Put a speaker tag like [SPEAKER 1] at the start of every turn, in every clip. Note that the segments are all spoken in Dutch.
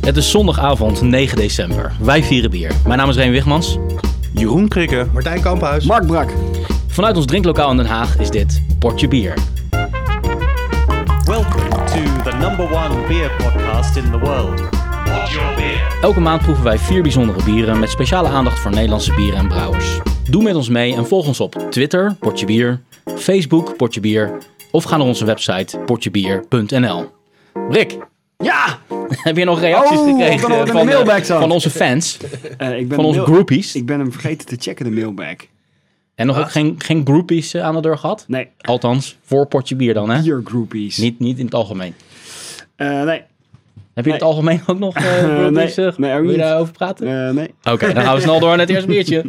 [SPEAKER 1] Het is zondagavond 9 december. Wij vieren bier. Mijn naam is Reen Wigmans.
[SPEAKER 2] Jeroen Krikke.
[SPEAKER 3] Martijn Kamphuis.
[SPEAKER 4] Mark Brak.
[SPEAKER 1] Vanuit ons drinklokaal in Den Haag is dit Portje Bier.
[SPEAKER 5] Welcome to the number one beer podcast in the world. What's your beer?
[SPEAKER 1] Elke maand proeven wij vier bijzondere bieren met speciale aandacht voor Nederlandse bieren en brouwers. Doe met ons mee en volg ons op Twitter, Portje Bier, Facebook, Portje Bier of ga naar onze website portjebier.nl. Rick,
[SPEAKER 4] Ja!
[SPEAKER 1] heb je nog reacties
[SPEAKER 4] Oh, ik
[SPEAKER 1] gekregen
[SPEAKER 4] ben al in de
[SPEAKER 1] van, eh,
[SPEAKER 4] mailbag zat.
[SPEAKER 1] van onze fans,
[SPEAKER 4] Eh, ik ben
[SPEAKER 1] van
[SPEAKER 4] de
[SPEAKER 1] onze
[SPEAKER 4] mail-
[SPEAKER 1] groupies?
[SPEAKER 4] Ik ben hem vergeten te checken, de mailbag.
[SPEAKER 1] En nog ook geen, geen groupies eh, aan de deur gehad?
[SPEAKER 4] Nee,
[SPEAKER 1] Althans, voor Portje Bier dan, hè?
[SPEAKER 4] hier groupies.
[SPEAKER 1] Niet, niet in het algemeen.
[SPEAKER 4] Eh, nee,
[SPEAKER 1] Heb je in het
[SPEAKER 4] Nee.
[SPEAKER 1] algemeen ook nog eh groupies, eh,
[SPEAKER 4] nee, ook
[SPEAKER 1] Wil je
[SPEAKER 4] niet.
[SPEAKER 1] daarover praten?
[SPEAKER 4] Eh, nee.
[SPEAKER 1] Oké, dan gaan we snel door naar het eerste biertje.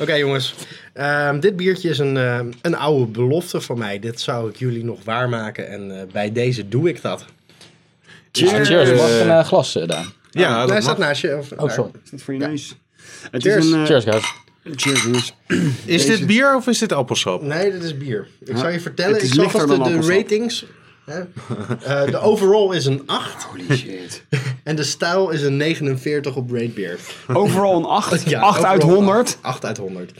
[SPEAKER 3] Oké jongens, Ehm, dit biertje is een, ehm, een oude belofte van mij. Dit zou ik jullie nog waarmaken en eh, bij deze doe ik
[SPEAKER 4] Oh,
[SPEAKER 3] dat.
[SPEAKER 1] Cheers. Cheers. Mag ik een eh, glas eh, daar?
[SPEAKER 2] Ja,
[SPEAKER 3] Hij
[SPEAKER 2] dat
[SPEAKER 3] staat
[SPEAKER 2] mag.
[SPEAKER 3] naast je. Of,
[SPEAKER 1] Oh, sorry.
[SPEAKER 4] Is dat voor je neus? Het
[SPEAKER 3] Cheers.
[SPEAKER 4] is een... eh,
[SPEAKER 1] Cheers, guys.
[SPEAKER 4] cheers, jongens.
[SPEAKER 2] Is
[SPEAKER 4] Deze-
[SPEAKER 2] dit bier of is dit appelsap?
[SPEAKER 3] Nee, dit is bier. Ik zou je vertellen,
[SPEAKER 4] het is
[SPEAKER 3] ik zag
[SPEAKER 4] lichter
[SPEAKER 3] vast de,
[SPEAKER 4] dan
[SPEAKER 3] de
[SPEAKER 4] appelsap.
[SPEAKER 3] ratings. hè. Eh, de overall is een 8
[SPEAKER 4] Holy shit.
[SPEAKER 3] en de stijl is een 49 op Rate Beer.
[SPEAKER 4] Overal een 8.
[SPEAKER 3] Ja,
[SPEAKER 4] 8 uit
[SPEAKER 3] overall
[SPEAKER 4] 100.
[SPEAKER 3] 8, 8 uit 100.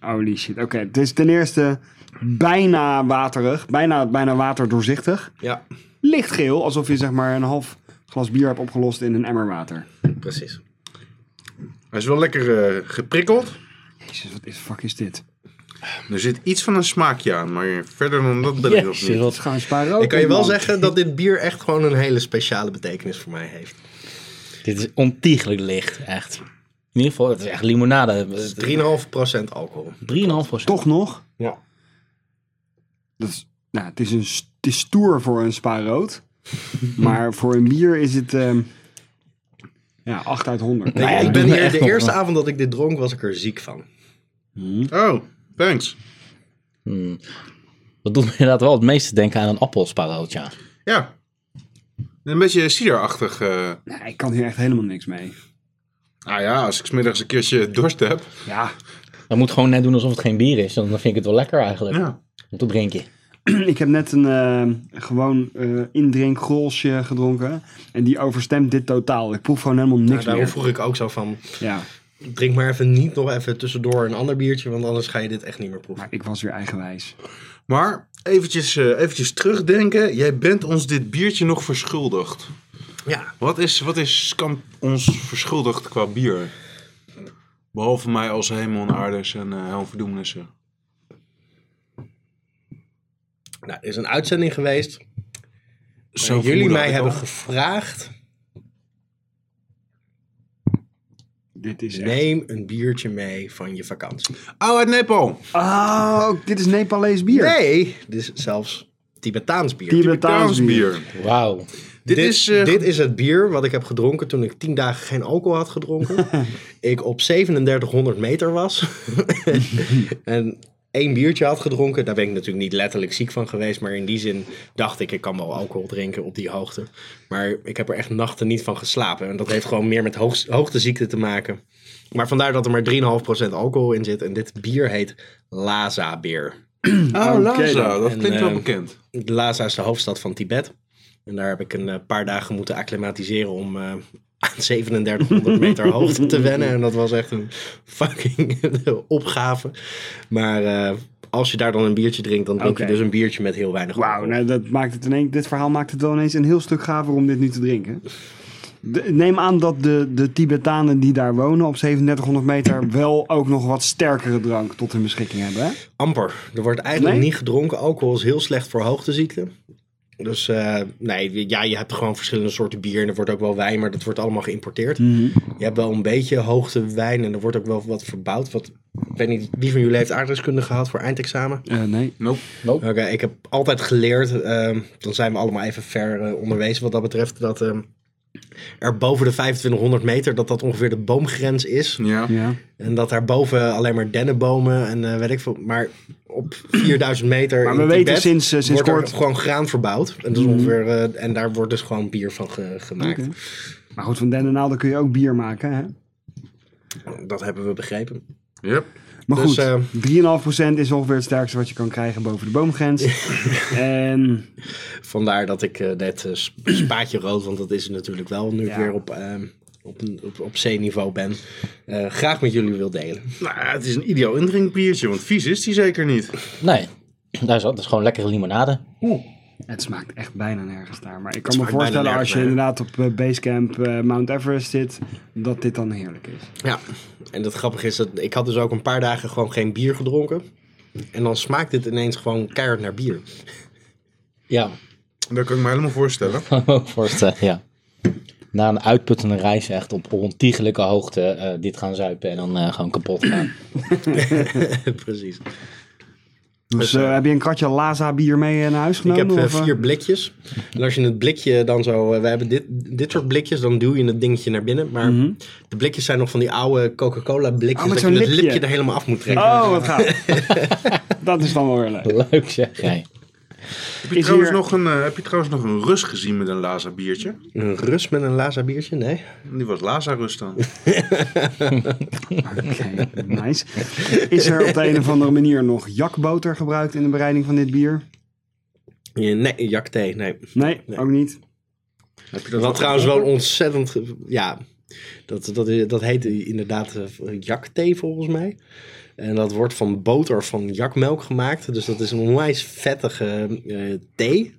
[SPEAKER 4] Holy shit. Oké, het is ten eerste bijna waterig. Bijna, bijna waterdoorzichtig.
[SPEAKER 3] Ja,
[SPEAKER 4] Lichtgeel, alsof je zeg maar een half glas bier hebt opgelost in een emmer water.
[SPEAKER 3] precies.
[SPEAKER 2] Hij is wel lekker eh, geprikkeld.
[SPEAKER 4] Jezus, wat is fuck is dit?
[SPEAKER 2] Er zit iets van een smaakje aan, maar verder dan dat ben ik nog
[SPEAKER 1] Jezus,
[SPEAKER 2] niet.
[SPEAKER 4] Het
[SPEAKER 1] wat-
[SPEAKER 4] is gewoon spaarrood.
[SPEAKER 3] Ik kan je wel zeggen dat dit bier echt gewoon een hele speciale betekenis voor mij heeft. 3,5
[SPEAKER 1] Dit is ontiegelijk licht, echt. In ieder geval, het is echt limonade. 3,5
[SPEAKER 3] alcohol.
[SPEAKER 1] procent.
[SPEAKER 4] Toch nog?
[SPEAKER 3] Ja.
[SPEAKER 4] Dat is, nou, het, is een, s- het is stoer voor een spa rood. maar voor een bier is het ehm, ja, 8 uit 100.
[SPEAKER 3] Ik-
[SPEAKER 1] ja,
[SPEAKER 3] ik
[SPEAKER 1] ik
[SPEAKER 3] ben
[SPEAKER 1] doe me
[SPEAKER 3] hier,
[SPEAKER 1] echt
[SPEAKER 3] de
[SPEAKER 1] nog
[SPEAKER 3] eerste
[SPEAKER 1] wel.
[SPEAKER 3] avond dat ik dit dronk, was ik er ziek van.
[SPEAKER 2] Oh, thanks.
[SPEAKER 1] Dat doet me inderdaad wel het meeste denken aan een appelsparoot, ja.
[SPEAKER 2] Ja. Een beetje ciderachtig. eh.
[SPEAKER 4] Nee, ik kan hier echt helemaal niks mee.
[SPEAKER 2] Nou ja, als ik 's middags een keertje dorst heb.
[SPEAKER 4] Ja,
[SPEAKER 1] Je moet gewoon net doen alsof het geen bier is. Dan vind ik het wel lekker eigenlijk.
[SPEAKER 2] Ja.
[SPEAKER 1] Om te drinken.
[SPEAKER 4] ik heb net een eh, gewoon eh indrinkgrolsje gedronken. En die overstemt dit totaal. Ik proef gewoon helemaal niks
[SPEAKER 3] daarom
[SPEAKER 4] meer.
[SPEAKER 3] vroeg ik ook zo van,
[SPEAKER 4] Ja,
[SPEAKER 3] drink maar even niet nog even tussendoor een ander biertje, want anders ga je dit echt niet meer proeven.
[SPEAKER 4] maar ik was weer eigenwijs.
[SPEAKER 2] Maar eventjes, eh, eventjes terugdenken. Jij bent ons dit biertje nog verschuldigd.
[SPEAKER 3] Ja,
[SPEAKER 2] Wat is, wat is Kamp ons verschuldigd qua bier? Behalve mij als hemel en aardes en eh hel verdoemenissen.
[SPEAKER 3] nou, er is een uitzending geweest
[SPEAKER 2] Zo
[SPEAKER 3] waar jullie mij
[SPEAKER 2] had ik
[SPEAKER 3] hebben
[SPEAKER 2] al.
[SPEAKER 3] gevraagd,
[SPEAKER 4] Dit is echt...
[SPEAKER 3] neem een biertje mee van je vakantie.
[SPEAKER 2] Oh, uit Nepal.
[SPEAKER 4] Oh, dit is Nepalees bier.
[SPEAKER 3] Nee, dit is zelfs Tibetaans bier.
[SPEAKER 4] Tibetaans bier.
[SPEAKER 2] bier.
[SPEAKER 1] Wauw.
[SPEAKER 2] Dit, is... eh,
[SPEAKER 3] dit is het bier wat ik heb gedronken toen ik 10 dagen geen alcohol had gedronken. ik op 3700 meter was. en één biertje had gedronken. Daar ben ik natuurlijk niet letterlijk ziek van geweest. Maar in die zin dacht ik, ik kan wel alcohol drinken op die hoogte. Maar ik heb er echt nachten niet van geslapen. En dat heeft gewoon meer met hoog, hoogteziekte te maken. Maar vandaar dat er maar 3,5% alcohol in zit. En dit bier heet Lhasa bier.
[SPEAKER 2] Oh, Lhasa.
[SPEAKER 4] dan.
[SPEAKER 2] Dat
[SPEAKER 3] En,
[SPEAKER 2] klinkt wel
[SPEAKER 3] eh,
[SPEAKER 2] bekend.
[SPEAKER 3] Lhasa is de hoofdstad van Tibet. En daar heb ik een eh, paar dagen moeten acclimatiseren om eh, aan 3700 meter hoogte te wennen. En dat was echt een fucking eh, opgave. Maar eh, als je daar dan een biertje drinkt, dan drink
[SPEAKER 4] Oké.
[SPEAKER 3] je dus een biertje met heel weinig
[SPEAKER 4] Wauw,
[SPEAKER 3] alcohol.
[SPEAKER 4] nou, dat maakt het ineens, dit verhaal maakt het wel ineens een heel stuk gaver om dit nu te drinken. De- neem aan dat de, de Tibetanen die daar wonen op 3700 meter wel ook nog wat sterkere drank tot hun beschikking hebben. Hè?
[SPEAKER 3] Amper. Er wordt eigenlijk
[SPEAKER 4] Nee?
[SPEAKER 3] niet gedronken. Alcohol is heel slecht voor hoogteziekte. Dus eh, nee, ja, je hebt gewoon verschillende soorten bier. En er wordt ook wel wijn, maar dat wordt allemaal geïmporteerd. Je hebt wel een beetje hoogtewijn en er wordt ook wel wat verbouwd. Wat, ik weet niet, wie van jullie heeft aardrijkskunde gehad voor eindexamen?
[SPEAKER 4] Eh, nee.
[SPEAKER 2] Nope.
[SPEAKER 3] Oké, ik heb altijd geleerd, ehm, dan zijn we allemaal even ver eh, onderwezen wat dat betreft, dat ehm, er boven de 2500 meter, dat dat ongeveer de boomgrens is.
[SPEAKER 2] Ja.
[SPEAKER 4] Ja.
[SPEAKER 3] En dat daarboven alleen maar dennenbomen en eh, weet ik veel. Maar op 4000 meter.
[SPEAKER 4] Maar
[SPEAKER 3] in
[SPEAKER 4] we weten
[SPEAKER 3] Tibet
[SPEAKER 4] sinds, eh, sinds
[SPEAKER 3] wordt er
[SPEAKER 4] kort- Mhm.
[SPEAKER 3] gewoon graan verbouwd. En, dat is ongeveer, eh, en daar wordt dus gewoon bier van ge- gemaakt.
[SPEAKER 4] Oké. Maar goed, van dennennaalden kun je ook bier maken. Hè?
[SPEAKER 3] Dat hebben we begrepen.
[SPEAKER 2] Yep.
[SPEAKER 4] Maar
[SPEAKER 3] Dus,
[SPEAKER 4] goed,
[SPEAKER 3] eh,
[SPEAKER 4] 3,5% is ongeveer het sterkste wat je kan krijgen boven de boomgrens. en
[SPEAKER 3] Vandaar dat ik eh, net eh, sp- spaatje rood, want dat is het natuurlijk wel nu ik
[SPEAKER 4] Ja.
[SPEAKER 3] weer op, eh, op, een- op, op C-niveau ben, eh, graag met jullie wil delen.
[SPEAKER 2] Nou, ja, het is een ideaal indrinkbiertje, want vies is die zeker niet.
[SPEAKER 1] Nee, dat is, dat is gewoon lekkere limonade.
[SPEAKER 4] het smaakt echt bijna nergens naar. Maar ik kan me
[SPEAKER 3] smaakt bijna
[SPEAKER 4] voorstellen als je
[SPEAKER 3] nergens
[SPEAKER 4] inderdaad op eh, Basecamp eh, Mount Everest zit, dat dit dan heerlijk is.
[SPEAKER 3] Ja, en dat grappige is dat ik had dus ook een paar dagen gewoon geen bier gedronken. En dan smaakt het ineens gewoon keihard naar bier.
[SPEAKER 1] Ja,
[SPEAKER 2] Dat kan ik me helemaal voorstellen.
[SPEAKER 1] kan ik me ook voorstellen, ja. Na een uitputtende reis echt op ontiegelijke hoogte eh, dit gaan zuipen en dan eh, gewoon kapot gaan.
[SPEAKER 3] Precies.
[SPEAKER 4] Dus eh, heb je een kratje Laza bier mee eh, naar huis
[SPEAKER 3] Ik
[SPEAKER 4] genomen?
[SPEAKER 3] heb eh,
[SPEAKER 4] of, eh?
[SPEAKER 3] vier blikjes. En als je het blikje dan zo... eh, we hebben dit, dit soort blikjes, dan duw je het dingetje naar binnen. Maar de blikjes zijn nog van die oude Coca-Cola
[SPEAKER 4] Mhm.
[SPEAKER 3] blikjes.
[SPEAKER 4] Oh, met
[SPEAKER 3] dat
[SPEAKER 4] zo'n
[SPEAKER 3] je het
[SPEAKER 4] lipje.
[SPEAKER 3] lipje er helemaal af moet trekken.
[SPEAKER 4] Oh, wat gaaf. dat is dan wel weer leuk.
[SPEAKER 1] Leuk zeg jij.
[SPEAKER 2] Heb je,
[SPEAKER 4] Is
[SPEAKER 2] trouwens
[SPEAKER 4] hier-
[SPEAKER 2] nog een, eh, heb je trouwens nog een rust gezien met een Laza biertje?
[SPEAKER 3] Een rust met een Laza biertje? Nee.
[SPEAKER 2] Die was Laza rust dan.
[SPEAKER 4] Oké, nice. Is er op de een of andere manier nog jakboter gebruikt in de bereiding van dit bier?
[SPEAKER 3] Ja, Nee, jak thee, nee.
[SPEAKER 4] Nee, ook niet.
[SPEAKER 2] heb je
[SPEAKER 3] Wat trouwens wel ontzettend... ge- Ja, dat, dat, dat heet inderdaad eh, jakthee volgens mij. En dat wordt van boter van jakmelk gemaakt. Dus dat is een onwijs vettige eh, thee.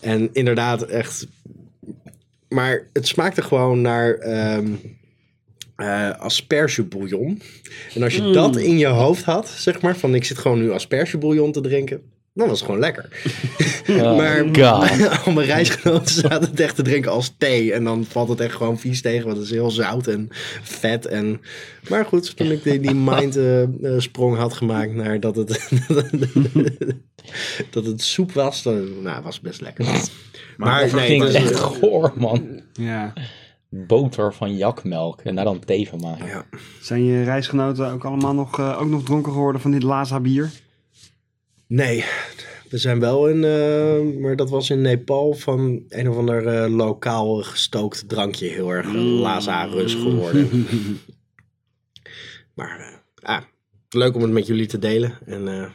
[SPEAKER 3] En inderdaad echt... Maar het smaakte gewoon naar ehm eh aspergebouillon. En als je dat in je hoofd had, zeg maar... van ik zit gewoon nu aspergebouillon te drinken... dan was het gewoon lekker.
[SPEAKER 1] Oh,
[SPEAKER 3] Maar
[SPEAKER 1] God.
[SPEAKER 3] al mijn reisgenoten zaten het echt te drinken als thee. En dan valt het echt gewoon vies tegen, want het is heel zout en vet. En... Maar goed, toen ik die, die mind-sprong had gemaakt naar dat het, dat het soep was, dan nou, was het best lekker. Maar nee, dus-
[SPEAKER 1] Klinkt
[SPEAKER 3] het
[SPEAKER 1] echt
[SPEAKER 3] is-
[SPEAKER 1] goor, man.
[SPEAKER 4] Ja.
[SPEAKER 1] Boter van jakmelk en daar dan thee van maken.
[SPEAKER 3] ja.
[SPEAKER 4] Zijn je reisgenoten ook allemaal nog, eh, ook nog dronken geworden van dit Laza bier?
[SPEAKER 3] nee, we zijn wel in, eh, maar dat was in Nepal van een of ander eh, lokaal gestookt drankje heel erg Lazarus geworden. maar eh, ah, leuk om het met jullie te delen. En eh,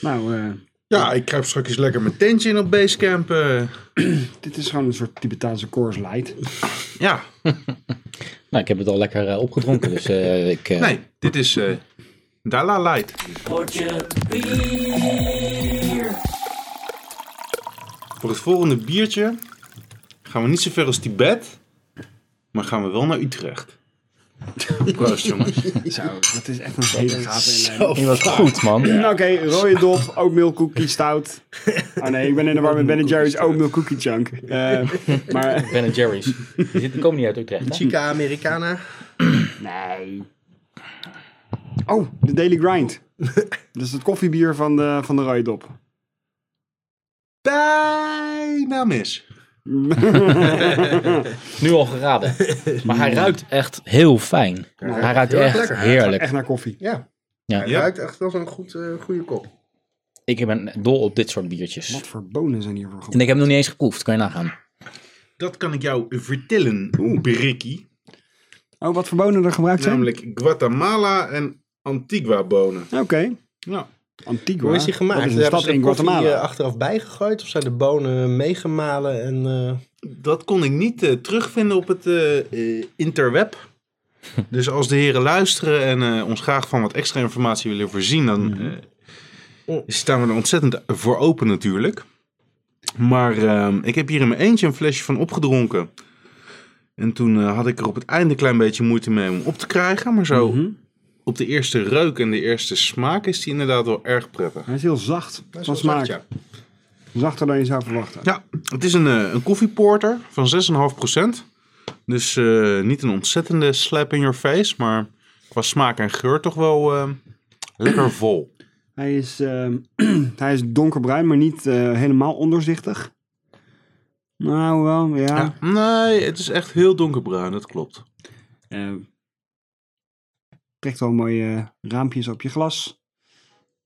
[SPEAKER 4] Nou, eh,
[SPEAKER 2] Ja, ik kruip straks lekker mijn tentje in op Basecamp. eh.
[SPEAKER 4] dit is gewoon een soort Tibetaanse Coors Light.
[SPEAKER 2] ja,
[SPEAKER 1] Nou, ik heb het al lekker eh, opgedronken, dus eh, ik... eh,
[SPEAKER 2] nee, dit is eh Dala Light. Voor het volgende biertje gaan we niet zo ver als Tibet, maar gaan we wel naar Utrecht. Proost jongens.
[SPEAKER 4] Zo, dat is echt een hele gave inleiding.
[SPEAKER 1] Die was goed, man.
[SPEAKER 4] Nou, Oké, rode dop, oatmeal cookie stout. Oh nee, ik ben in de war met Ben Jerry's oatmeal cookie chunk. Eh, maar,
[SPEAKER 1] Ben Jerry's. Die zitten- komen niet uit Utrecht, hè?
[SPEAKER 3] Chica Americana.
[SPEAKER 4] nee. Oh, de Daily Grind. Dat is het koffiebier van de, van de rode dop.
[SPEAKER 2] Bijna mis.
[SPEAKER 1] Nu al geraden. Maar hij ruikt echt heel fijn. Hij ruikt
[SPEAKER 3] heel erg
[SPEAKER 1] echt
[SPEAKER 3] lekker.
[SPEAKER 1] heerlijk.
[SPEAKER 4] Echt naar koffie.
[SPEAKER 3] Ja.
[SPEAKER 1] Ja.
[SPEAKER 3] Hij
[SPEAKER 2] Ja.
[SPEAKER 3] ruikt echt wel zo'n goed, eh, goede kop.
[SPEAKER 1] Ik ben dol op dit soort biertjes.
[SPEAKER 4] Wat voor bonen zijn hiervoor
[SPEAKER 1] En
[SPEAKER 4] gebruikt?
[SPEAKER 1] ik heb hem nog niet eens geproefd, kan je nagaan.
[SPEAKER 2] Dat kan ik jou vertellen, Brikkie.
[SPEAKER 4] Oh, wat voor bonen er gebruikt zijn?
[SPEAKER 2] Namelijk Guatemala en Antigua bonen.
[SPEAKER 4] Oké.
[SPEAKER 2] Ja.
[SPEAKER 4] Antigua.
[SPEAKER 3] Nou, Hoe is die gemaakt?
[SPEAKER 4] Dat is een
[SPEAKER 3] Hebben
[SPEAKER 4] stad
[SPEAKER 3] ze de
[SPEAKER 4] in
[SPEAKER 3] koffie,
[SPEAKER 4] Guatemala.
[SPEAKER 3] eh, achteraf bijgegooid? Of zijn de bonen meegemalen? En, eh,
[SPEAKER 2] Dat kon ik niet eh, terugvinden op het eh, eh, interweb. Dus als de heren luisteren en eh, ons graag van wat extra informatie willen voorzien, dan
[SPEAKER 4] Mhm.
[SPEAKER 2] eh,
[SPEAKER 4] Oh.
[SPEAKER 2] staan we er ontzettend voor open natuurlijk. Maar ehm, ik heb hier in mijn eentje een flesje van opgedronken. En toen eh, had ik er op het einde een klein beetje moeite mee om op te krijgen. Maar zo
[SPEAKER 4] Mhm.
[SPEAKER 2] op de eerste reuk en de eerste smaak is die inderdaad wel erg prettig.
[SPEAKER 4] Hij is heel zacht
[SPEAKER 3] dat is
[SPEAKER 4] van
[SPEAKER 3] wel
[SPEAKER 4] smaak.
[SPEAKER 3] zacht, ja.
[SPEAKER 4] Zachter dan je zou verwachten.
[SPEAKER 2] Ja, het is een, eh, een koffieporter van 6,5%. Dus eh, niet een ontzettende slap in your face, maar qua smaak en geur toch wel eh, lekker vol.
[SPEAKER 4] Hij, is, ehm, hij is donkerbruin, maar niet eh, helemaal onderzichtig. Nou, wel, ja.
[SPEAKER 2] Ja. Nee, het is echt heel donkerbruin, dat klopt.
[SPEAKER 4] Eh, trekt wel mooie raampjes op je glas.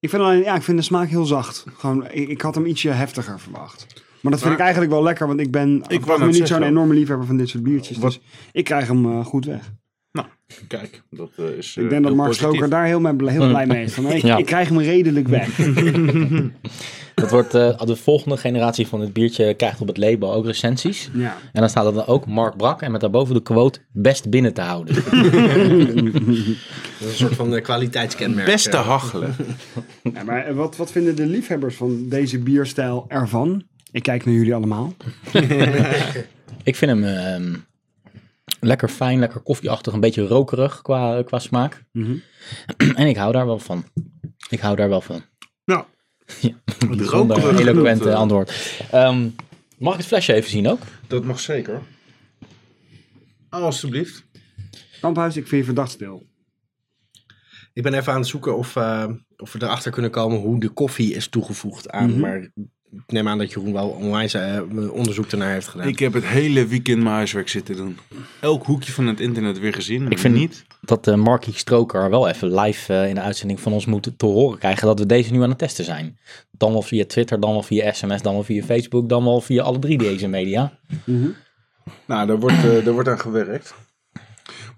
[SPEAKER 4] Ik vind, alleen, ja, ik vind de smaak heel zacht. Gewoon, ik, ik had hem ietsje heftiger verwacht. Maar dat vind
[SPEAKER 2] Maar-
[SPEAKER 4] ik eigenlijk wel lekker, want ik ben ik
[SPEAKER 2] wou net
[SPEAKER 4] niet zo'n
[SPEAKER 2] zeggen.
[SPEAKER 4] enorme liefhebber van dit soort biertjes.
[SPEAKER 2] Wat-
[SPEAKER 4] Dus ik krijg hem eh, goed weg.
[SPEAKER 2] Nou, kijk, dat eh, is.
[SPEAKER 4] Ik denk dat Mark Stroker daar heel, mee- heel blij mee is. Van, ik,
[SPEAKER 1] Ja.
[SPEAKER 4] ik krijg hem redelijk weg.
[SPEAKER 1] Dat wordt, eh, de volgende generatie van het biertje krijgt op het label ook recensies.
[SPEAKER 4] Ja.
[SPEAKER 1] En dan staat er dan ook Mark Brak en met daarboven de quote best binnen te houden.
[SPEAKER 3] Dat is een soort van eh, kwaliteitskenmerk.
[SPEAKER 2] Beste
[SPEAKER 3] eh.
[SPEAKER 2] hachelen.
[SPEAKER 4] Ja, maar eh, wat, wat vinden de liefhebbers van deze bierstijl ervan? Ik kijk naar jullie allemaal.
[SPEAKER 1] Ik vind hem ehm, lekker fijn, lekker koffieachtig, een beetje rokerig qua, qua smaak.
[SPEAKER 4] Mhm.
[SPEAKER 1] En ik hou daar wel van. Ik hou daar wel van.
[SPEAKER 2] Nou,
[SPEAKER 1] Ja,
[SPEAKER 2] rokerige
[SPEAKER 1] Zonder
[SPEAKER 2] noot,
[SPEAKER 1] eloquent eh,
[SPEAKER 2] eh.
[SPEAKER 1] antwoord. Ehm, mag ik het flesje even zien ook?
[SPEAKER 2] dat mag zeker. Alsjeblieft.
[SPEAKER 4] Kamphuis, ik vind je verdacht stil.
[SPEAKER 3] Ik ben even aan het zoeken of, eh, of we erachter kunnen komen hoe de koffie is toegevoegd aan.
[SPEAKER 1] Mhm.
[SPEAKER 3] Maar ik neem aan dat Jeroen wel onwijs eh, onderzoek ernaar heeft gedaan.
[SPEAKER 2] Ik heb het hele weekend mijn huiswerk zitten doen. Elk hoekje van het internet weer gezien.
[SPEAKER 1] Ik vind
[SPEAKER 2] niet.
[SPEAKER 1] Dat eh Markie Stroker wel even live eh, in de uitzending van ons moet te horen krijgen dat we deze nu aan het testen zijn. Dan wel via Twitter, dan wel via sms, dan wel via Facebook, dan wel via alle drie deze media.
[SPEAKER 2] Nou, daar wordt, eh, daar wordt aan gewerkt.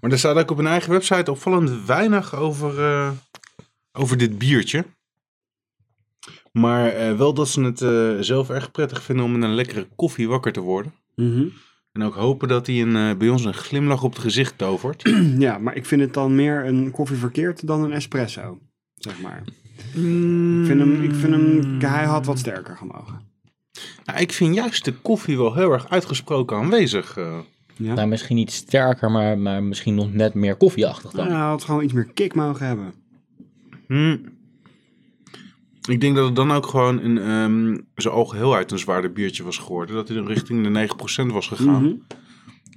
[SPEAKER 2] Maar er staat ook op hun eigen website opvallend weinig over, eh, over dit biertje. Maar eh, wel dat ze het eh, zelf erg prettig vinden om met een lekkere koffie wakker te worden.
[SPEAKER 4] Mhm.
[SPEAKER 2] En ook hopen dat hij een, eh, bij ons een glimlach op het gezicht tovert.
[SPEAKER 4] Ja, maar ik vind het dan meer een koffie verkeerd dan een espresso. Zeg maar. Ik vind hem, ik vind
[SPEAKER 2] Mm.
[SPEAKER 4] hem hij had wat sterker gemogen.
[SPEAKER 2] Nou, ik vind juist de koffie wel heel erg uitgesproken aanwezig. eh.
[SPEAKER 4] Ja?
[SPEAKER 1] Nou, misschien niet sterker, maar, maar misschien nog net meer koffieachtig dan.
[SPEAKER 4] Nou, hij had gewoon iets meer kick mogen hebben.
[SPEAKER 2] Hmm. Ik denk dat het dan ook gewoon een, ehm zijn algeheel uit een zwaarder biertje was geworden. Dat hij dan richting de 9% was gegaan.
[SPEAKER 4] Mhm.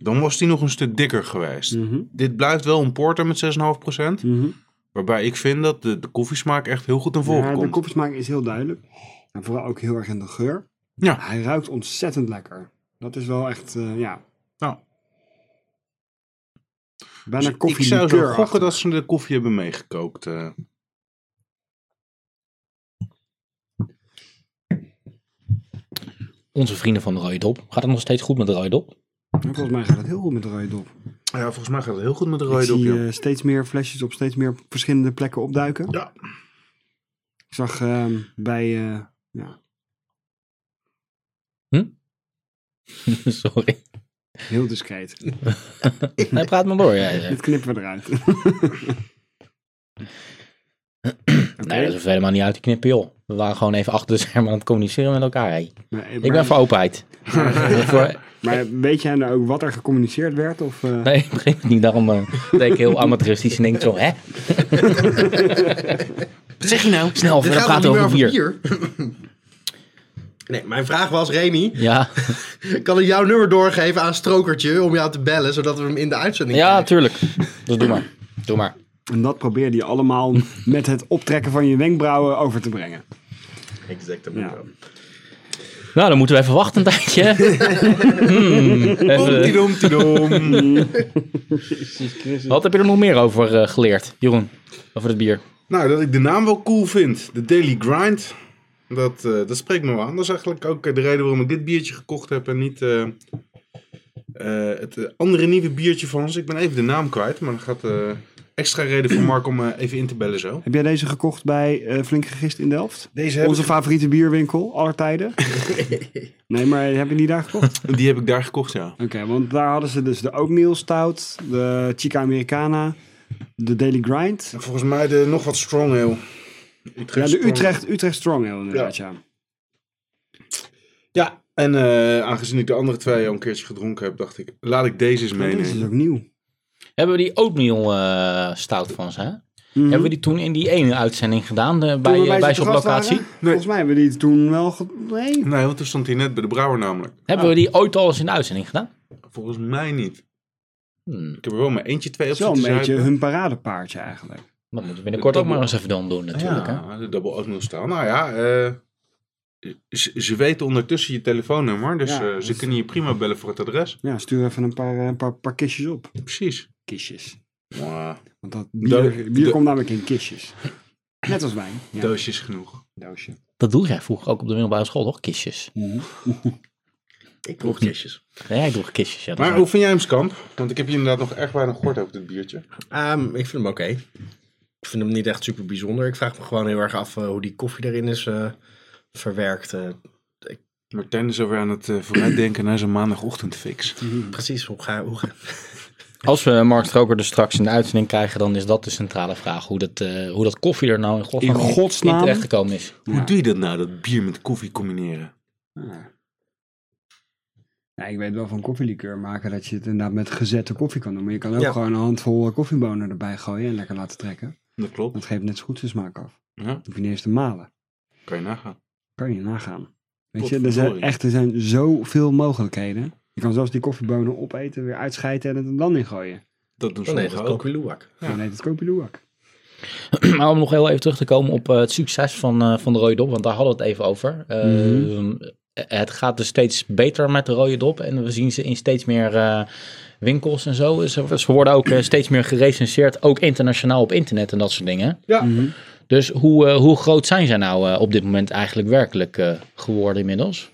[SPEAKER 2] Dan was hij nog een stuk dikker geweest.
[SPEAKER 4] Mhm.
[SPEAKER 2] Dit blijft wel een porter met 6,5%.
[SPEAKER 4] Mhm.
[SPEAKER 2] Waarbij ik vind dat de, de koffiesmaak echt heel goed naar voren
[SPEAKER 4] Ja, de
[SPEAKER 2] komt.
[SPEAKER 4] kopsmaak is heel duidelijk. En vooral ook heel erg in de geur.
[SPEAKER 2] Ja.
[SPEAKER 4] Hij ruikt ontzettend lekker. Dat is wel echt, eh, ja.
[SPEAKER 2] Nou. Dus
[SPEAKER 4] Bijna
[SPEAKER 2] ik
[SPEAKER 4] koffie
[SPEAKER 2] zou zo gokken dat ze de koffie hebben meegekookt. eh.
[SPEAKER 1] Onze vrienden van de Rode Dop. Gaat het nog steeds goed met de Rode Dop?
[SPEAKER 4] Volgens mij gaat het heel goed met de rode dop.
[SPEAKER 2] Ja, volgens mij gaat het heel goed met de
[SPEAKER 4] Ik
[SPEAKER 2] rode
[SPEAKER 4] zie
[SPEAKER 2] dopje.
[SPEAKER 4] eh, steeds meer flesjes op steeds meer verschillende plekken opduiken.
[SPEAKER 2] Ja.
[SPEAKER 4] Ik zag ehm, bij, eh, ja,
[SPEAKER 1] Sorry.
[SPEAKER 4] heel discreet.
[SPEAKER 1] Nee, praat maar door. Ja, ja.
[SPEAKER 4] Dit knippen we eruit.
[SPEAKER 1] Nee, dat is helemaal niet uit te knippen, joh. We waren gewoon even achter de schermen aan het communiceren met elkaar. hé.
[SPEAKER 4] Maar,
[SPEAKER 1] Ik ben voor openheid. Voor-
[SPEAKER 4] maar weet jij nou ook wat er gecommuniceerd werd? Of, eh,
[SPEAKER 1] nee, ik begreep het niet. Daarom eh, deed ik heel amateuristisch en denk ik zo, hè?
[SPEAKER 2] Wat zeg je nou?
[SPEAKER 1] Snel,
[SPEAKER 3] Dit
[SPEAKER 1] verder
[SPEAKER 3] gaat
[SPEAKER 1] praten
[SPEAKER 3] nog
[SPEAKER 1] over,
[SPEAKER 3] niet
[SPEAKER 1] bier.
[SPEAKER 3] meer nee, mijn vraag was, Remy,
[SPEAKER 1] Ja,
[SPEAKER 3] kan ik jouw nummer doorgeven aan Strokertje om jou te bellen, zodat we hem in de uitzending
[SPEAKER 1] ja,
[SPEAKER 3] krijgen?
[SPEAKER 1] tuurlijk. Dus doe maar. Doe maar.
[SPEAKER 4] En dat probeerde je allemaal met het optrekken van je wenkbrauwen over te brengen.
[SPEAKER 3] Exact, dat moet
[SPEAKER 4] eh, Ja.
[SPEAKER 3] wel.
[SPEAKER 1] Nou, dan moeten we even wachten een tijdje. hè. Hmm, even- wat heb je er nog meer over eh, geleerd, Jeroen? Over het bier.
[SPEAKER 2] Nou, dat ik de naam wel cool vind. De Daily Grind. Dat, eh, dat spreekt me wel aan. Dat is eigenlijk ook eh, de reden waarom ik dit biertje gekocht heb en niet eh, eh, het eh, andere nieuwe biertje van ons. Ik ben even de naam kwijt, maar dat gaat eh, extra reden voor Mark om eh, even in te bellen zo.
[SPEAKER 4] Heb jij deze gekocht bij eh Flink Gegist in Delft?
[SPEAKER 2] Deze
[SPEAKER 4] Onze favoriete bierwinkel aller tijden. nee, maar heb je die daar gekocht?
[SPEAKER 2] Die heb ik daar gekocht, ja.
[SPEAKER 4] Oké, want daar hadden ze dus de oatmeal stout, de Chica Americana, de Daily Grind.
[SPEAKER 2] En volgens mij de nog wat strong ale.
[SPEAKER 4] Ja,
[SPEAKER 2] Utrecht
[SPEAKER 4] de
[SPEAKER 2] Strong.
[SPEAKER 4] Utrecht, Utrecht Strong Ale inderdaad, ja.
[SPEAKER 2] Ja, en eh, aangezien ik de andere twee al een keertje gedronken heb, dacht ik, laat ik deze eens
[SPEAKER 4] Maar Deze is dus
[SPEAKER 2] meenemen.
[SPEAKER 4] ook nieuw.
[SPEAKER 1] Hebben we die oatmeal eh, stout van ze, hè?
[SPEAKER 4] Mhm.
[SPEAKER 1] Hebben we die toen in die ene uitzending gedaan eh, bij,
[SPEAKER 4] Toen we
[SPEAKER 1] eh, bij
[SPEAKER 4] ze
[SPEAKER 1] zo'n
[SPEAKER 4] te gast
[SPEAKER 1] locatie?
[SPEAKER 4] waren, Volgens mij hebben we die toen wel... ge- Nee.
[SPEAKER 2] Nee, want toen stond hij net bij de brouwer namelijk.
[SPEAKER 1] Hebben we die ooit al eens in de uitzending gedaan?
[SPEAKER 2] Volgens mij niet.
[SPEAKER 1] Hmm,
[SPEAKER 2] Ik heb er wel maar eentje, twee op
[SPEAKER 4] Het is wel een
[SPEAKER 2] zitten
[SPEAKER 4] beetje
[SPEAKER 2] zuipen.
[SPEAKER 4] hun paradepaardje eigenlijk.
[SPEAKER 1] dat moeten we binnenkort ook maar eens even dan doen, natuurlijk. Hè?
[SPEAKER 2] Ja, de dubbel oatmeal staan. Nou ja, eh, ze, ze weten ondertussen je telefoonnummer, dus
[SPEAKER 4] Ja,
[SPEAKER 2] eh,
[SPEAKER 4] dat
[SPEAKER 2] ze
[SPEAKER 4] is-
[SPEAKER 2] kunnen je prima bellen voor het adres.
[SPEAKER 4] Ja, stuur even een paar, eh, een paar, paar kistjes op.
[SPEAKER 2] Precies.
[SPEAKER 4] Kistjes.
[SPEAKER 2] Ja,
[SPEAKER 4] Want dat bier,
[SPEAKER 2] Deu-
[SPEAKER 4] bier
[SPEAKER 2] de-
[SPEAKER 4] komt namelijk in kistjes. Net als wijn. Ja,
[SPEAKER 2] Doosjes genoeg.
[SPEAKER 4] doosje.
[SPEAKER 1] Dat doe jij vroeger ook op de middelbare school, toch? Kistjes.
[SPEAKER 3] Ik proef kistjes.
[SPEAKER 1] Nee, ik droeg kistjes. Ja, dat
[SPEAKER 2] Maar
[SPEAKER 1] is
[SPEAKER 2] hoe vind jij hem, Skamp? Want ik heb je inderdaad nog echt weinig gehoord over dit biertje.
[SPEAKER 3] Ehm, ik vind hem oké. Ik vind hem niet echt super bijzonder. Ik vraag me gewoon heel erg af eh, hoe die koffie erin is eh, verwerkt. eh.
[SPEAKER 2] Martijn is alweer aan het eh, vooruitdenken naar zijn maandagochtendfix.
[SPEAKER 3] precies, hoe ga, hoe ga-
[SPEAKER 1] Als we Mark Stroker dus straks in de uitzending krijgen, dan is dat de centrale vraag. Hoe dat, eh, hoe dat koffie er nou in godsnaam,
[SPEAKER 4] In godsnaam?
[SPEAKER 1] in terecht gekomen is.
[SPEAKER 2] Hoe doe je dat nou, dat bier met koffie combineren?
[SPEAKER 4] Ja, Ah. Nou, ik weet wel van koffielikeur maken dat je het inderdaad met gezette koffie kan doen. Maar je kan ook
[SPEAKER 3] Ja.
[SPEAKER 4] gewoon een handvol eh, koffiebonen erbij gooien en lekker laten trekken.
[SPEAKER 2] Dat klopt.
[SPEAKER 4] Dat geeft net zo goed zijn smaak af.
[SPEAKER 2] Ja,
[SPEAKER 4] Dat hoef je niet eens te malen.
[SPEAKER 2] kan je nagaan.
[SPEAKER 4] Kan je nagaan. Weet je, er
[SPEAKER 2] Potverdorie.
[SPEAKER 4] zijn, echt, er zijn zoveel mogelijkheden. Je kan zelfs die koffiebonen opeten, weer uitscheiden en het er dan in gooien.
[SPEAKER 2] Dat doen
[SPEAKER 3] Dan heet
[SPEAKER 2] sommigen
[SPEAKER 3] het
[SPEAKER 2] ook.
[SPEAKER 3] Koki Luwak.
[SPEAKER 4] Dan heet het kopieloak.
[SPEAKER 1] Maar om nog heel even terug te komen op eh, het succes van, eh, van de Rode Dop, want daar hadden we het even over. Eh, Het gaat dus steeds beter met de Rode Dop en we zien ze in steeds meer eh, winkels en zo. Ze, ze worden ook eh, steeds meer gerecenseerd, ook internationaal op internet en dat soort dingen.
[SPEAKER 2] Ja.
[SPEAKER 1] Dus hoe, eh, hoe groot zijn zij nou eh, op dit moment eigenlijk werkelijk eh, geworden inmiddels?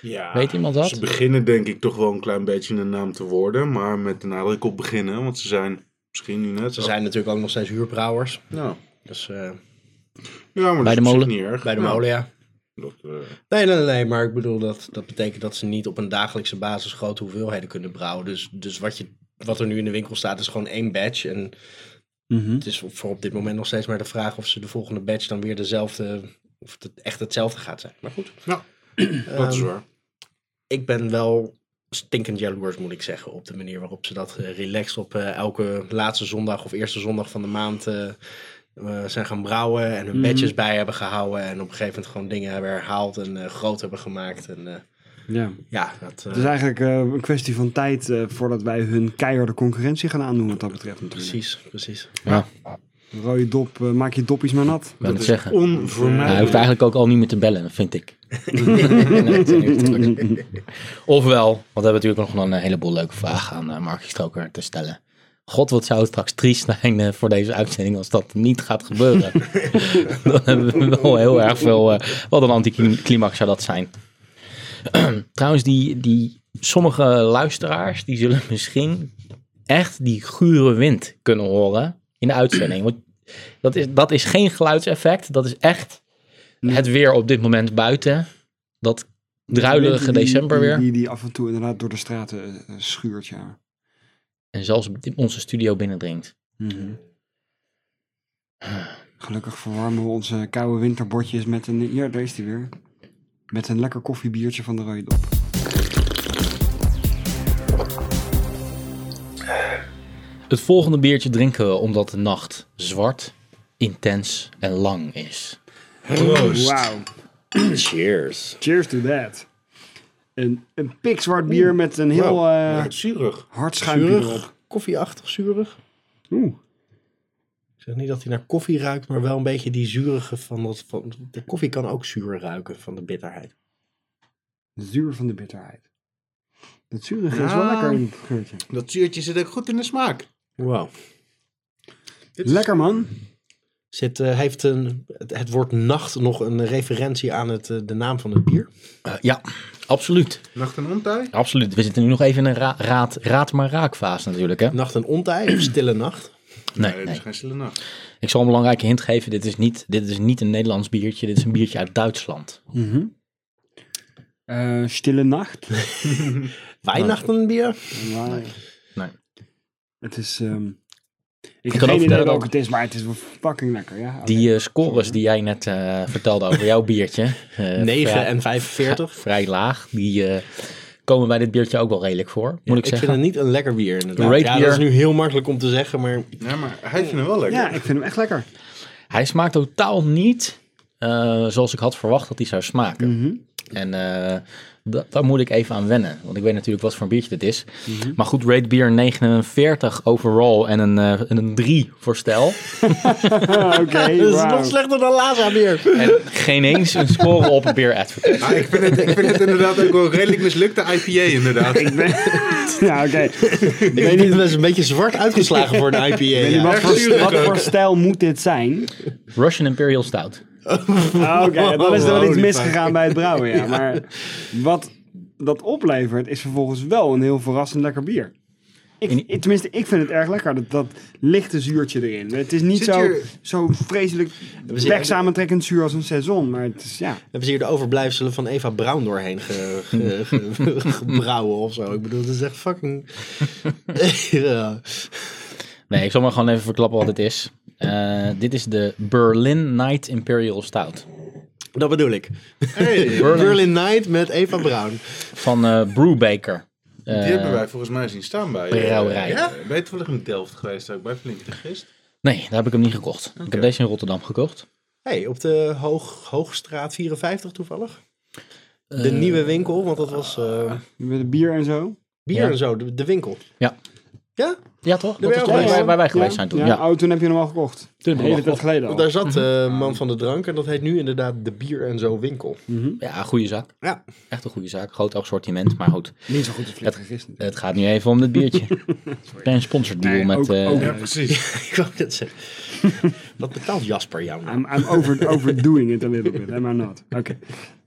[SPEAKER 2] Ja.
[SPEAKER 1] Weet iemand dat?
[SPEAKER 2] Ze beginnen denk ik toch wel een klein beetje een naam te worden, maar met een nadruk op beginnen, want ze zijn misschien nu net...
[SPEAKER 3] Ze zijn natuurlijk ook nog steeds huurbrouwers.
[SPEAKER 2] Nou,
[SPEAKER 3] Dus eh,
[SPEAKER 2] ja,
[SPEAKER 1] Bij
[SPEAKER 2] maar dat
[SPEAKER 1] de
[SPEAKER 2] is op zich
[SPEAKER 1] molen.
[SPEAKER 2] niet erg.
[SPEAKER 3] bij de
[SPEAKER 2] Nou,
[SPEAKER 3] molen, ja.
[SPEAKER 2] dat, eh,
[SPEAKER 3] Nee, nee, nee, maar ik bedoel dat dat betekent dat ze niet op een dagelijkse basis grote hoeveelheden kunnen brouwen. Dus, dus wat, je, wat er nu in de winkel staat is gewoon één batch. En
[SPEAKER 4] Mhm.
[SPEAKER 3] het is voor op dit moment nog steeds maar de vraag of ze de volgende batch dan weer dezelfde, of het echt hetzelfde gaat zijn. Maar goed.
[SPEAKER 2] Ja, dat is
[SPEAKER 3] Ehm,
[SPEAKER 2] waar.
[SPEAKER 3] ik ben wel stinkend jaloers, moet ik zeggen, op de manier waarop ze dat eh, relaxed op eh, elke laatste zondag of eerste zondag van de maand eh, eh, zijn gaan brouwen en hun badges bij hebben gehouden en op een gegeven moment gewoon dingen hebben herhaald en eh, groot hebben gemaakt. En, eh,
[SPEAKER 4] Ja.
[SPEAKER 3] ja, dat, eh,
[SPEAKER 4] Het is eigenlijk eh, een kwestie van tijd eh, voordat wij hun keiharde concurrentie gaan aandoen wat dat betreft natuurlijk.
[SPEAKER 3] precies, precies.
[SPEAKER 1] Ja,
[SPEAKER 4] Rode dop, eh, maak je doppies maar nat.
[SPEAKER 1] ik wil het zeggen. Ja, hij hoeft
[SPEAKER 2] Onvermijdelijk.
[SPEAKER 1] eigenlijk ook al niet meer te bellen, vind ik. Nee, het is niet druk. Ofwel, want we hebben natuurlijk nog een eh, heleboel leuke vragen aan eh Markie Stroker te stellen. God, wat zou het straks triest zijn eh, voor deze uitzending als dat niet gaat gebeuren. Dan hebben we wel heel erg veel... eh, wat een anticlimax zou dat zijn. Trouwens, die, die, sommige luisteraars die zullen misschien echt die gure wind kunnen horen in de uitzending. Want dat is, dat is geen geluidseffect. Dat is echt het weer op dit moment buiten. Dat druilerige
[SPEAKER 4] Die- die-
[SPEAKER 1] december
[SPEAKER 4] die-
[SPEAKER 1] weer.
[SPEAKER 4] Die, die af en toe inderdaad door de straten eh, eh, schuurt, ja.
[SPEAKER 1] En zelfs in onze studio binnendringt.
[SPEAKER 4] Mhm. Gelukkig verwarmen we onze koude winterbordjes met een... Hier, daar is die weer. Met een lekker koffiebiertje van de Rode Dop.
[SPEAKER 1] Het volgende biertje drinken we omdat de nacht zwart, intens en lang is.
[SPEAKER 2] Proost.
[SPEAKER 4] Wauw.
[SPEAKER 3] Cheers.
[SPEAKER 4] Cheers to that. Een, een pikzwart bier met een heel
[SPEAKER 2] Wauw,
[SPEAKER 4] eh
[SPEAKER 2] ja, zuurig.
[SPEAKER 4] hard schuimpje erop.
[SPEAKER 3] Zuurig, koffieachtig, zuurig.
[SPEAKER 4] Oeh.
[SPEAKER 3] Ik zeg niet dat hij naar koffie ruikt, maar wel een beetje die zurige van dat. Van, de koffie kan ook zuur ruiken van de bitterheid.
[SPEAKER 4] Zuur van de bitterheid. Het zuurige is wel
[SPEAKER 2] Ja.
[SPEAKER 4] lekker in het geurtje.
[SPEAKER 2] Dat zuurtje zit ook goed in de smaak.
[SPEAKER 3] Wow.
[SPEAKER 4] Lekker man.
[SPEAKER 3] Zit, eh, heeft een, het, het woord nacht nog een referentie aan het, eh, de naam van het bier?
[SPEAKER 1] Eh, ja, absoluut.
[SPEAKER 2] Nacht en ontij?
[SPEAKER 1] Absoluut. We zitten nu nog even in een ra- raad, raad maar raakfase natuurlijk. Hè?
[SPEAKER 3] Nacht en ontij of stille nacht?
[SPEAKER 1] Nee,
[SPEAKER 2] dat is
[SPEAKER 1] nee.
[SPEAKER 2] geen stille nacht.
[SPEAKER 1] Ik zal een belangrijke hint geven. Dit is, niet, dit is niet een Nederlands biertje. Dit is een biertje uit Duitsland.
[SPEAKER 4] Eh, stille nacht.
[SPEAKER 3] Weihnachtenbier?
[SPEAKER 4] Nee.
[SPEAKER 1] Nee.
[SPEAKER 4] Het is... ehm, ik
[SPEAKER 1] kan
[SPEAKER 4] heb
[SPEAKER 1] ook
[SPEAKER 4] geen idee
[SPEAKER 1] vertellen dat-
[SPEAKER 4] welke het is, maar het is wel fucking lekker. Ja? Oké.
[SPEAKER 1] Die eh, scores die jij net eh, vertelde over jouw biertje. eh,
[SPEAKER 3] 9
[SPEAKER 1] vrij-
[SPEAKER 3] en 45?
[SPEAKER 1] Vrij laag. Die eh, komen bij dit biertje ook wel redelijk voor, moet ik
[SPEAKER 3] ik vind
[SPEAKER 1] zeggen.
[SPEAKER 3] het niet een lekker bier inderdaad.
[SPEAKER 1] Great
[SPEAKER 3] ja,
[SPEAKER 1] bier.
[SPEAKER 3] dat is nu heel makkelijk om te zeggen, maar
[SPEAKER 2] Ja, maar hij vindt hem wel lekker.
[SPEAKER 4] Ja, ik vind hem echt lekker.
[SPEAKER 1] Hij smaakt totaal niet eh, zoals ik had verwacht dat hij zou smaken. En eh, da- daar moet ik even aan wennen. Want ik weet natuurlijk wat voor een biertje dit is. Maar goed, Rate Beer 49 overall en een, eh, en een 3 voor stijl.
[SPEAKER 4] Oké,
[SPEAKER 3] dat is
[SPEAKER 4] wauw.
[SPEAKER 3] nog slechter dan Laza bier.
[SPEAKER 1] en geen eens een score op een beer advertentie.
[SPEAKER 2] Maar ik vind, het, ik vind het inderdaad ook wel een redelijk mislukte IPA inderdaad.
[SPEAKER 4] Ik ben... ja, oké.
[SPEAKER 3] Ik weet niet, dat is een beetje zwart uitgeslagen voor een IPA.
[SPEAKER 4] En
[SPEAKER 3] ja.
[SPEAKER 4] Wat,
[SPEAKER 2] erg
[SPEAKER 4] voor,
[SPEAKER 2] zuurig
[SPEAKER 4] wat
[SPEAKER 2] ook.
[SPEAKER 4] voor stijl moet dit zijn?
[SPEAKER 1] Russian Imperial Stout.
[SPEAKER 4] Ah, Oké, dan is er wel
[SPEAKER 2] Holy
[SPEAKER 4] iets
[SPEAKER 2] fuck.
[SPEAKER 4] misgegaan bij het brouwen, ja. Maar wat dat oplevert, is vervolgens wel een heel verrassend lekker bier. Ik,
[SPEAKER 1] In-
[SPEAKER 4] ik- tenminste, ik vind het erg lekker, dat, dat lichte zuurtje erin. Het is niet
[SPEAKER 3] Zit
[SPEAKER 4] zo,
[SPEAKER 3] hier-
[SPEAKER 4] zo vreselijk
[SPEAKER 3] zitten-
[SPEAKER 4] wegzamentrekkend zuur als een seizoen, maar het is, ja.
[SPEAKER 3] Hebben ze hier de overblijfselen van Eva Braun doorheen ge, ge- ge- gebrouwen of zo? Ik bedoel, dat is echt fucking... ja.
[SPEAKER 1] Nee, ik zal maar gewoon even verklappen wat het is. Eh, dit is de Berlin Night Imperial Stout.
[SPEAKER 3] Dat bedoel ik.
[SPEAKER 1] Berlin.
[SPEAKER 3] Berlin. Night met Eva Braun.
[SPEAKER 1] Van eh Brewbaker.
[SPEAKER 2] Die
[SPEAKER 1] Eh,
[SPEAKER 2] hebben wij volgens mij zien staan bij. eh,
[SPEAKER 1] Brouwerij.
[SPEAKER 2] Ja? Ben je toevallig in Delft geweest ook, bij Flink de Gist?
[SPEAKER 1] nee, daar heb ik hem niet gekocht. Ik heb deze in Rotterdam gekocht.
[SPEAKER 3] hey, op de Hoog, Hoogstraat 54 toevallig. De nieuwe winkel, want dat was eh,
[SPEAKER 4] Met het bier en zo.
[SPEAKER 3] bier
[SPEAKER 1] Ja.
[SPEAKER 3] en zo, de, de winkel.
[SPEAKER 1] Ja.
[SPEAKER 3] Ja?
[SPEAKER 1] Ja, toch? Dat
[SPEAKER 3] ben
[SPEAKER 1] is
[SPEAKER 3] je
[SPEAKER 1] toch
[SPEAKER 3] ook
[SPEAKER 1] waar,
[SPEAKER 3] geweest?
[SPEAKER 1] waar wij geweest zijn toen. Ja,
[SPEAKER 4] Oh, toen heb je hem al gekocht.
[SPEAKER 1] Toen heb ik
[SPEAKER 4] Een
[SPEAKER 1] hem
[SPEAKER 4] hele
[SPEAKER 1] al
[SPEAKER 4] tijd geleden al.
[SPEAKER 3] Daar zat eh, man van de drank en dat heet nu inderdaad de bier en zo winkel.
[SPEAKER 1] ja goede zaak.
[SPEAKER 3] Ja.
[SPEAKER 1] Echt een goede zaak. Groot assortiment, maar goed.
[SPEAKER 4] Niet zo goed als
[SPEAKER 1] Het-
[SPEAKER 4] gisteren.
[SPEAKER 1] Het gaat nu even om dit biertje. Geen sponsored deal
[SPEAKER 4] Nee,
[SPEAKER 1] Eh, met...
[SPEAKER 4] ook-
[SPEAKER 1] eh,
[SPEAKER 4] ook-
[SPEAKER 2] Ja, precies.
[SPEAKER 3] ik wou net zeggen. Wat betaalt Jasper jou nou?
[SPEAKER 4] I'm, I'm over, overdoing it a little bit, am I not? Oké.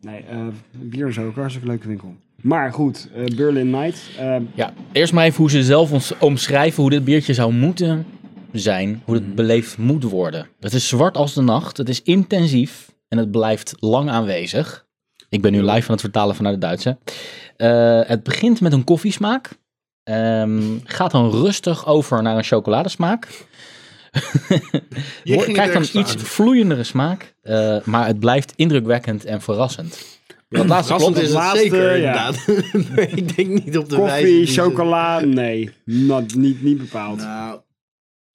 [SPEAKER 4] Nee, eh, bier is ook een hartstikke leuke winkel. Maar goed, eh, Berlin Night. eh,
[SPEAKER 1] Ja, eerst maar even hoe ze zelf ons omschrijven hoe dit biertje zou moeten zijn. Hoe het beleefd moet worden. Het is zwart als de nacht. Het is intensief. En het blijft lang aanwezig. Ik ben nu live aan het vertalen vanuit het Duitse. Eh, het begint met een koffiesmaak. Ehm, gaat dan rustig over naar een chocoladesmaak.
[SPEAKER 2] Je
[SPEAKER 1] Wordt-
[SPEAKER 2] ging
[SPEAKER 1] Krijgt
[SPEAKER 2] het
[SPEAKER 1] dan
[SPEAKER 2] ergens
[SPEAKER 1] iets
[SPEAKER 2] aan.
[SPEAKER 1] vloeiendere smaak. eh, maar het blijft indrukwekkend en verrassend. Dat laatste
[SPEAKER 3] Verrassend
[SPEAKER 1] klopt.
[SPEAKER 3] is het
[SPEAKER 4] laatste,
[SPEAKER 3] zeker,
[SPEAKER 4] ja.
[SPEAKER 3] inderdaad. maar ik denk niet op de wijze...
[SPEAKER 4] koffie,
[SPEAKER 3] die ze-
[SPEAKER 4] chocola, nee. Not, niet, niet bepaald.
[SPEAKER 2] Nou,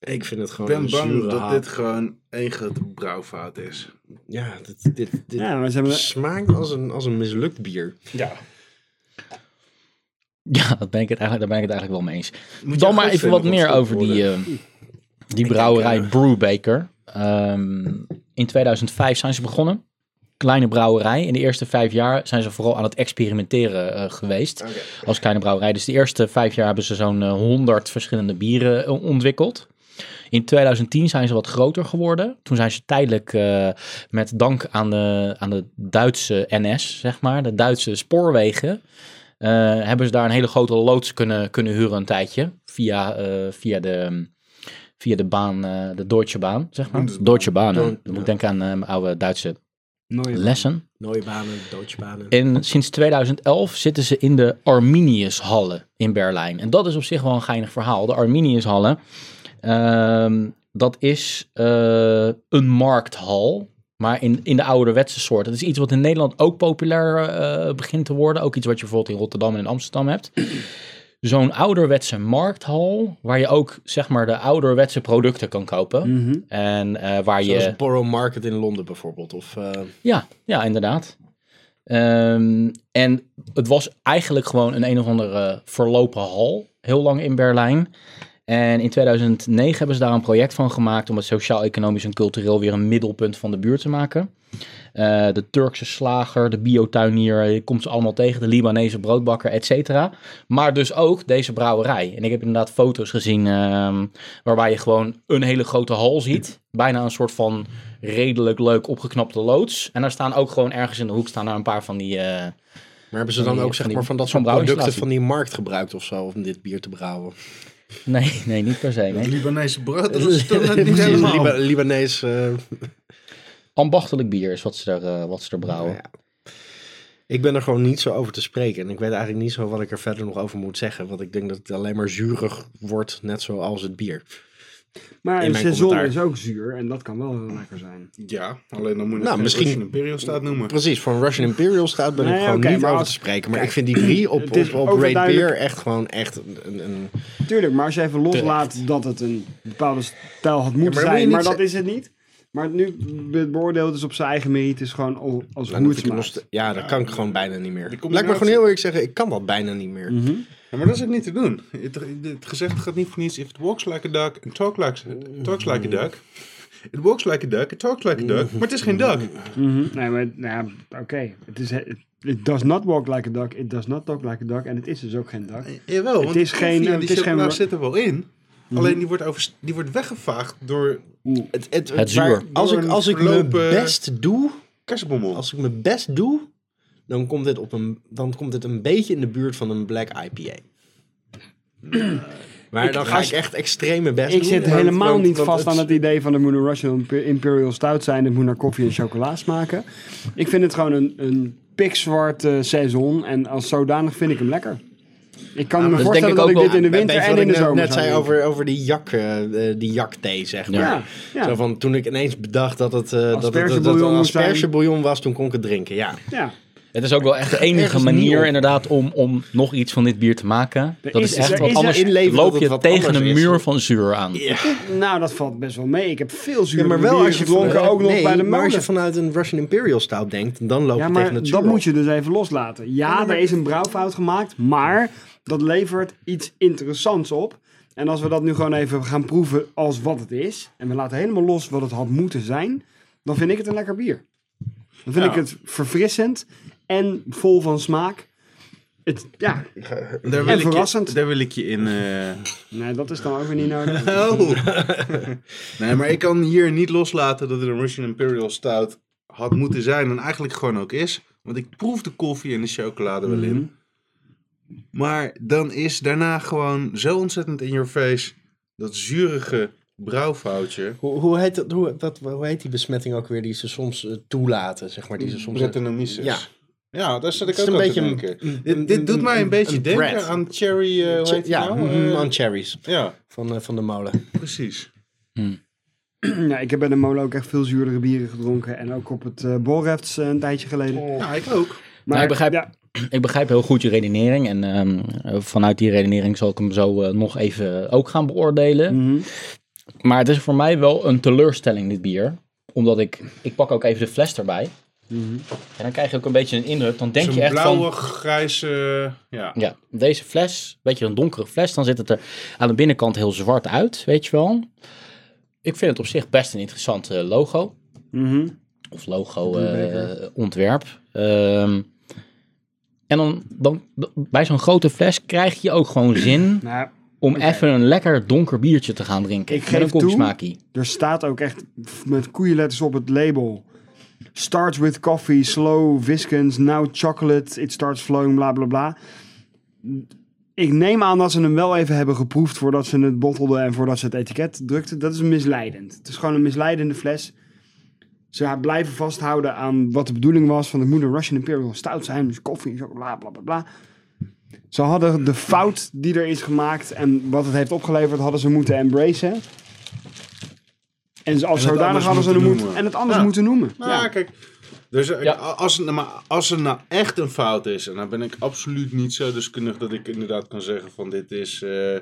[SPEAKER 3] Ik vind het
[SPEAKER 2] ik
[SPEAKER 3] gewoon
[SPEAKER 2] ben
[SPEAKER 3] een
[SPEAKER 2] bang
[SPEAKER 3] zure
[SPEAKER 2] dat
[SPEAKER 3] haat.
[SPEAKER 2] dit gewoon één grote brouwfout is.
[SPEAKER 3] Ja, dit, dit, dit
[SPEAKER 4] ja, maar ze hebben...
[SPEAKER 3] smaakt als een, als een mislukt bier.
[SPEAKER 1] Ja, dat ben ik het eigenlijk, daar ben ik het eigenlijk wel mee eens.
[SPEAKER 2] Moet
[SPEAKER 1] Dan
[SPEAKER 2] je
[SPEAKER 1] maar
[SPEAKER 2] goed
[SPEAKER 1] even
[SPEAKER 2] vinden
[SPEAKER 1] wat
[SPEAKER 2] om
[SPEAKER 1] meer
[SPEAKER 2] gestopt
[SPEAKER 1] over
[SPEAKER 2] te
[SPEAKER 1] die,
[SPEAKER 2] worden.
[SPEAKER 1] eh, die brouwerij
[SPEAKER 2] eh,
[SPEAKER 1] Brewbaker. Ehm, in 2005 zijn ze begonnen. Kleine brouwerij. In de eerste vijf jaar zijn ze vooral aan het experimenteren eh, geweest. Als kleine brouwerij. Dus de eerste vijf jaar hebben ze zo'n eh, 100 verschillende bieren eh, ontwikkeld. In 2010 zijn ze wat groter geworden. Toen zijn ze tijdelijk eh, met dank aan de, aan de Duitse NS, zeg maar, de Duitse spoorwegen, eh, hebben ze daar een hele grote loods kunnen, kunnen huren een tijdje. Via, eh, via, de, via de baan, eh, de Deutsche Bahn, zeg maar.
[SPEAKER 2] Bundesbahn.
[SPEAKER 1] Deutsche Bahn, hè.
[SPEAKER 3] Deutsche
[SPEAKER 1] Dan moet ik denken aan eh, mijn oude Duitse
[SPEAKER 4] Nooit.
[SPEAKER 1] lessen.
[SPEAKER 3] Nooie banen, doodsbanen.
[SPEAKER 1] En sinds 2011 zitten ze in de Arminiushallen in Berlijn. En dat is op zich wel een geinig verhaal. De Arminiushallen, ehm, dat is eh, een markthal. Maar in, in de ouderwetse soort. Dat is iets wat in Nederland ook populair eh, begint te worden. Ook iets wat je bijvoorbeeld in Rotterdam en in Amsterdam hebt. Zo'n ouderwetse markthal. Waar je ook zeg maar de ouderwetse producten kan kopen.
[SPEAKER 4] Mhm.
[SPEAKER 1] En eh, waar je.
[SPEAKER 3] Zoals Borough Market in Londen bijvoorbeeld. Of, eh,
[SPEAKER 1] Ja, ja, inderdaad. Ehm, en het was eigenlijk gewoon een een of andere eh, verlopen hal, heel lang in Berlijn. En in 2009 hebben ze daar een project van gemaakt om het sociaal-economisch en cultureel weer een middelpunt van de buurt te maken. Eh, de Turkse slager, de biotuinier, je komt ze allemaal tegen, de Libanese broodbakker, et cetera. Maar dus ook deze brouwerij. En ik heb inderdaad foto's gezien ehm, waarbij je gewoon een hele grote hal ziet. Bijna een soort van redelijk leuk opgeknapte loods. En daar staan ook gewoon ergens in de hoek staan daar een paar van die... eh,
[SPEAKER 3] maar hebben ze
[SPEAKER 1] Van
[SPEAKER 3] dan
[SPEAKER 1] die-
[SPEAKER 3] ook zeg
[SPEAKER 1] van die-
[SPEAKER 3] maar van dat
[SPEAKER 1] zo'n
[SPEAKER 3] soort producten
[SPEAKER 1] brouwinstallatie.
[SPEAKER 3] van die markt gebruikt of zo? Om dit bier te brouwen.
[SPEAKER 1] Nee, nee, niet per se.
[SPEAKER 2] Het
[SPEAKER 1] Nee.
[SPEAKER 2] Libanese brood, dat is toch net niet
[SPEAKER 3] Precies,
[SPEAKER 2] helemaal.
[SPEAKER 3] Liba- Libanees... eh,
[SPEAKER 1] Ambachtelijk bier is wat ze er, eh, wat ze er brouwen.
[SPEAKER 3] Nou ja. Ik ben er gewoon niet zo over te spreken. En ik weet eigenlijk niet zo wat ik er verder nog over moet zeggen. Want ik denk dat het alleen maar zuurig wordt, net zoals het bier.
[SPEAKER 4] Maar
[SPEAKER 3] In
[SPEAKER 4] een
[SPEAKER 3] mijn
[SPEAKER 4] seizoen
[SPEAKER 3] commentaar.
[SPEAKER 4] is ook zuur en dat kan wel heel lekker zijn.
[SPEAKER 2] Ja, alleen dan moet je
[SPEAKER 3] Nou,
[SPEAKER 2] het
[SPEAKER 3] misschien-
[SPEAKER 2] misschien een periode noemen.
[SPEAKER 3] Precies, van Russian Imperial staat ben
[SPEAKER 4] Nee,
[SPEAKER 3] ik gewoon
[SPEAKER 4] oké,
[SPEAKER 3] niet
[SPEAKER 4] maar
[SPEAKER 3] over
[SPEAKER 4] als-
[SPEAKER 3] te spreken. Maar
[SPEAKER 4] Kijk,
[SPEAKER 3] ik vind die drie op,
[SPEAKER 4] het is
[SPEAKER 3] op, op Rate
[SPEAKER 4] overduidelijk-
[SPEAKER 3] Beer echt gewoon echt een... een, een-
[SPEAKER 4] Tuurlijk, maar als je even loslaat dat het een bepaalde stijl had moeten
[SPEAKER 3] maar moet je
[SPEAKER 4] zijn,
[SPEAKER 3] niet
[SPEAKER 4] maar dat
[SPEAKER 3] zeggen-
[SPEAKER 4] is het niet. Maar nu be- beoordeeld is op zijn eigen merites gewoon al- als
[SPEAKER 3] nou,
[SPEAKER 4] hoe
[SPEAKER 3] dat
[SPEAKER 4] het
[SPEAKER 3] vind ik nog
[SPEAKER 4] smaakt.
[SPEAKER 3] st- ja, dat kan ik gewoon bijna niet meer.
[SPEAKER 2] de
[SPEAKER 3] Laat
[SPEAKER 2] combinatie-
[SPEAKER 3] me gewoon heel eerlijk zeggen, ik kan dat bijna niet meer.
[SPEAKER 4] Mhm.
[SPEAKER 2] Ja, maar dat is ook niet te doen. Het, het gezegd gaat niet voor niets. If it walks like a duck and talk like, talks
[SPEAKER 4] Mm.
[SPEAKER 2] like a duck. It walks like a duck and talks like a duck. Maar het is geen duck.
[SPEAKER 4] Mhm. Nee, maar nou, ja, oké. Het is... het- It does not walk like a duck, it does not talk like a duck. En het is dus ook geen duck.
[SPEAKER 2] Jawel, want
[SPEAKER 4] Het is
[SPEAKER 2] die
[SPEAKER 4] geen-
[SPEAKER 2] koffie en
[SPEAKER 4] het
[SPEAKER 2] die
[SPEAKER 4] is geen- Mm-hmm.
[SPEAKER 2] chocola zit er wel in. Alleen die wordt, over, die wordt weggevaagd door
[SPEAKER 3] Het, het,
[SPEAKER 1] Het zuur.
[SPEAKER 3] Als ik, als ik mijn
[SPEAKER 2] Doorlopen-
[SPEAKER 3] best doe,
[SPEAKER 2] kersenbommel.
[SPEAKER 3] als ik mijn best doe, dan komt dit, op een, dan komt dit een beetje in de buurt van een black IPA. maar dan ga
[SPEAKER 4] als-
[SPEAKER 3] ik echt extreme best
[SPEAKER 4] Ik
[SPEAKER 3] doen,
[SPEAKER 4] zit
[SPEAKER 3] want-
[SPEAKER 4] helemaal
[SPEAKER 3] want-
[SPEAKER 4] niet
[SPEAKER 3] want
[SPEAKER 4] vast aan
[SPEAKER 3] het-
[SPEAKER 4] het idee van de moet een Russian Imp- Imperial Stout zijn. Het moet naar koffie en chocola smaken. Ik vind het gewoon een, een pikzwart eh, seizoen. En als zodanig vind ik hem lekker. Ik kan me
[SPEAKER 3] Dus denk
[SPEAKER 4] voorstellen
[SPEAKER 3] ik
[SPEAKER 4] dat
[SPEAKER 3] ook
[SPEAKER 4] ik
[SPEAKER 3] wel
[SPEAKER 4] dit in de
[SPEAKER 3] een
[SPEAKER 4] winter
[SPEAKER 3] beetje
[SPEAKER 4] en
[SPEAKER 3] wat
[SPEAKER 4] in
[SPEAKER 3] ik
[SPEAKER 4] de
[SPEAKER 3] net-
[SPEAKER 4] zomer
[SPEAKER 3] net
[SPEAKER 4] zou
[SPEAKER 3] zei
[SPEAKER 4] doen.
[SPEAKER 3] over, over die, jak, eh, eh, die jakthee, zeg maar.
[SPEAKER 4] Ja,
[SPEAKER 3] Zo
[SPEAKER 4] ja,
[SPEAKER 3] van, toen ik ineens bedacht dat het, eh dat het, dat het
[SPEAKER 4] Aspergebouillon
[SPEAKER 3] een
[SPEAKER 4] moest zijn.
[SPEAKER 3] aspergebouillon was, toen kon ik het drinken, ja.
[SPEAKER 4] ja.
[SPEAKER 1] Het is ook wel echt de enige
[SPEAKER 3] ergens niet
[SPEAKER 1] manier
[SPEAKER 3] op.
[SPEAKER 1] inderdaad om, om nog iets van dit bier te maken.
[SPEAKER 4] Er
[SPEAKER 1] Dat
[SPEAKER 4] is-
[SPEAKER 1] is echt,
[SPEAKER 4] er
[SPEAKER 1] want
[SPEAKER 4] is er
[SPEAKER 1] anders
[SPEAKER 3] inleven dat
[SPEAKER 1] loop
[SPEAKER 3] het
[SPEAKER 1] je
[SPEAKER 3] wat
[SPEAKER 1] tegen
[SPEAKER 3] anders
[SPEAKER 1] een
[SPEAKER 3] is.
[SPEAKER 1] muur van zuur aan.
[SPEAKER 4] Nou, dat valt best wel mee. Ik heb veel zuur
[SPEAKER 3] Ja, maar wel als je
[SPEAKER 4] gedronken,
[SPEAKER 3] vanuit-
[SPEAKER 4] ook nog
[SPEAKER 3] nee,
[SPEAKER 4] bij de
[SPEAKER 3] maar als je
[SPEAKER 4] molen.
[SPEAKER 3] vanuit een Russian Imperial stout denkt, dan
[SPEAKER 4] Ja,
[SPEAKER 3] loop je tegen
[SPEAKER 4] maar
[SPEAKER 3] het
[SPEAKER 4] dat
[SPEAKER 3] zuur
[SPEAKER 4] moet
[SPEAKER 3] op.
[SPEAKER 4] je dus even loslaten. Ja, er is een brouwfout gemaakt, maar dat levert iets interessants op. En als we dat nu gewoon even gaan proeven als wat het is, en we laten helemaal los wat het had moeten zijn, dan vind ik het een lekker bier. Dan vind
[SPEAKER 2] Ja.
[SPEAKER 4] ik het verfrissend en vol van smaak. Het, ja,
[SPEAKER 2] Daar
[SPEAKER 4] En
[SPEAKER 2] wil, ik je,
[SPEAKER 4] verrassend.
[SPEAKER 2] daar wil ik je in... eh,
[SPEAKER 4] nee, dat is dan ook weer niet nodig.
[SPEAKER 2] Oh. nee, maar ik kan hier niet loslaten dat het een Russian Imperial Stout had moeten zijn en eigenlijk gewoon ook is. Want ik proef de koffie en de chocolade wel in.
[SPEAKER 3] Mhm.
[SPEAKER 2] Maar dan is daarna gewoon zo ontzettend in your face dat zurige brouwfoutje.
[SPEAKER 3] Hoe, hoe, heet dat, hoe, wat, hoe heet die besmetting ook weer die ze soms eh, toelaten, zeg maar? Die ze soms
[SPEAKER 2] Brettanomyces.
[SPEAKER 3] Ja.
[SPEAKER 2] Ja, daar zat ik
[SPEAKER 3] Het is
[SPEAKER 2] ook
[SPEAKER 3] een
[SPEAKER 2] aan te
[SPEAKER 3] beetje een-
[SPEAKER 2] denken.
[SPEAKER 3] een-
[SPEAKER 2] dit, dit doet mij een,
[SPEAKER 3] een-
[SPEAKER 2] beetje
[SPEAKER 3] een
[SPEAKER 2] denken
[SPEAKER 3] bread.
[SPEAKER 2] aan cherry, eh, hoe heet die
[SPEAKER 3] ja,
[SPEAKER 2] nou?
[SPEAKER 3] mm,
[SPEAKER 2] Eh,
[SPEAKER 3] on cherries
[SPEAKER 2] ja,
[SPEAKER 3] van, eh, van de molen.
[SPEAKER 2] precies.
[SPEAKER 4] ja, ik heb bij de molen ook echt veel zuurdere bieren gedronken. En ook op het eh Borrefts eh, een tijdje geleden.
[SPEAKER 2] Ja, ik ook.
[SPEAKER 4] Maar
[SPEAKER 1] Nou, ik begrijp-
[SPEAKER 4] ja,
[SPEAKER 1] Ik begrijp heel goed je redenering. En ehm, eh, vanuit die redenering zal ik hem zo eh, nog even ook gaan beoordelen.
[SPEAKER 4] mhm.
[SPEAKER 1] Maar het is voor mij wel een teleurstelling, dit bier. Omdat ik... Ik pak ook even de fles erbij.
[SPEAKER 4] Mhm.
[SPEAKER 1] En dan krijg je ook een beetje een indruk. Dan denk
[SPEAKER 2] Zo'n
[SPEAKER 1] je echt van...
[SPEAKER 2] blauwe, grijze... Ja.
[SPEAKER 1] Ja, deze fles, een beetje een donkere fles, dan zit het er aan de binnenkant heel zwart uit, weet je wel. Ik vind het op zich best een interessant eh, logo,
[SPEAKER 4] Mhm.
[SPEAKER 1] of logo
[SPEAKER 4] Bluebaker.
[SPEAKER 1] eh, ontwerp. Ehm, en dan, dan, bij zo'n grote fles krijg je ook gewoon zin
[SPEAKER 4] Nou,
[SPEAKER 1] om even een lekker donker biertje te gaan drinken.
[SPEAKER 4] Ik
[SPEAKER 1] met
[SPEAKER 4] geef
[SPEAKER 1] een
[SPEAKER 4] toe.
[SPEAKER 1] kopjesmaakie.
[SPEAKER 4] Er staat ook echt f- met koeienletters op het label. Starts with coffee, slow, viscons, now chocolate, it starts flowing, bla bla bla. Ik neem aan dat ze hem wel even hebben geproefd voordat ze het bottelden en voordat ze het etiket drukten. Dat is misleidend. Het is gewoon een misleidende fles. Ze blijven vasthouden aan wat de bedoeling was van de moeder Russian Imperial Stout zijn. Dus koffie en chocola, bla bla bla. Ze hadden de fout die er is gemaakt en wat het heeft opgeleverd, hadden ze moeten embracen. En ze- als
[SPEAKER 2] En het
[SPEAKER 4] zodanig
[SPEAKER 2] anders
[SPEAKER 4] hadden ze
[SPEAKER 2] moeten
[SPEAKER 4] hem moeten,
[SPEAKER 2] noemen.
[SPEAKER 4] en het anders
[SPEAKER 2] Ja.
[SPEAKER 4] moeten noemen.
[SPEAKER 2] Nou,
[SPEAKER 4] ja.
[SPEAKER 2] kijk. Dus eh,
[SPEAKER 1] Ja.
[SPEAKER 2] als, het nou- maar als er nou echt een fout is, en dan ben ik absoluut niet zo deskundig dat ik inderdaad kan zeggen van dit is, eh, eh,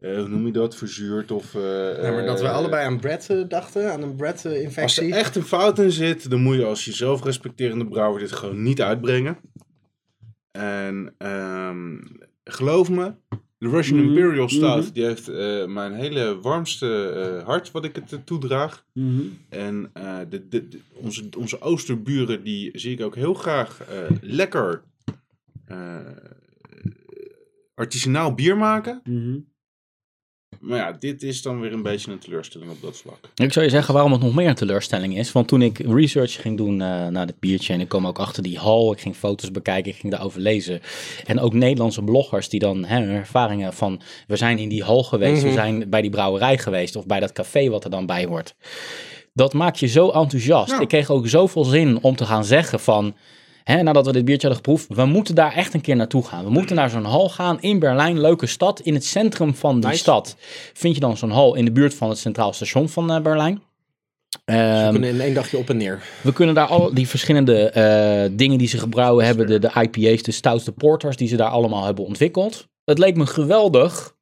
[SPEAKER 2] hoe noem je dat, verzuurd of... eh,
[SPEAKER 3] Ja, maar dat we
[SPEAKER 2] eh,
[SPEAKER 3] allebei aan Brett eh, dachten, aan een eh,
[SPEAKER 2] Als er
[SPEAKER 3] Brett-infectie.
[SPEAKER 2] echt een fout in zit, dan moet je als jezelf respecterende brouwer dit gewoon niet uitbrengen. En ehm, geloof me, de Russian
[SPEAKER 4] Mhm,
[SPEAKER 2] Imperial Stout,
[SPEAKER 4] mhm.
[SPEAKER 2] die heeft eh, mijn hele warmste eh, hart wat ik het eh, toedraag.
[SPEAKER 4] Mhm.
[SPEAKER 2] En eh, de, de, de- onze, onze oosterburen, die zie ik ook heel graag eh, lekker eh, artisanaal bier maken.
[SPEAKER 4] Mhm.
[SPEAKER 2] Maar ja, dit is dan weer een beetje een teleurstelling op dat vlak.
[SPEAKER 1] Ik zou je zeggen waarom het nog meer een teleurstelling is. Want toen ik research ging doen eh, naar dit biertje en ik kwam ook achter die hal, ik ging foto's bekijken, ik ging daarover lezen. En ook Nederlandse bloggers die dan hè, hun ervaringen van we zijn in die hal geweest, we zijn bij die brouwerij geweest of bij dat café wat er dan bij hoort. Dat maakt je zo enthousiast. Ik kreeg ook zoveel zin om te gaan zeggen van, hè, nadat we dit biertje hadden geproefd, we moeten daar echt een keer naartoe gaan. We moeten naar zo'n hal gaan in Berlijn, leuke stad, in het centrum van die stad. Vind je dan zo'n hal in de buurt van het Centraal Station van eh, Berlijn? Ehm,
[SPEAKER 3] Kunnen in één dagje op en neer.
[SPEAKER 1] we kunnen daar al die verschillende eh, dingen die ze gebrouwen hebben, de, de IPA's, de stouts, de porters, die ze daar allemaal hebben ontwikkeld. Het leek me geweldig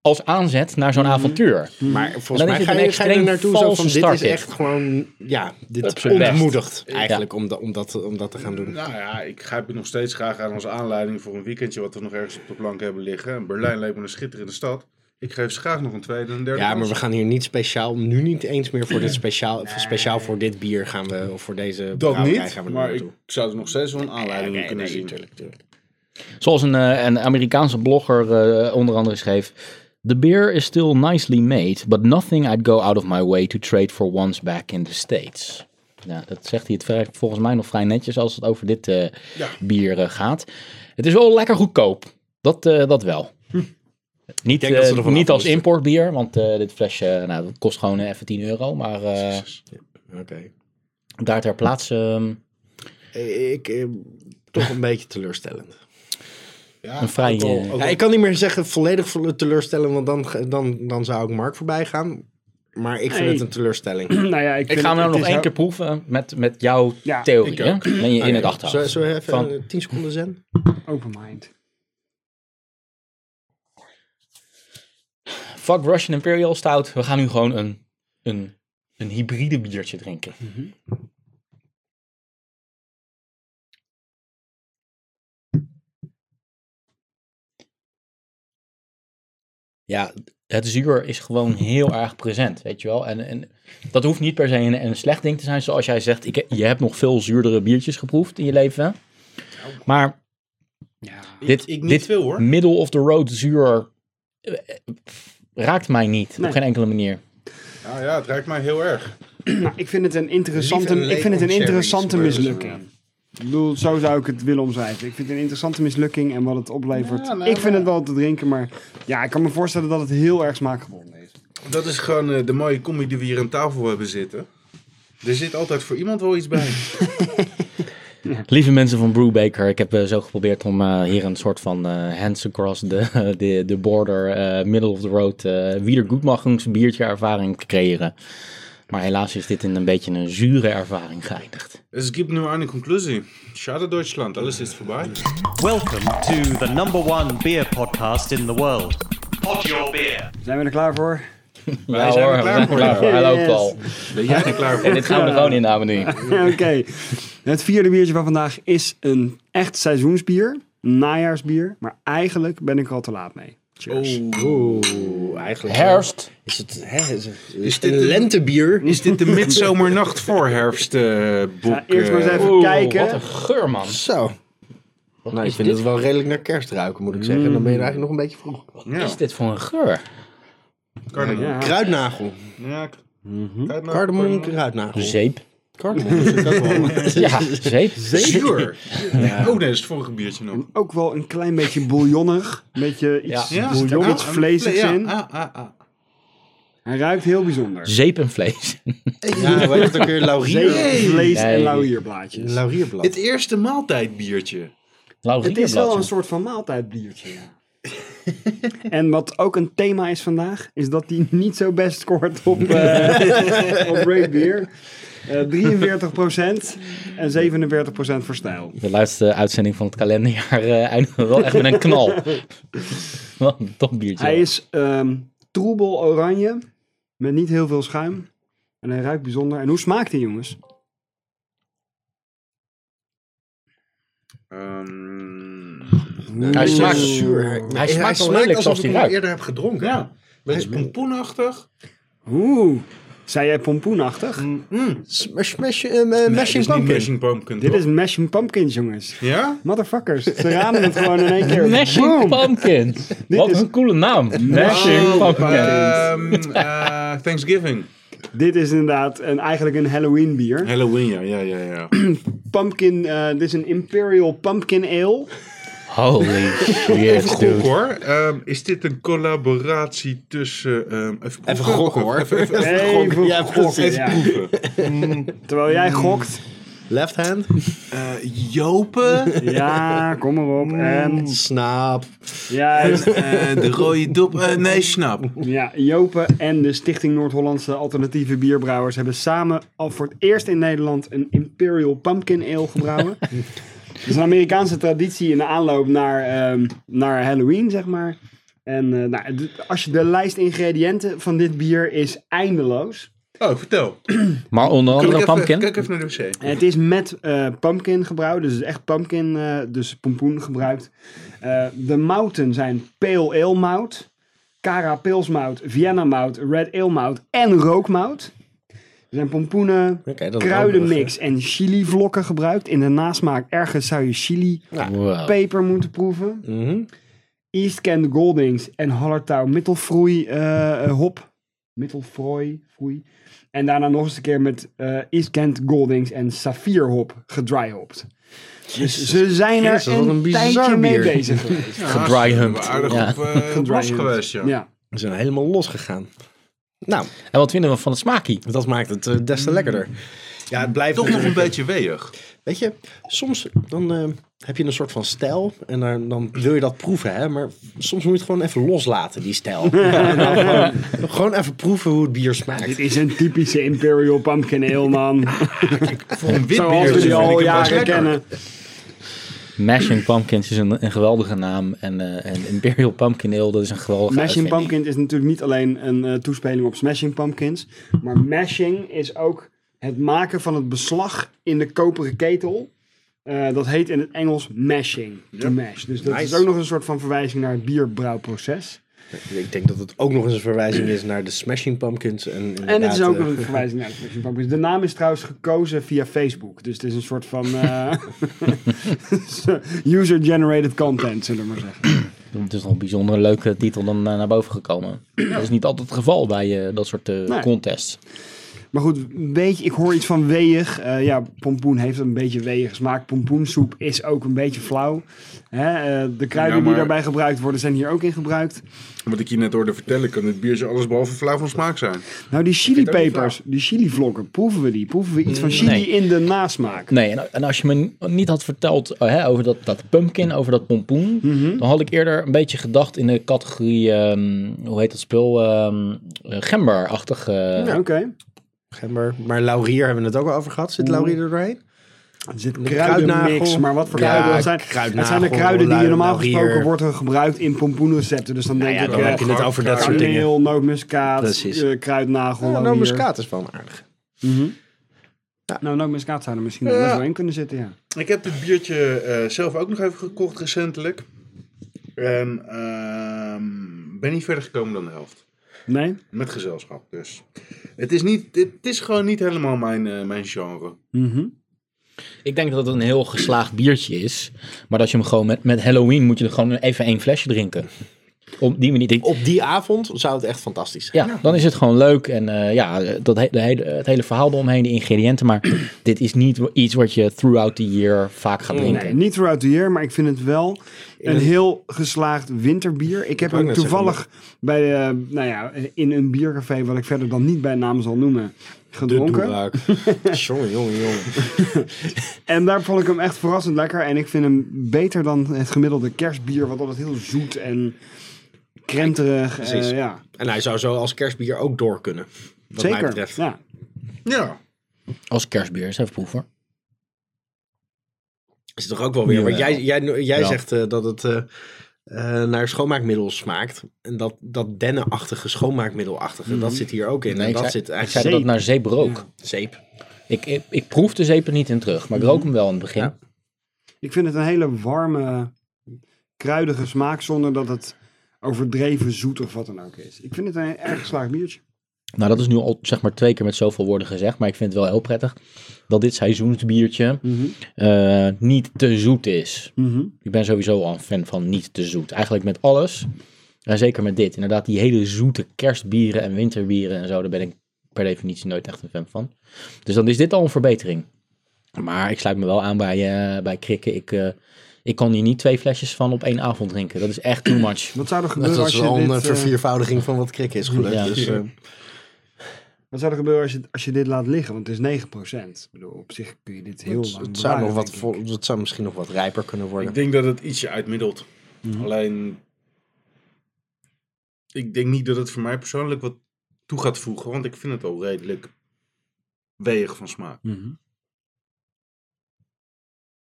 [SPEAKER 1] als aanzet naar zo'n avontuur.
[SPEAKER 3] Maar
[SPEAKER 1] Dan
[SPEAKER 3] volgens
[SPEAKER 1] is
[SPEAKER 3] mij
[SPEAKER 1] het
[SPEAKER 3] ga
[SPEAKER 1] een
[SPEAKER 3] je, ga je
[SPEAKER 1] extreem
[SPEAKER 3] er naartoe zo
[SPEAKER 1] valse
[SPEAKER 3] van, dit
[SPEAKER 1] start,
[SPEAKER 3] is
[SPEAKER 1] dit.
[SPEAKER 3] echt gewoon, ja,
[SPEAKER 1] Op
[SPEAKER 3] dit
[SPEAKER 1] zijn best.
[SPEAKER 3] ontmoedigt eigenlijk om, da- om, dat, om dat te gaan doen.
[SPEAKER 2] Nou ja, ik grijp het nog steeds graag aan als aanleiding voor een weekendje wat we nog ergens op de plank hebben liggen. En Berlijn leek me een schitterende stad. Ik geef ze graag nog een tweede en een derde.
[SPEAKER 3] Ja, maar
[SPEAKER 2] kans.
[SPEAKER 3] we gaan hier niet speciaal, nu niet eens meer voor dit speciaal, voor speciaal voor dit bier gaan we, of voor deze
[SPEAKER 2] dat
[SPEAKER 3] brouwerij
[SPEAKER 2] niet.
[SPEAKER 3] Nou, gaan we er
[SPEAKER 2] Maar ik
[SPEAKER 3] naartoe.
[SPEAKER 2] zou er nog steeds wel een aanleiding in
[SPEAKER 3] Nee,
[SPEAKER 2] kunnen
[SPEAKER 3] nee,
[SPEAKER 2] zien.
[SPEAKER 3] tuurlijk, tuurlijk.
[SPEAKER 1] Zoals een, eh, een Amerikaanse blogger eh, onder andere schreef. The beer is still nicely made, but nothing I'd go out of my way to trade for once back in the States. Ja, dat zegt hij het vrij- volgens mij nog vrij netjes als het over dit eh, bier eh, gaat. Het is wel lekker goedkoop. Dat, eh, dat wel. Niet,
[SPEAKER 6] Hm. denk dat ze
[SPEAKER 1] eh,
[SPEAKER 6] ervan
[SPEAKER 1] niet
[SPEAKER 6] af
[SPEAKER 1] als
[SPEAKER 6] moesten.
[SPEAKER 1] importbier, want eh, dit flesje nou, dat kost gewoon eh, even 10 euro. Maar eh,
[SPEAKER 3] Oké.
[SPEAKER 1] daar ter plaatse. ehm,
[SPEAKER 3] Ik, eh, toch een beetje teleurstellend.
[SPEAKER 2] Ja,
[SPEAKER 1] Een vrij,
[SPEAKER 2] ook al-
[SPEAKER 1] eh,
[SPEAKER 2] ook al-
[SPEAKER 3] Ja, ik kan niet meer zeggen volledig vo- teleurstellend, want dan, ge- dan, dan zou ik Mark voorbij gaan. Maar ik vind
[SPEAKER 4] Nee.
[SPEAKER 3] het een teleurstelling.
[SPEAKER 4] nou ja, ik,
[SPEAKER 1] ik
[SPEAKER 4] vind
[SPEAKER 1] ga hem nou
[SPEAKER 4] het- het
[SPEAKER 1] nog
[SPEAKER 4] is
[SPEAKER 1] één keer
[SPEAKER 4] ook-
[SPEAKER 1] proeven met, met jouw
[SPEAKER 4] Ja,
[SPEAKER 1] theorie. Hè? Ben
[SPEAKER 6] Ah,
[SPEAKER 1] je in het achterhoofd.
[SPEAKER 3] Zullen zullen we even
[SPEAKER 1] Van-
[SPEAKER 3] eh, 10 seconden zen?
[SPEAKER 4] Open mind.
[SPEAKER 1] Fuck Russian Imperial Stout. We gaan nu gewoon een, een, een hybride biertje drinken. Ja, het zuur is gewoon heel erg present, weet je wel. En, en dat hoeft niet per se een, een slecht ding te zijn. Zoals jij zegt, ik, je hebt nog veel zuurdere biertjes geproefd in je leven. Maar dit,
[SPEAKER 2] ik niet
[SPEAKER 1] dit
[SPEAKER 2] veel, hoor.
[SPEAKER 1] middle of the road zuur eh, eh, raakt mij niet
[SPEAKER 4] Nee.
[SPEAKER 1] op geen enkele manier.
[SPEAKER 2] Ja, ja, het raakt mij heel erg.
[SPEAKER 4] Nou, ik vind het een interessante,
[SPEAKER 3] Liever een
[SPEAKER 4] ik vind het een
[SPEAKER 3] lemon
[SPEAKER 4] interessante
[SPEAKER 3] cherries, maar-
[SPEAKER 4] mislukking. Ik bedoel, zo zou ik het willen omschrijven. Ik vind het een interessante mislukking en wat het oplevert.
[SPEAKER 2] Ja, nou,
[SPEAKER 4] ik vind
[SPEAKER 2] maar-
[SPEAKER 4] het wel te drinken, maar ja, ik kan me voorstellen dat het heel erg smaakgebonden is.
[SPEAKER 2] Dat is gewoon eh, de mooie combi die we hier aan tafel hebben zitten. Er zit altijd voor iemand wel iets bij.
[SPEAKER 1] Lieve mensen van Brewbaker, ik heb eh, zo geprobeerd om eh, hier een soort van eh, hands across de, de, de border, eh, middle of the road, eh wiedergoedmachungs biertje ervaring te creëren. Maar helaas is dit in een beetje een zure ervaring geëindigd.
[SPEAKER 2] Es gibt nur eine Konklusie. Schade Deutschland, alles ist vorbei.
[SPEAKER 5] Welcome to the number one beer podcast in the world. Pod Your Beer.
[SPEAKER 4] Zijn we er klaar voor?
[SPEAKER 1] Ja,
[SPEAKER 2] zijn
[SPEAKER 1] hoor,
[SPEAKER 2] er klaar voor, ja.
[SPEAKER 1] Hij loopt
[SPEAKER 4] Yes.
[SPEAKER 1] al.
[SPEAKER 2] Ben jij er klaar
[SPEAKER 1] En
[SPEAKER 2] voor?
[SPEAKER 1] dit gaan we er gewoon in houden nu.
[SPEAKER 4] Oké. Het vierde biertje van vandaag is een echt seizoensbier. Najaarsbier. Maar eigenlijk ben ik er al te laat mee. Cheers. Nou,
[SPEAKER 3] Oeh, eigenlijk
[SPEAKER 1] Herfst,
[SPEAKER 3] is het, hè, is het
[SPEAKER 2] Is dit
[SPEAKER 3] een
[SPEAKER 2] een-
[SPEAKER 3] lentebier.
[SPEAKER 2] Is dit de midzomernacht voor herfstboek? eh?
[SPEAKER 4] Ga eerst maar eens even
[SPEAKER 1] Oeh,
[SPEAKER 4] kijken.
[SPEAKER 1] wat een geur man.
[SPEAKER 3] Zo. Nou, ik
[SPEAKER 1] is
[SPEAKER 3] vind
[SPEAKER 1] dit?
[SPEAKER 3] het wel redelijk naar kerst ruiken, moet ik zeggen. Dan ben je er eigenlijk nog een beetje vroeg.
[SPEAKER 2] nou?
[SPEAKER 1] Is dit voor een geur?
[SPEAKER 2] Kardemom.
[SPEAKER 4] Ja.
[SPEAKER 3] Kruidnagel.
[SPEAKER 2] Ja.
[SPEAKER 3] Kardemom, kruidnagel.
[SPEAKER 1] Zeep.
[SPEAKER 3] Kardemom.
[SPEAKER 1] Ja, zeep.
[SPEAKER 2] Zuur. Oh, nee, dat is het vorige biertje nog.
[SPEAKER 4] Ook wel een klein beetje bouillonnig. Een beetje iets,
[SPEAKER 1] Ja.
[SPEAKER 4] bouillon,
[SPEAKER 2] Ah,
[SPEAKER 4] iets vleesigs
[SPEAKER 2] ja,
[SPEAKER 4] in.
[SPEAKER 2] ah, ah, ah.
[SPEAKER 4] Hij ruikt heel bijzonder.
[SPEAKER 1] Zeep en vlees.
[SPEAKER 3] Ja, weet het ook weer?
[SPEAKER 4] Zeep,
[SPEAKER 3] Laurier.
[SPEAKER 4] vlees en
[SPEAKER 1] Nee.
[SPEAKER 4] laurierblaadjes.
[SPEAKER 3] Laurierblad.
[SPEAKER 2] Het eerste maaltijdbiertje.
[SPEAKER 1] Laurierblad,
[SPEAKER 4] Het is wel
[SPEAKER 1] ja.
[SPEAKER 4] een soort van maaltijdbiertje, ja. En wat ook een thema is vandaag, is dat die niet zo best scoort op, eh op Rate Beer. Eh, 43% en 47% voor stijl.
[SPEAKER 1] De laatste uitzending van het kalenderjaar eh eindigen we wel echt met een knal. Wat een top biertje.
[SPEAKER 4] Hij is ehm, troebel oranje, met niet heel veel schuim. En hij ruikt bijzonder. En hoe smaakt hij, jongens?
[SPEAKER 2] Ehm,
[SPEAKER 1] Hij smaakt-
[SPEAKER 3] zuur.
[SPEAKER 1] hij smaakt wel lelijk
[SPEAKER 3] alsof
[SPEAKER 1] zoals
[SPEAKER 3] ik
[SPEAKER 1] hij
[SPEAKER 3] hem al
[SPEAKER 1] ruikt.
[SPEAKER 3] eerder heb gedronken.
[SPEAKER 2] ja, hij is pompoenachtig.
[SPEAKER 4] Oeh, zei jij pompoenachtig?
[SPEAKER 3] Mm, smash, smash, eh, eh, mashing
[SPEAKER 2] Dit is niet
[SPEAKER 3] pumpkin.
[SPEAKER 2] mashing pumpkin.
[SPEAKER 4] Dit
[SPEAKER 2] toch?
[SPEAKER 4] is mashing pumpkins, jongens.
[SPEAKER 2] Ja?
[SPEAKER 4] Motherfuckers, ze raden het gewoon in één keer.
[SPEAKER 1] Mashing
[SPEAKER 4] Boom.
[SPEAKER 1] Pumpkin. Wat
[SPEAKER 4] is-
[SPEAKER 1] een coole naam. Mashing Pumpkin.
[SPEAKER 2] Oh, Ehm, eh, Thanksgiving.
[SPEAKER 4] Dit is inderdaad een, eigenlijk een Halloween bier.
[SPEAKER 2] Halloween, ja, ja, ja. ja.
[SPEAKER 4] Pumpkin, eh, dit is een Imperial Pumpkin Ale.
[SPEAKER 1] Holy
[SPEAKER 2] Even
[SPEAKER 1] shit,
[SPEAKER 2] gok
[SPEAKER 1] dude.
[SPEAKER 2] hoor. Ehm, is dit een collaboratie tussen... ehm, even,
[SPEAKER 3] Even
[SPEAKER 2] gokken.
[SPEAKER 3] gokken, hoor.
[SPEAKER 2] Even, even- even gokken.
[SPEAKER 4] Even
[SPEAKER 3] Ja,
[SPEAKER 4] gokken,
[SPEAKER 3] precies.
[SPEAKER 4] ja. Mm.
[SPEAKER 2] proeven.
[SPEAKER 4] Terwijl jij gokt.
[SPEAKER 3] Left hand.
[SPEAKER 2] Eh, Jopen,
[SPEAKER 4] Ja, kom maar op. En
[SPEAKER 3] Snaap.
[SPEAKER 4] juist.
[SPEAKER 2] eh, de rode dop, eh, nee, snap.
[SPEAKER 4] Ja, Jopen en de Stichting Noord-Hollandse Alternatieve Bierbrouwers hebben samen al voor het eerst in Nederland een Imperial Pumpkin Ale gebrouwen. Dat is een Amerikaanse traditie in de aanloop naar, ehm, naar Halloween, zeg maar. En eh, nou, d- als je de lijst ingrediënten van dit bier is eindeloos.
[SPEAKER 2] Oh, vertel.
[SPEAKER 1] Maar onder
[SPEAKER 2] Kan ik
[SPEAKER 1] andere
[SPEAKER 2] even-
[SPEAKER 1] Pumpkin.
[SPEAKER 2] Kijk even naar de wc.
[SPEAKER 4] En het is met eh, pumpkin gebruikt, dus echt pumpkin, eh, dus pompoen gebruikt. Eh, de mouten zijn pale ale mout, cara pils mout, Vienna mout, red ale mout en rookmout. Er zijn pompoenen,
[SPEAKER 3] Oké, dat is
[SPEAKER 4] kruidenmix en chili vlokken gebruikt. In de nasmaak ergens zou je chili
[SPEAKER 3] Nou, Oh.
[SPEAKER 1] Wow.
[SPEAKER 4] peper moeten proeven.
[SPEAKER 3] Mhm.
[SPEAKER 4] East Kent Goldings en Hallertau Middelfroei eh, eh, hop. Middelfrooi. Froei. En daarna nog eens een keer met eh East Kent Goldings en Sapphire Hop gedryhopped. Dus ze zijn er
[SPEAKER 3] Jezus, wat
[SPEAKER 4] een,
[SPEAKER 3] een bizar
[SPEAKER 4] tijdje mee
[SPEAKER 3] bier.
[SPEAKER 4] bezig geweest.
[SPEAKER 1] Gedryhumped.
[SPEAKER 2] Aardig
[SPEAKER 1] Ja.
[SPEAKER 2] op, eh, op los
[SPEAKER 4] Gedryhumped.
[SPEAKER 2] geweest, ja.
[SPEAKER 4] Ja.
[SPEAKER 3] We zijn helemaal losgegaan. Nou,
[SPEAKER 1] En wat vinden we van het smaakje?
[SPEAKER 3] dat maakt het eh, des te lekkerder. Ja, het blijft
[SPEAKER 2] Toch nog een
[SPEAKER 3] natuurlijk-
[SPEAKER 2] beetje weeg.
[SPEAKER 3] Weet je, soms dan eh, heb je een soort van stijl en dan, dan wil je dat proeven, hè? maar soms moet je het gewoon even loslaten, die stijl. En dan gewoon, gewoon even proeven hoe het bier
[SPEAKER 4] Dit
[SPEAKER 3] smaakt.
[SPEAKER 4] is een typische Imperial Pumpkin Ale, man.
[SPEAKER 2] Voor een wit
[SPEAKER 4] Zoals we
[SPEAKER 2] biertje
[SPEAKER 4] die
[SPEAKER 2] vind ik
[SPEAKER 4] al
[SPEAKER 2] het best
[SPEAKER 4] jaren
[SPEAKER 2] lekker.
[SPEAKER 4] kennen.
[SPEAKER 1] Mashing Pumpkins is een, een geweldige naam. En, eh, en Imperial Pumpkin Ale, dat is een geweldige
[SPEAKER 4] Mashing
[SPEAKER 1] uitvinding.
[SPEAKER 4] Pumpkin is natuurlijk niet alleen een eh, toespeling op Smashing Pumpkins. Maar mashing is ook het maken van het beslag in de koperen ketel. Eh, dat heet in het Engels mashing. to mash. Dus dat is
[SPEAKER 3] Nice.
[SPEAKER 4] ook nog een soort van verwijzing naar het bierbrouwproces.
[SPEAKER 3] Ik denk dat het ook nog eens een verwijzing is naar de Smashing Pumpkins. En,
[SPEAKER 4] En het
[SPEAKER 3] inderdaad,
[SPEAKER 4] is ook
[SPEAKER 3] eh,
[SPEAKER 4] nog een verwijzing naar de Smashing Pumpkins. De naam is trouwens gekozen via Facebook. Dus het is een soort van eh, user-generated content, zullen we maar zeggen.
[SPEAKER 1] Het is nog een bijzonder leuke titel dan eh, naar boven gekomen. Dat is niet altijd het geval bij eh, dat soort eh,
[SPEAKER 4] Nee.
[SPEAKER 1] contests.
[SPEAKER 4] Maar goed, een beetje, ik hoor iets van weeg. Eh, ja, pompoen heeft een beetje weeg smaak. Pompoensoep is ook een beetje flauw. Hè, eh, de kruiden
[SPEAKER 2] Ja, maar-
[SPEAKER 4] die daarbij gebruikt worden, zijn hier ook in gebruikt.
[SPEAKER 2] Wat ik je net hoorde vertellen, kan dit biertje alles behalve flauw van smaak zijn.
[SPEAKER 4] Nou, die
[SPEAKER 2] vind het ook niet
[SPEAKER 4] chilipepers, die chilivlokken, proeven we die? Proeven we
[SPEAKER 3] Mm,
[SPEAKER 4] iets van chili
[SPEAKER 1] nee.
[SPEAKER 4] in de nasmaak?
[SPEAKER 1] Nee, en, en als je me niet had verteld eh, hè, over dat, dat pumpkin, over dat pompoen,
[SPEAKER 4] Mhm.
[SPEAKER 1] dan had ik eerder een beetje gedacht in de categorie, ehm, hoe heet dat spul, ehm eh, gemberachtig. eh,
[SPEAKER 4] Ja, Oké.
[SPEAKER 3] gember. Maar laurier hebben we het ook al over gehad. Zit laurier er doorheen?
[SPEAKER 4] Er zit
[SPEAKER 3] kruidnagel.
[SPEAKER 4] kruidenmix, maar wat voor
[SPEAKER 3] Ja,
[SPEAKER 4] kruiden? Dat zijn,
[SPEAKER 3] kruidnagel,
[SPEAKER 4] dat zijn de kruiden die
[SPEAKER 3] lui-
[SPEAKER 4] normaal
[SPEAKER 3] laurier.
[SPEAKER 4] gesproken worden gebruikt in pompoenrecepten. Dus dan denk
[SPEAKER 3] Nou ja,
[SPEAKER 4] ik,
[SPEAKER 3] dan
[SPEAKER 4] eh,
[SPEAKER 3] heb je het over dat soort dingen.
[SPEAKER 4] kaneel, nootmuskaat,
[SPEAKER 3] Precies.
[SPEAKER 4] eh, kruidnagel,
[SPEAKER 3] Ja, nou,
[SPEAKER 4] laurier.
[SPEAKER 3] muskaat is wel aardig.
[SPEAKER 4] Nou, nootmuskaat zou er misschien nog
[SPEAKER 2] Ja.
[SPEAKER 4] wel in kunnen zitten, ja.
[SPEAKER 2] Ik heb dit biertje eh, zelf ook nog even gekocht recentelijk. En ehm, ben niet verder gekomen dan de helft.
[SPEAKER 4] Nee?
[SPEAKER 2] Met gezelschap dus. Het is, niet, het is gewoon niet helemaal mijn, eh, mijn genre.
[SPEAKER 1] Ik denk dat het een heel geslaagd biertje is, maar dat je hem gewoon met, met Halloween moet je er gewoon even één flesje drinken. Op die manier.
[SPEAKER 3] Op die avond zou het echt fantastisch zijn.
[SPEAKER 1] Ja, dan is het gewoon leuk. En eh, ja, dat he- de hele, het hele verhaal eromheen, die ingrediënten. Maar dit is niet iets wat je throughout the year vaak gaat drinken.
[SPEAKER 4] Nee, niet throughout the year, maar ik vind het wel een
[SPEAKER 3] het-
[SPEAKER 4] heel geslaagd winterbier. Ik heb
[SPEAKER 3] wou
[SPEAKER 4] hem
[SPEAKER 3] net zeggen,
[SPEAKER 4] toevallig bij, eh, nou ja, in een biercafé, wat ik verder dan niet bij naam zal noemen, gedronken.
[SPEAKER 3] jongen, jongen, jongen.
[SPEAKER 4] En daar vond ik hem echt verrassend lekker. En ik vind hem beter dan het gemiddelde kerstbier, wat altijd heel zoet en krenterig.
[SPEAKER 3] Precies.
[SPEAKER 4] eh, ja.
[SPEAKER 3] En hij zou zo als kerstbier ook door kunnen. Wat mij
[SPEAKER 4] Zeker.
[SPEAKER 3] betreft.
[SPEAKER 4] Ja.
[SPEAKER 2] Ja.
[SPEAKER 1] Als kerstbier, eens even proeven.
[SPEAKER 3] Is het toch ook wel weer. Want
[SPEAKER 1] Jawel.
[SPEAKER 3] jij, jij, jij
[SPEAKER 1] Ja.
[SPEAKER 3] zegt eh, dat het eh, eh, naar schoonmaakmiddel smaakt. En dat, dat dennenachtige, schoonmaakmiddelachtige, dat zit hier ook in.
[SPEAKER 1] Nee,
[SPEAKER 3] en
[SPEAKER 1] ik
[SPEAKER 3] dat
[SPEAKER 1] zei,
[SPEAKER 3] zit
[SPEAKER 1] ik zei
[SPEAKER 3] eigenlijk
[SPEAKER 1] dat het naar zeep rook.
[SPEAKER 3] zeep. Mhm.
[SPEAKER 1] Ik, ik, ik proef de zeep er niet in terug, maar ik rook hem wel in het begin.
[SPEAKER 3] Ja.
[SPEAKER 4] Ik vind het een hele warme, kruidige smaak, zonder dat het overdreven zoet of wat dan ook is. Ik vind het een erg geslaagd biertje.
[SPEAKER 1] Nou, dat is nu al zeg maar twee keer met zoveel woorden gezegd. Maar ik vind het wel heel prettig dat dit seizoensbiertje
[SPEAKER 3] Mhm.
[SPEAKER 1] eh, niet te zoet is. Ik ben sowieso al een fan van niet te zoet. Eigenlijk met alles. En zeker met dit. Inderdaad, die hele zoete kerstbieren en winterbieren en zo. Daar ben ik per definitie nooit echt een fan van. Dus dan is dit al een verbetering. Maar ik sluit me wel aan bij, eh, bij krikken. Ik, eh, ik kan hier niet twee flesjes van op één avond drinken. Dat is echt too much.
[SPEAKER 4] Wat zou er gebeuren
[SPEAKER 3] Dat
[SPEAKER 4] als
[SPEAKER 3] was
[SPEAKER 4] je
[SPEAKER 3] wel een
[SPEAKER 4] dit,
[SPEAKER 3] eh,
[SPEAKER 4] eh,
[SPEAKER 3] verviervoudiging van wat krik is gelukt.
[SPEAKER 1] Ja.
[SPEAKER 3] Dus, eh,
[SPEAKER 4] Wat zou er gebeuren als je, als je dit laat liggen? Want het is 9%. Ik bedoel, op zich kun je dit heel
[SPEAKER 3] het,
[SPEAKER 4] lang
[SPEAKER 3] het zou nog
[SPEAKER 4] bewaren,
[SPEAKER 3] wat
[SPEAKER 4] denk ik.
[SPEAKER 3] vol- het zou misschien nog wat rijper kunnen worden. Mhm.
[SPEAKER 2] Ik denk dat het ietsje uitmiddelt. Alleen, ik denk niet dat het voor mij persoonlijk wat toe gaat voegen. Want ik vind het al redelijk weeg van smaak.
[SPEAKER 4] Mhm.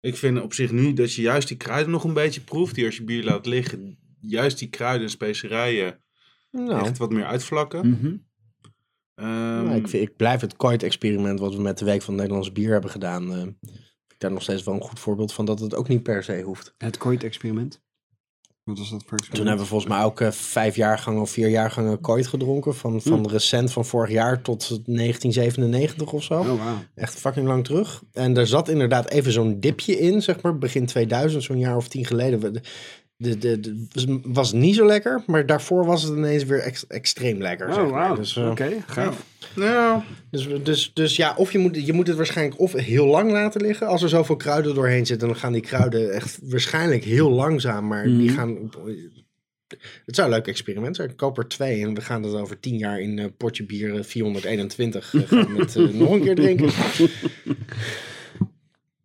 [SPEAKER 2] Ik vind op zich nu dat je juist die kruiden nog een beetje proeft. Die als je bier laat liggen, juist die kruiden en specerijen
[SPEAKER 3] nou,
[SPEAKER 2] echt wat meer uitvlakken.
[SPEAKER 4] Mhm.
[SPEAKER 2] Ehm,
[SPEAKER 3] nou, ik, vind- ik blijf het kooit-experiment wat we met de Week van het Nederlands Bier hebben gedaan. eh, ik daar nog steeds wel een goed voorbeeld van dat het ook niet per se hoeft.
[SPEAKER 4] Het kooit-experiment. Wat was dat voor experiment?
[SPEAKER 3] Toen hebben we volgens mij ook eh, vijf jaargangen of vier jaargangen kooit gedronken. Van, van
[SPEAKER 4] Hm.
[SPEAKER 3] recent, van vorig jaar tot 1997 of zo.
[SPEAKER 4] Oh, wauw.
[SPEAKER 3] Echt fucking lang terug. En daar zat inderdaad even zo'n dipje in, zeg maar, begin 2000, zo'n jaar of tien geleden. We- De, de, de- was niet zo lekker, maar daarvoor was het ineens weer ex- extreem lekker.
[SPEAKER 4] Oh,
[SPEAKER 3] zeg maar.
[SPEAKER 4] wauw.
[SPEAKER 3] Dus,
[SPEAKER 4] Oké,
[SPEAKER 3] eh,
[SPEAKER 4] gaaf.
[SPEAKER 2] Nou,
[SPEAKER 3] Dus, dus, dus ja, of je moet, je moet het waarschijnlijk of heel lang laten liggen. Als er zoveel kruiden doorheen zitten, dan gaan die kruiden echt waarschijnlijk heel langzaam. Maar die
[SPEAKER 4] Mhm.
[SPEAKER 3] gaan. Het zou een leuk experiment zijn. Ik koop er twee en we gaan dat over tien jaar in eh, potje bier eh, 421 eh, gaan met, eh, nog een keer drinken.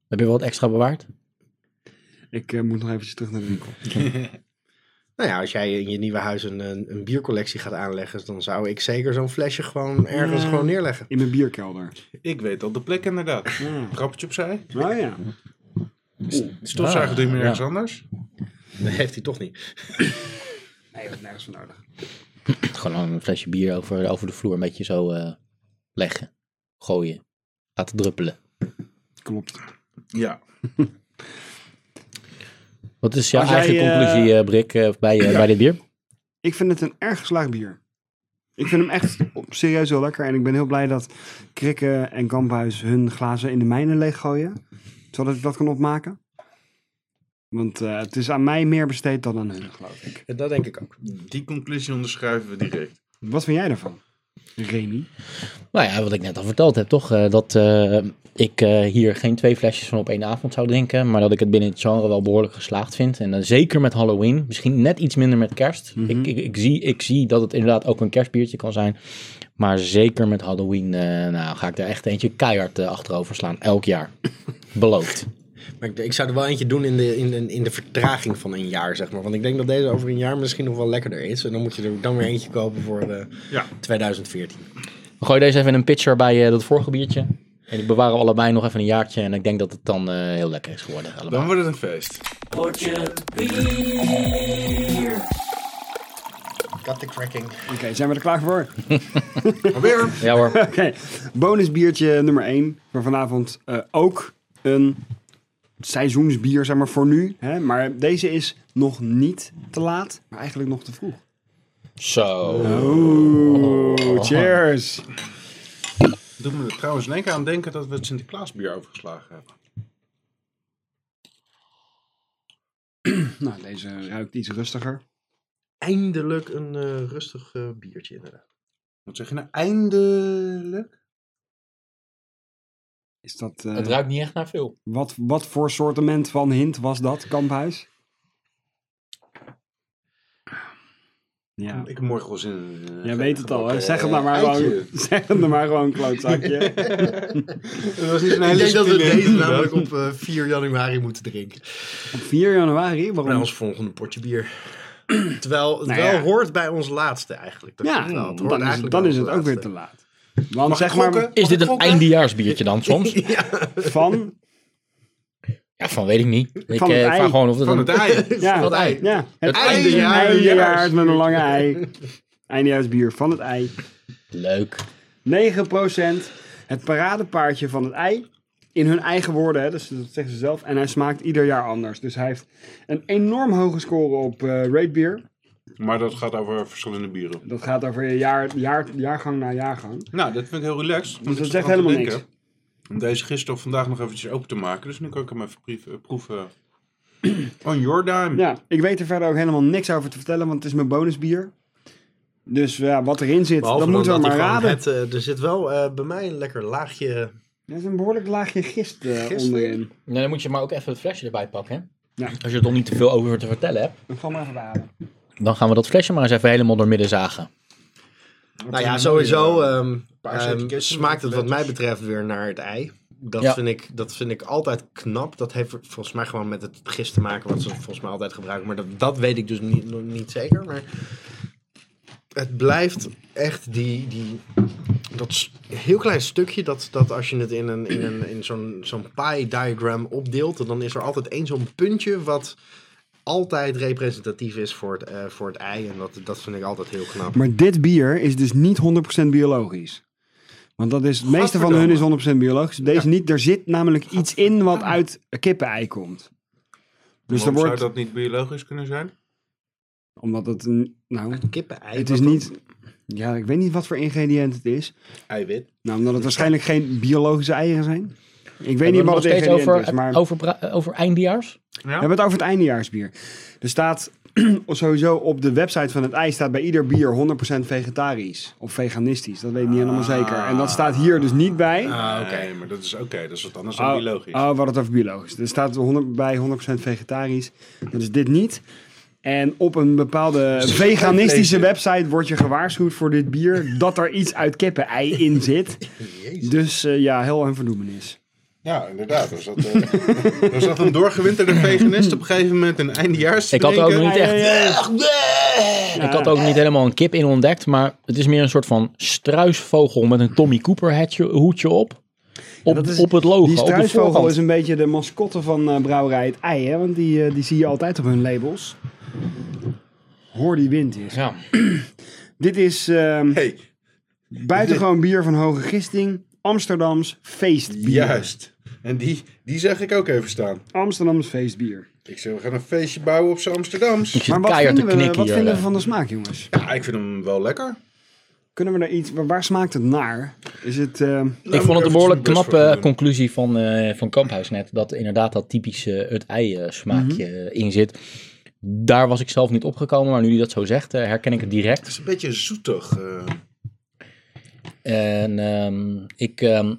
[SPEAKER 1] Heb je wel wat extra bewaard?
[SPEAKER 4] Ik eh, moet nog eventjes terug naar de winkel.
[SPEAKER 3] Nou ja, als jij in je nieuwe huis een, een, een biercollectie gaat aanleggen, dan zou ik zeker zo'n flesje gewoon ergens
[SPEAKER 4] Ja.
[SPEAKER 3] gewoon neerleggen.
[SPEAKER 4] In mijn bierkelder.
[SPEAKER 2] ik weet al de plek inderdaad.
[SPEAKER 3] Mhm.
[SPEAKER 4] Ja.
[SPEAKER 2] Grappetje opzij.
[SPEAKER 4] Oh ja.
[SPEAKER 2] Stofzuiger doe je meer
[SPEAKER 1] Ah,
[SPEAKER 2] ergens
[SPEAKER 1] ja.
[SPEAKER 2] anders.
[SPEAKER 3] Dat heeft hij toch niet.
[SPEAKER 4] Nee, dat is nergens voor nodig.
[SPEAKER 1] Gewoon een flesje bier over, over de vloer een beetje zo eh, leggen, gooien, laten druppelen.
[SPEAKER 4] Klopt.
[SPEAKER 2] Ja.
[SPEAKER 1] Wat is jouw
[SPEAKER 4] Als jij,
[SPEAKER 1] eigen conclusie, eh, Brik, eh, bij, eh, bij dit bier?
[SPEAKER 4] Ik vind het een erg geslaagd bier. Ik vind hem echt op- serieus heel lekker. En ik ben heel blij dat Krikken en Kamphuis hun glazen in de mijnen leeggooien. Zodat ik dat kan opmaken. Want eh, het is aan mij meer besteed dan aan hun, geloof ik.
[SPEAKER 3] Dat denk ik ook.
[SPEAKER 2] Die conclusie onderschrijven we direct.
[SPEAKER 4] Wat vind jij daarvan, Remy?
[SPEAKER 1] Nou ja, wat ik net al verteld heb, toch? eh, dat eh, ik eh, hier geen twee flesjes van op één avond zou drinken. Maar dat ik het binnen het genre wel behoorlijk geslaagd vind. En dan zeker met Halloween. Misschien net iets minder met kerst.
[SPEAKER 4] Mhm.
[SPEAKER 1] ik, ik, ik, zie, ik zie dat het inderdaad ook een kerstbiertje kan zijn. Maar zeker met Halloween eh, nou, ga ik daar echt eentje keihard eh, achterover slaan. Elk jaar. Beloofd.
[SPEAKER 3] Maar ik, ik zou er wel eentje doen in de, in, de- in de vertraging van een jaar, zeg maar. Want ik denk dat deze over een jaar misschien nog wel lekkerder is. En dan moet je er dan weer eentje kopen voor eh,
[SPEAKER 2] Ja.
[SPEAKER 3] 2014.
[SPEAKER 1] We gooien deze even in een pitcher bij eh, dat vorige biertje. En ik bewaar hem allebei nog even een jaartje. En ik denk dat het dan eh, heel lekker is geworden. Allebei.
[SPEAKER 2] Dan wordt het een feest.
[SPEAKER 3] Got the cracking.
[SPEAKER 4] Oké, zijn we er klaar voor?
[SPEAKER 2] Alweer.
[SPEAKER 1] Ja hoor.
[SPEAKER 4] Oké, bonusbiertje nummer 1 voor vanavond. eh, ook een seizoensbier, zeg maar, voor nu. Hè? Maar deze is nog niet te laat, maar eigenlijk nog te vroeg.
[SPEAKER 1] Zo.
[SPEAKER 4] Oeh, cheers.
[SPEAKER 2] Doet me er trouwens in één keer aan denken dat we het Sinterklaasbier overgeslagen hebben.
[SPEAKER 4] Nou, deze ruikt iets rustiger.
[SPEAKER 3] Eindelijk een eh, rustig eh, biertje, inderdaad.
[SPEAKER 2] Wat zeg je nou? Eindelijk?
[SPEAKER 4] Is dat, eh,
[SPEAKER 1] Het ruikt niet echt naar veel.
[SPEAKER 4] wat, wat voor sortiment van hint was dat, Kamphuis? Ja,
[SPEAKER 2] Ik heb morgen wel zin in. eh,
[SPEAKER 4] jij weet het al, hè?
[SPEAKER 2] eh,
[SPEAKER 4] zeg het nou maar gewoon,
[SPEAKER 2] eitje.
[SPEAKER 4] zeg het nou maar gewoon, klootzakje.
[SPEAKER 2] Dat was niet zo'n
[SPEAKER 3] Ik
[SPEAKER 2] hele
[SPEAKER 3] denk dat we
[SPEAKER 2] spiele-
[SPEAKER 3] deze namelijk op eh, 4 januari moeten drinken.
[SPEAKER 4] Op 4 januari,
[SPEAKER 3] Bij
[SPEAKER 4] waarom?
[SPEAKER 3] ons volgende potje bier. Terwijl het
[SPEAKER 4] Nou
[SPEAKER 3] wel
[SPEAKER 4] ja.
[SPEAKER 3] hoort bij ons laatste eigenlijk. Dat
[SPEAKER 4] Ja,
[SPEAKER 3] klopt wel. nou, Het hoort
[SPEAKER 4] dan, is,
[SPEAKER 3] eigenlijk
[SPEAKER 4] dan
[SPEAKER 3] bij
[SPEAKER 4] is
[SPEAKER 3] ons
[SPEAKER 4] het ook weer
[SPEAKER 3] laatste.
[SPEAKER 4] te laat. Want
[SPEAKER 2] Mag
[SPEAKER 4] zeg
[SPEAKER 2] ik
[SPEAKER 4] maar
[SPEAKER 2] gokken?
[SPEAKER 1] Is dit een
[SPEAKER 2] Gokken?
[SPEAKER 1] eindejaarsbiertje dan soms?
[SPEAKER 4] van
[SPEAKER 1] Ja, van weet ik niet. Ik
[SPEAKER 4] Van het
[SPEAKER 1] eh,
[SPEAKER 4] ei.
[SPEAKER 1] vraag gewoon of het
[SPEAKER 2] Van
[SPEAKER 1] een...
[SPEAKER 2] het ei.
[SPEAKER 4] ja,
[SPEAKER 1] Van het ei.
[SPEAKER 4] Ja, het
[SPEAKER 3] eindejaars.
[SPEAKER 4] eindejaars met een lange ei. Eindejaarsbier van het ei.
[SPEAKER 1] Leuk.
[SPEAKER 4] 9%. Het paradepaardje van het ei. In hun eigen woorden, hè, dus dat zeggen ze zelf. En hij smaakt ieder jaar anders. Dus hij heeft een enorm hoge score op eh rate beer.
[SPEAKER 2] Maar dat gaat over verschillende bieren.
[SPEAKER 4] Dat gaat over jaar, jaar, jaargang na jaargang.
[SPEAKER 2] Nou, dat vind ik heel relaxed. want
[SPEAKER 4] Dus
[SPEAKER 2] ik zat
[SPEAKER 4] dat zegt
[SPEAKER 2] aan te
[SPEAKER 4] helemaal
[SPEAKER 2] denken
[SPEAKER 4] niks.
[SPEAKER 2] Om deze gisteren of vandaag nog eventjes open te maken. Dus nu kan ik hem even prief- eh, proeven. On your dime.
[SPEAKER 4] Ja, ik weet er verder ook helemaal niks over te vertellen, want het is mijn bonusbier. Dus ja, wat erin zit,
[SPEAKER 3] Behalve
[SPEAKER 4] dat moeten we
[SPEAKER 3] dan
[SPEAKER 4] maar
[SPEAKER 3] hij gewoon
[SPEAKER 4] raden.
[SPEAKER 3] het, eh, er zit wel eh, bij mij een lekker laagje
[SPEAKER 4] Er is een behoorlijk laagje gist eh,
[SPEAKER 3] Gist?
[SPEAKER 4] onderin.
[SPEAKER 1] Nou, dan moet je maar ook even het flesje erbij pakken.
[SPEAKER 4] Ja.
[SPEAKER 1] Als je er toch niet te veel over te vertellen hebt.
[SPEAKER 4] Ik ga maar even halen.
[SPEAKER 1] Dan gaan we dat flesje maar eens even helemaal door midden zagen.
[SPEAKER 3] Nou ja, sowieso ehm,
[SPEAKER 2] Paars
[SPEAKER 3] ehm,
[SPEAKER 2] etiketten,
[SPEAKER 3] smaakt het wat
[SPEAKER 2] letters.
[SPEAKER 3] mij betreft weer naar het ei. Dat,
[SPEAKER 1] Ja.
[SPEAKER 3] vind ik, dat vind ik altijd knap. Dat heeft volgens mij gewoon met het gist te maken, wat ze volgens mij altijd gebruiken. Maar dat, dat weet ik dus niet, nog niet zeker. Maar het blijft echt die, die, dat s- heel klein stukje dat, dat als je het in, een, in, een, in zo'n, zo'n pie-diagram opdeelt, dan is er altijd één zo'n puntje wat altijd representatief is voor het, eh, voor het ei. En dat, dat vind ik altijd heel knap.
[SPEAKER 4] Maar dit bier is dus niet 100% biologisch. Want dat is, het meeste van hun is 100% biologisch. Deze niet. Er zit namelijk iets in wat uit kippenei komt. Dus er
[SPEAKER 2] Waarom
[SPEAKER 4] wordt,
[SPEAKER 2] Zou dat niet biologisch kunnen zijn?
[SPEAKER 4] omdat het een, nou,
[SPEAKER 3] Kippen-ei.
[SPEAKER 4] het is
[SPEAKER 3] wat
[SPEAKER 4] niet, ja, ik weet niet wat voor ingrediënt het is.
[SPEAKER 3] dan- Eiwit.
[SPEAKER 4] Nou, omdat het waarschijnlijk geen biologische eieren zijn. Ik weet
[SPEAKER 1] Hebben
[SPEAKER 4] niet
[SPEAKER 1] we het
[SPEAKER 4] wat het
[SPEAKER 1] nog steeds
[SPEAKER 4] ingrediënt
[SPEAKER 1] over,
[SPEAKER 4] is, maar
[SPEAKER 1] over, pra- over eindjaars?
[SPEAKER 4] We hebben het over het eindejaarsbier. Er staat sowieso op de website van het IJ staat bij ieder bier 100% vegetarisch of veganistisch. Dat weet ik niet helemaal zeker. En dat staat hier dus niet bij.
[SPEAKER 2] Ah, oké, maar dat is oké. Dat is wat anders dan
[SPEAKER 4] Oh,
[SPEAKER 2] biologisch.
[SPEAKER 4] Oh, wat het over biologisch. Er staat 100, bij 100% vegetarisch. Dat is dit niet. En op een bepaalde veganistische website word je gewaarschuwd voor dit bier dat er iets uit kippenei in zit. Dus eh, ja, heel een verdoemenis.
[SPEAKER 2] Ja, inderdaad. Er zat, eh, er zat een doorgewinterde veganist op een gegeven moment een eindejaars.
[SPEAKER 1] Ik had er ook
[SPEAKER 2] drinken.
[SPEAKER 1] niet
[SPEAKER 4] Eh,
[SPEAKER 1] echt
[SPEAKER 2] Ach, nee!
[SPEAKER 1] Ik had ook niet helemaal een kip in ontdekt, maar het is meer een soort van struisvogel met een Tommy Cooper hetje, hoedje op. Op,
[SPEAKER 4] dat is-
[SPEAKER 1] op het logo.
[SPEAKER 4] Die
[SPEAKER 1] op de
[SPEAKER 4] struisvogel
[SPEAKER 1] voorkant.
[SPEAKER 4] is een beetje de mascotte van eh, brouwerij Het Ei, hè? want die, eh, die zie je altijd op hun labels. Hoor die wind is.
[SPEAKER 1] Ja.
[SPEAKER 4] Dit is ehm,
[SPEAKER 2] Hey,
[SPEAKER 4] buitengewoon bier van hoge gisting. Amsterdams feestbier.
[SPEAKER 2] juist. En die, die zag ik ook even staan.
[SPEAKER 4] Amsterdams feestbier.
[SPEAKER 2] Ik zei, we gaan een feestje bouwen op z'n Amsterdams.
[SPEAKER 1] Ik zit keihard te
[SPEAKER 4] vinden, we,
[SPEAKER 1] knikken
[SPEAKER 4] wat
[SPEAKER 1] hier.
[SPEAKER 4] vinden we
[SPEAKER 1] eh.
[SPEAKER 4] van de smaak, jongens?
[SPEAKER 2] Ja, ik vind hem wel lekker.
[SPEAKER 4] Kunnen we daar iets... waar- Waar smaakt het naar? Is het... ehm,
[SPEAKER 1] Ik vond het een behoorlijk
[SPEAKER 2] Even best
[SPEAKER 1] knappe
[SPEAKER 2] voor doen.
[SPEAKER 1] conclusie van, eh, van Kamphuis net. Dat inderdaad dat typische het ei eh, smaakje eh, in zit. Daar was ik zelf niet opgekomen, maar nu hij dat zo zegt, eh, herken ik het direct.
[SPEAKER 2] Het is een beetje zoetig. eh.
[SPEAKER 1] En ehm, ik, ehm,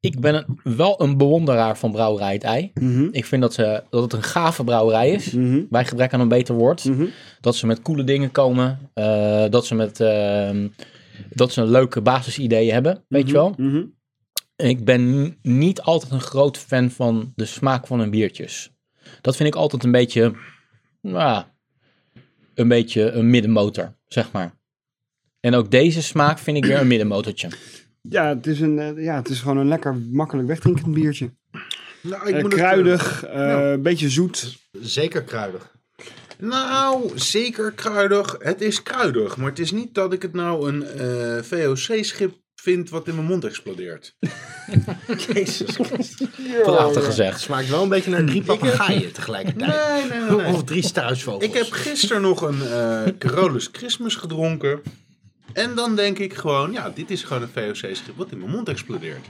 [SPEAKER 1] ik ben een- wel een bewonderaar van Brouwerij het Ei.
[SPEAKER 4] mhm,
[SPEAKER 1] Ik vind dat, ze, dat het een gave brouwerij is.
[SPEAKER 4] mhm,
[SPEAKER 1] Bij gebrek aan een beter woord.
[SPEAKER 4] mhm.
[SPEAKER 1] Dat ze met coole dingen komen. eh, dat, ze met, ehm, dat ze een leuke basisidee hebben. Weet je wel?
[SPEAKER 4] Mhm.
[SPEAKER 1] Ik ben n- niet altijd een groot fan van de smaak van hun biertjes. Dat vind ik altijd een beetje. Nou, ja, een beetje een middenmotor, zeg maar. En ook deze smaak vind ik weer een middenmotortje.
[SPEAKER 4] Ja, het is een, eh, ja, het is gewoon een lekker makkelijk wegdrinkend biertje.
[SPEAKER 2] Nou, ik
[SPEAKER 4] Eh,
[SPEAKER 2] moet het, eh,
[SPEAKER 4] kruidig, eh, een beetje zoet.
[SPEAKER 3] Zeker kruidig.
[SPEAKER 2] nou, zeker kruidig. Het is kruidig, maar het is niet dat ik het nou een eh, VOC-schip vind wat in mijn mond explodeert.
[SPEAKER 3] Jezus Christus.
[SPEAKER 1] Prachtig gezegd.
[SPEAKER 3] Smaakt wel een beetje naar drie
[SPEAKER 4] eh,
[SPEAKER 3] papegaaien tegelijkertijd.
[SPEAKER 2] Nee, nee, nee. nee.
[SPEAKER 3] Of drie struisvogels.
[SPEAKER 2] Ik heb gisteren nog een eh, Carolus Christmas gedronken. En dan denk ik gewoon, ja, dit is gewoon een VOC-schip wat in mijn mond explodeert.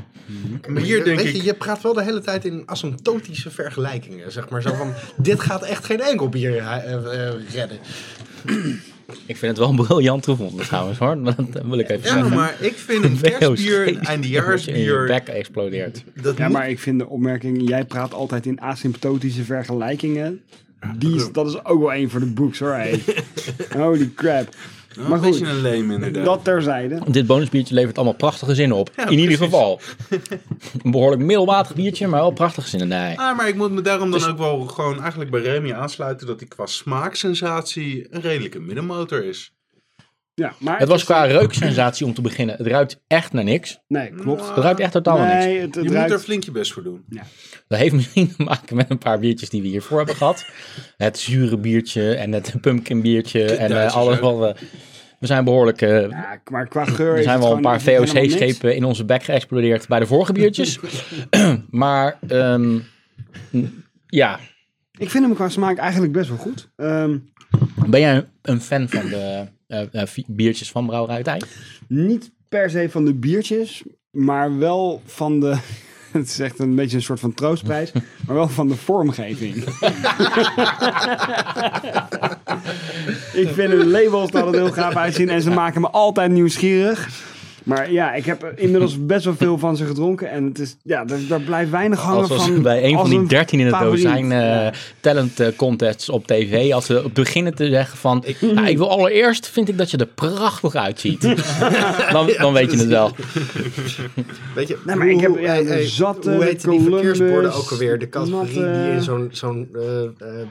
[SPEAKER 2] Maar hier denk
[SPEAKER 3] Weet
[SPEAKER 2] ik,
[SPEAKER 3] Je, je praat wel de hele tijd in asymptotische vergelijkingen. Zeg maar zo van, dit gaat echt geen enkel bier eh, eh, redden.
[SPEAKER 1] Ik vind het wel briljant gevonden trouwens hoor. Dat wil ik even
[SPEAKER 2] ja,
[SPEAKER 1] zeggen. oh,
[SPEAKER 2] maar ik vind een kerstbier, een
[SPEAKER 1] In je
[SPEAKER 2] eindejaarsbier,
[SPEAKER 1] bek explodeert.
[SPEAKER 2] dat
[SPEAKER 4] Ja,
[SPEAKER 2] moet
[SPEAKER 4] maar ik vind de opmerking, jij praat altijd in asymptotische vergelijkingen. Die is, dat is ook wel één voor de boeks hoor. hey. Holy crap.
[SPEAKER 2] Nou,
[SPEAKER 4] Maar
[SPEAKER 2] een beetje
[SPEAKER 4] goed,
[SPEAKER 2] een leem inderdaad.
[SPEAKER 4] dat terzijde.
[SPEAKER 1] Dit bonusbiertje levert allemaal prachtige zinnen op. in ieder
[SPEAKER 2] precies.
[SPEAKER 1] geval. Een behoorlijk middelmatig biertje, maar wel prachtige zinnen. Nee.
[SPEAKER 2] Ah, maar ik moet me daarom dan ook wel gewoon eigenlijk bij Remy aansluiten dat die qua smaaksensatie een redelijke middenmotor is.
[SPEAKER 4] Ja, maar
[SPEAKER 1] Het was qua reuksensatie om te beginnen. Het ruikt echt naar niks.
[SPEAKER 4] Nee, klopt.
[SPEAKER 1] Het ruikt echt totaal naar niks.
[SPEAKER 4] Nee, het, het
[SPEAKER 2] je
[SPEAKER 4] ruikt...
[SPEAKER 2] moet er flink je best voor doen.
[SPEAKER 1] Dat heeft misschien te maken met een paar biertjes die we hiervoor hebben gehad. Het zure biertje en het pumpkin biertje en eh,
[SPEAKER 2] Duitsers
[SPEAKER 1] alles wat
[SPEAKER 2] ook.
[SPEAKER 1] we... We zijn behoorlijk... eh,
[SPEAKER 4] Ja, maar qua geur
[SPEAKER 1] er
[SPEAKER 4] is
[SPEAKER 1] zijn
[SPEAKER 4] het
[SPEAKER 1] wel een
[SPEAKER 4] gewoon
[SPEAKER 1] paar
[SPEAKER 4] echt helemaal niks.
[SPEAKER 1] VOC-schepen in onze bek geëxplodeerd bij de vorige biertjes. maar ehm, n- ja,
[SPEAKER 4] Ik vind hem qua smaak eigenlijk best wel goed. Ehm,
[SPEAKER 1] ben jij een fan van de eh, eh, vi- biertjes van Brouwerij Tijn?
[SPEAKER 4] niet per se van de biertjes, maar wel van de... Het is echt een beetje een soort van troostprijs, maar wel van de vormgeving. ik vind de labels er altijd heel gaaf uitzien en ze maken me altijd nieuwsgierig. Maar ja, ik heb er inmiddels best wel veel van ze gedronken en het is, ja, daar, daar blijft weinig hangen
[SPEAKER 1] Als was
[SPEAKER 4] van.
[SPEAKER 1] bij een
[SPEAKER 4] als
[SPEAKER 1] van die 13 in het
[SPEAKER 4] favoriet.
[SPEAKER 1] dozijn eh,
[SPEAKER 4] Ja.
[SPEAKER 1] talent eh, contests op tv. Als ze beginnen te zeggen van, ik, ik wil allereerst vind ik dat je er prachtig uitziet. dan, dan weet je het wel.
[SPEAKER 3] Weet je,
[SPEAKER 4] Nee, maar ik heb-
[SPEAKER 3] hoe-
[SPEAKER 4] ja,
[SPEAKER 3] eh, eh,
[SPEAKER 4] zatte,
[SPEAKER 3] hoe heet die
[SPEAKER 4] Columbus,
[SPEAKER 3] verkeersborden ook alweer? De categorie
[SPEAKER 4] natte-
[SPEAKER 3] die in zo'n zo'n eh, eh,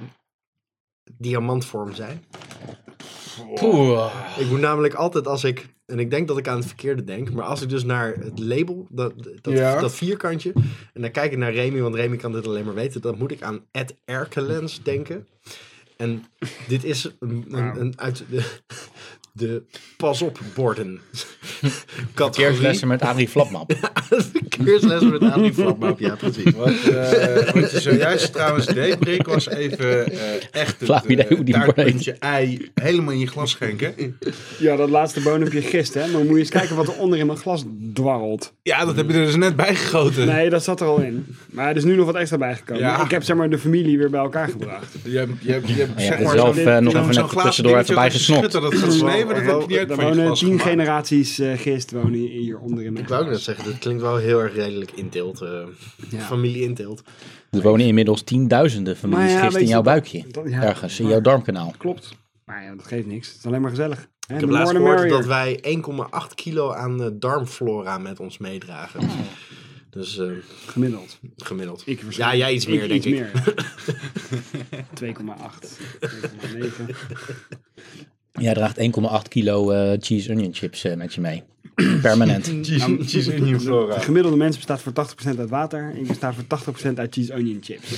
[SPEAKER 3] diamantvorm zijn.
[SPEAKER 1] Poeh.
[SPEAKER 3] Ik moet namelijk altijd als ik, en ik denk dat ik aan het verkeerde denk, maar als ik dus naar het label, dat, dat,
[SPEAKER 2] Ja.
[SPEAKER 3] dat vierkantje, en dan kijk ik naar Remy, want Remy kan dit alleen maar weten, dan moet ik aan Ed Erkelens denken. En dit is een, een, een uit de, de pas op borden.
[SPEAKER 1] Verkeerslessen met Adrie Flapmap.
[SPEAKER 3] Verkeersles met Adrie Flapmap, ja precies.
[SPEAKER 2] Wat, eh, wat je zojuist trouwens deed, Brik, was even eh, echt het
[SPEAKER 1] Flauw idee hoe
[SPEAKER 2] eh,
[SPEAKER 1] die maar heet.
[SPEAKER 2] taartpuntje ei helemaal in je glas schenken.
[SPEAKER 4] Ja, dat laatste boon heb je gist, hè? Maar moet je eens kijken wat er onder in mijn glas dwarrelt.
[SPEAKER 2] Ja, dat heb je er dus net bij gegoten.
[SPEAKER 4] Nee, dat zat er al in. Maar er is nu nog wat extra bijgekomen.
[SPEAKER 2] Ja.
[SPEAKER 4] Ik heb zeg maar de familie weer bij elkaar gebracht.
[SPEAKER 2] Je hebt, je hebt, je hebt
[SPEAKER 1] Ja,
[SPEAKER 2] zeg
[SPEAKER 1] en
[SPEAKER 2] maar
[SPEAKER 1] zelf
[SPEAKER 2] zo'n
[SPEAKER 1] eh, nog
[SPEAKER 2] zo'n-
[SPEAKER 1] even
[SPEAKER 2] zo'n
[SPEAKER 1] net
[SPEAKER 2] glazen
[SPEAKER 1] tussendoor even
[SPEAKER 2] dingetje wat als je
[SPEAKER 1] bijgesnopt.
[SPEAKER 2] schudt, Dat gaat sneeuwen, dat heb je niet uit
[SPEAKER 4] Er
[SPEAKER 2] van je
[SPEAKER 4] wonen
[SPEAKER 2] glas
[SPEAKER 4] tien
[SPEAKER 2] gemaakt.
[SPEAKER 4] generaties eh, gist wonen hier onder in mijn
[SPEAKER 3] Ik wou ook net
[SPEAKER 4] glas.
[SPEAKER 3] zeggen, dat klinkt wel heel erg redelijk inteelt. eh,
[SPEAKER 4] Ja.
[SPEAKER 3] Familie inteelt.
[SPEAKER 1] Er wonen inmiddels tienduizenden families
[SPEAKER 4] Maar ja,
[SPEAKER 1] gist
[SPEAKER 4] weet
[SPEAKER 1] in
[SPEAKER 4] je,
[SPEAKER 1] jouw
[SPEAKER 4] dat-
[SPEAKER 1] buikje.
[SPEAKER 4] dat- ja.
[SPEAKER 1] Ergens, in jouw darmkanaal.
[SPEAKER 4] Klopt. Maar ja, dat geeft niks. Het is alleen maar gezellig.
[SPEAKER 3] Ik heb laatst gehoord dat wij 1,8 kilo aan eh, darmflora met ons meedragen.
[SPEAKER 1] Oh.
[SPEAKER 3] Dus eh,
[SPEAKER 4] Gemiddeld.
[SPEAKER 3] gemiddeld.
[SPEAKER 4] Ik
[SPEAKER 3] ja, jij iets meer, denk ik.
[SPEAKER 4] ik. Meer. 2,8. 2,9.
[SPEAKER 1] Jij draagt 1,8 kilo eh, cheese onion chips eh, met je mee. Permanent.
[SPEAKER 2] Cheese- Cheese onion flora.
[SPEAKER 4] De gemiddelde mens bestaat voor 80% uit water. Ik besta voor 80% uit cheese onion chips.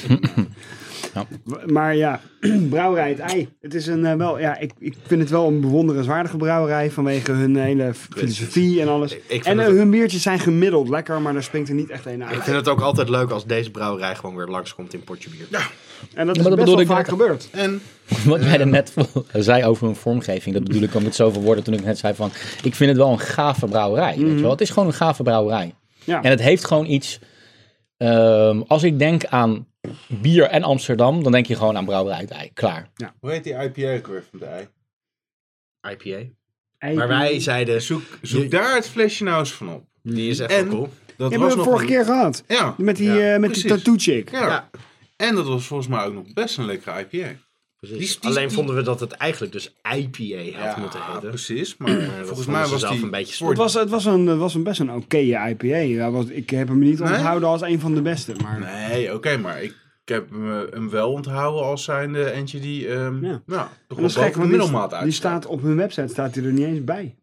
[SPEAKER 1] Ja.
[SPEAKER 4] W- Maar ja, brouwerij het ei. Het is een, eh, wel, ja, ik, ik vind het wel een bewonderenswaardige brouwerij vanwege hun hele f- filosofie en alles.
[SPEAKER 3] vind
[SPEAKER 4] en eh,
[SPEAKER 3] het-
[SPEAKER 4] hun biertjes zijn gemiddeld lekker, maar daar springt er niet echt een
[SPEAKER 3] Ik
[SPEAKER 4] uit.
[SPEAKER 3] vind het ook altijd leuk als deze brouwerij gewoon weer langskomt in Portje Bier.
[SPEAKER 4] En dat
[SPEAKER 1] Ja,
[SPEAKER 4] is
[SPEAKER 1] maar dat
[SPEAKER 4] best
[SPEAKER 1] bedoel
[SPEAKER 4] wel
[SPEAKER 1] ik
[SPEAKER 4] vaak
[SPEAKER 1] net.
[SPEAKER 4] gebeurd.
[SPEAKER 2] En
[SPEAKER 1] Wat jij er net voor- zei over een vormgeving, dat bedoel ik al met zoveel woorden toen ik net zei van, ik vind het wel een gave brouwerij. Weet
[SPEAKER 4] Mhm.
[SPEAKER 1] je wel? Het is gewoon een gave brouwerij.
[SPEAKER 4] Ja.
[SPEAKER 1] En het heeft gewoon iets, ehm, als ik denk aan bier en Amsterdam, dan denk je gewoon aan brouwerij het ei. Klaar.
[SPEAKER 2] hoe heet die IPA ook weer van de ei?
[SPEAKER 3] IPA.
[SPEAKER 4] Ei-
[SPEAKER 3] Maar wij zeiden,
[SPEAKER 2] Zoek, zoek
[SPEAKER 3] Je-
[SPEAKER 2] daar het flesje nou eens van op.
[SPEAKER 3] die is echt
[SPEAKER 2] En-
[SPEAKER 3] wel cool.
[SPEAKER 2] Dat
[SPEAKER 4] Die hebben we
[SPEAKER 2] nog
[SPEAKER 4] vorige
[SPEAKER 2] een-
[SPEAKER 4] keer gehad.
[SPEAKER 2] Ja,
[SPEAKER 4] Met die,
[SPEAKER 3] Ja,
[SPEAKER 4] eh, met die
[SPEAKER 2] precies.
[SPEAKER 4] tattoo chick.
[SPEAKER 2] ja.
[SPEAKER 3] Ja.
[SPEAKER 2] En dat was volgens mij ook nog best een lekkere IPA.
[SPEAKER 3] Precies.
[SPEAKER 2] Die- die-
[SPEAKER 3] Alleen
[SPEAKER 2] die-
[SPEAKER 3] vonden we dat het eigenlijk dus IPA had moeten heten.
[SPEAKER 2] precies. Maar volgens
[SPEAKER 3] vonden
[SPEAKER 2] mij
[SPEAKER 3] ze
[SPEAKER 2] was
[SPEAKER 3] zelf
[SPEAKER 2] die
[SPEAKER 3] een beetje
[SPEAKER 2] voor-
[SPEAKER 4] Het was, het was, een, het was een best een oké IPA. Ja, was, ik heb hem niet
[SPEAKER 2] Nee?
[SPEAKER 4] onthouden als een van de beste. Maar
[SPEAKER 2] Nee, oké, maar ik, ik heb hem, eh, hem wel onthouden als zijnde eentje die ehm
[SPEAKER 4] Ja.
[SPEAKER 2] ja. nou, toch
[SPEAKER 4] En dat
[SPEAKER 2] wel boven
[SPEAKER 4] is gek,
[SPEAKER 2] de
[SPEAKER 4] want die,
[SPEAKER 2] middelmaat
[SPEAKER 4] die
[SPEAKER 2] uit.
[SPEAKER 4] staat op hun website staat hij er niet eens bij.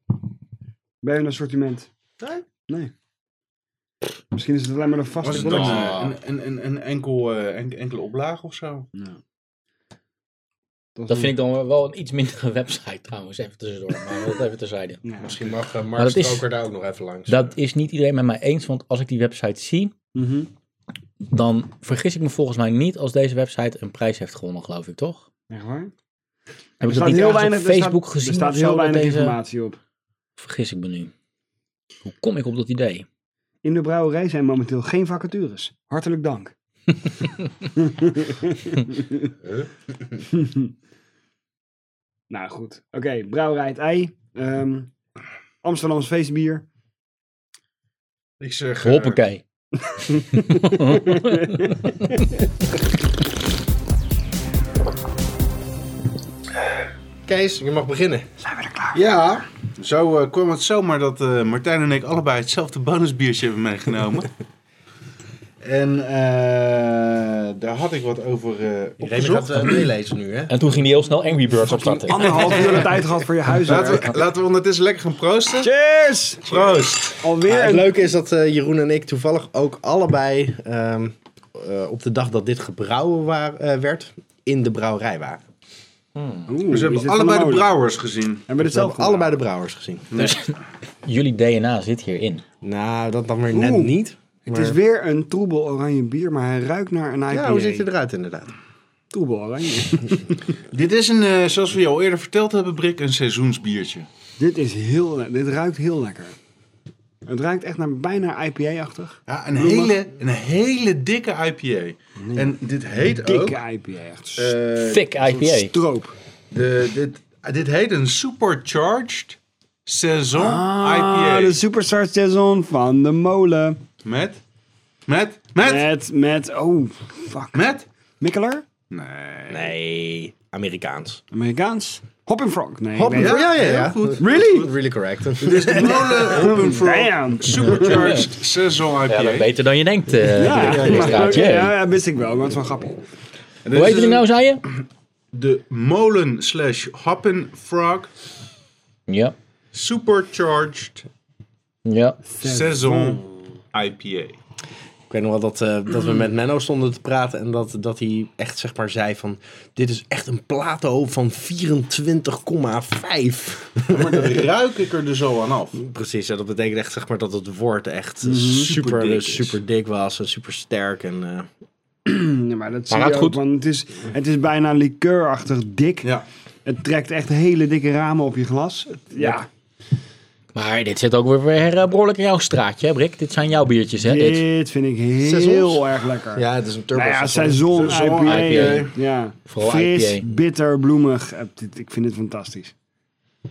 [SPEAKER 4] Bij hun assortiment. Nee? Nee. Misschien is het alleen maar een vaste
[SPEAKER 2] Was het dan
[SPEAKER 4] collectie.
[SPEAKER 2] eh, een, een, een, een enkel, eh, en- enkele oplaag of zo?
[SPEAKER 1] Dat vind ik dan wel een iets mindere website trouwens, even tussendoor. Maar dat even terzijde.
[SPEAKER 4] Ja.
[SPEAKER 3] Misschien mag eh, Mark
[SPEAKER 1] dat is- Stroker
[SPEAKER 3] daar ook nog even langs.
[SPEAKER 1] Dat is niet iedereen met mij eens, want als ik die website zie,
[SPEAKER 4] Mhm.
[SPEAKER 1] dan vergis ik me volgens mij niet als deze website een prijs heeft gewonnen, geloof ik, toch?
[SPEAKER 4] Echt waar?
[SPEAKER 1] Heb ik
[SPEAKER 4] Er
[SPEAKER 1] dat
[SPEAKER 4] staat
[SPEAKER 1] niet
[SPEAKER 4] heel
[SPEAKER 1] ergens
[SPEAKER 4] weinig,
[SPEAKER 1] op
[SPEAKER 4] er staat-
[SPEAKER 1] Facebook gezien?
[SPEAKER 4] Er staat
[SPEAKER 1] of zo,
[SPEAKER 4] heel
[SPEAKER 1] dat
[SPEAKER 4] weinig
[SPEAKER 1] deze-
[SPEAKER 4] informatie op.
[SPEAKER 1] Vergis ik me nu. Hoe kom ik op dat idee?
[SPEAKER 4] In de brouwerij zijn momenteel geen vacatures. Hartelijk dank. nou goed. Oké, brouwerij het ei. Ehm Amsterdams feestbier.
[SPEAKER 2] Ik zeg... eh,
[SPEAKER 1] Hoppakee.
[SPEAKER 3] Kees, je mag beginnen.
[SPEAKER 2] Ja, zo eh, kwam het zomaar dat eh, Martijn en ik allebei hetzelfde bonusbiertje hebben meegenomen. en eh, daar had ik wat over eh
[SPEAKER 3] Remy
[SPEAKER 2] opgezocht.
[SPEAKER 3] gaat eh, meelezen nu, hè?
[SPEAKER 1] En toen ging hij heel snel Angry Birds opstarten.
[SPEAKER 4] Anderhalf uur de tijd gehad voor je
[SPEAKER 2] Laten
[SPEAKER 4] huiswerk.
[SPEAKER 2] we, laten we ondertussen lekker gaan proosten.
[SPEAKER 4] Cheers!
[SPEAKER 2] Proost!
[SPEAKER 4] Alweer
[SPEAKER 3] het
[SPEAKER 4] een
[SPEAKER 3] leuke is dat eh, Jeroen en ik toevallig ook allebei ehm, eh, op de dag dat dit gebrouwen wa- eh, werd, in de brouwerij waren.
[SPEAKER 4] Oeh,
[SPEAKER 2] Dus we
[SPEAKER 4] is dit
[SPEAKER 2] hebben
[SPEAKER 4] van
[SPEAKER 2] allebei de
[SPEAKER 4] molen?
[SPEAKER 2] brouwers gezien.
[SPEAKER 4] Hebben we dit
[SPEAKER 3] We
[SPEAKER 4] zelf
[SPEAKER 3] hebben
[SPEAKER 4] allebei.
[SPEAKER 3] allebei de brouwers gezien.
[SPEAKER 1] Jullie DNA zit hierin.
[SPEAKER 3] Nou, dat dan weer net
[SPEAKER 4] Oeh.
[SPEAKER 3] niet.
[SPEAKER 4] Het is weer een troebel oranje bier, maar hij ruikt naar een IPA.
[SPEAKER 3] Ja, hoe ziet hij eruit inderdaad?
[SPEAKER 4] Troebel oranje.
[SPEAKER 2] Dit is een, eh, zoals we je al eerder verteld hebben, Brik, een seizoensbiertje.
[SPEAKER 4] dit is heel, le- dit ruikt heel lekker. Het ruikt echt naar bijna IPA-achtig.
[SPEAKER 2] Ja, een,
[SPEAKER 4] Bloemen.
[SPEAKER 2] hele, een hele dikke IPA. En dit heet ook...
[SPEAKER 4] Dikke IPA, echt.
[SPEAKER 2] eh,
[SPEAKER 1] Thick IPA.
[SPEAKER 4] Stroop.
[SPEAKER 2] de, dit, eh, dit heet een supercharged saison IPA.
[SPEAKER 4] Ah, de Superstar Saison van de molen.
[SPEAKER 2] Met? Met? Met?
[SPEAKER 4] Met, met, oh, fuck.
[SPEAKER 2] Met?
[SPEAKER 4] Mikkeler?
[SPEAKER 2] Nee.
[SPEAKER 3] Nee, Amerikaans.
[SPEAKER 4] Amerikaans? Hop in Frank. Nee,
[SPEAKER 3] Hop,
[SPEAKER 4] ik weet
[SPEAKER 3] ja,
[SPEAKER 4] het.
[SPEAKER 3] ja, ja.
[SPEAKER 2] heel goed.
[SPEAKER 4] Really?
[SPEAKER 3] Really correct.
[SPEAKER 2] Dus de molen Open for
[SPEAKER 4] Damn.
[SPEAKER 2] Supercharged Saison IPA.
[SPEAKER 1] Ja, dat beter dan je denkt. eh,
[SPEAKER 4] Ja,
[SPEAKER 1] Dirk
[SPEAKER 4] maar-
[SPEAKER 1] Dijkstraat,
[SPEAKER 4] oké,
[SPEAKER 1] jee.
[SPEAKER 4] ja, dus- ja, wist ik wel, maar het is wel grappig.
[SPEAKER 2] En dit
[SPEAKER 1] Hoe heet
[SPEAKER 2] is
[SPEAKER 1] het nou, zei je?
[SPEAKER 2] De molen slash hoppen frog
[SPEAKER 1] Ja.
[SPEAKER 2] Supercharged
[SPEAKER 1] Ja.
[SPEAKER 2] Saison IPA.
[SPEAKER 3] weet nog wel dat, eh, dat we met Menno stonden te praten en dat, dat hij echt zeg maar zei van... Dit is echt een plato van 24,5.
[SPEAKER 2] Maar dan ruik ik er dus zo aan af.
[SPEAKER 3] Precies, en dat betekent echt zeg maar, dat het woord echt super, dus
[SPEAKER 2] Superdik
[SPEAKER 3] super,
[SPEAKER 2] is.
[SPEAKER 3] dik was en super sterk. En, eh,
[SPEAKER 4] Ja, Mm, maar dat zie
[SPEAKER 1] gaat
[SPEAKER 4] je ook,
[SPEAKER 1] goed.
[SPEAKER 4] want het is, het is bijna liqueurachtig dik.
[SPEAKER 2] Ja.
[SPEAKER 4] Het trekt echt hele dikke ramen op je glas. Het- ja,
[SPEAKER 1] Maar dit zit ook weer, weer eh, behoorlijk in jouw straatje, hè, Brik? Dit zijn jouw biertjes, hè? Dit.
[SPEAKER 4] dit vind ik heel
[SPEAKER 3] Saisons?
[SPEAKER 4] erg lekker.
[SPEAKER 3] ja, het is een turbo.
[SPEAKER 4] nou ja,
[SPEAKER 3] seizoen.
[SPEAKER 4] seizoen,
[SPEAKER 2] Saison,
[SPEAKER 4] IPA.
[SPEAKER 1] IPA.
[SPEAKER 4] Ja.
[SPEAKER 1] Vooral
[SPEAKER 4] Fris,
[SPEAKER 1] IPA.
[SPEAKER 4] bitter, bloemig. Eh, dit- Ik vind het fantastisch.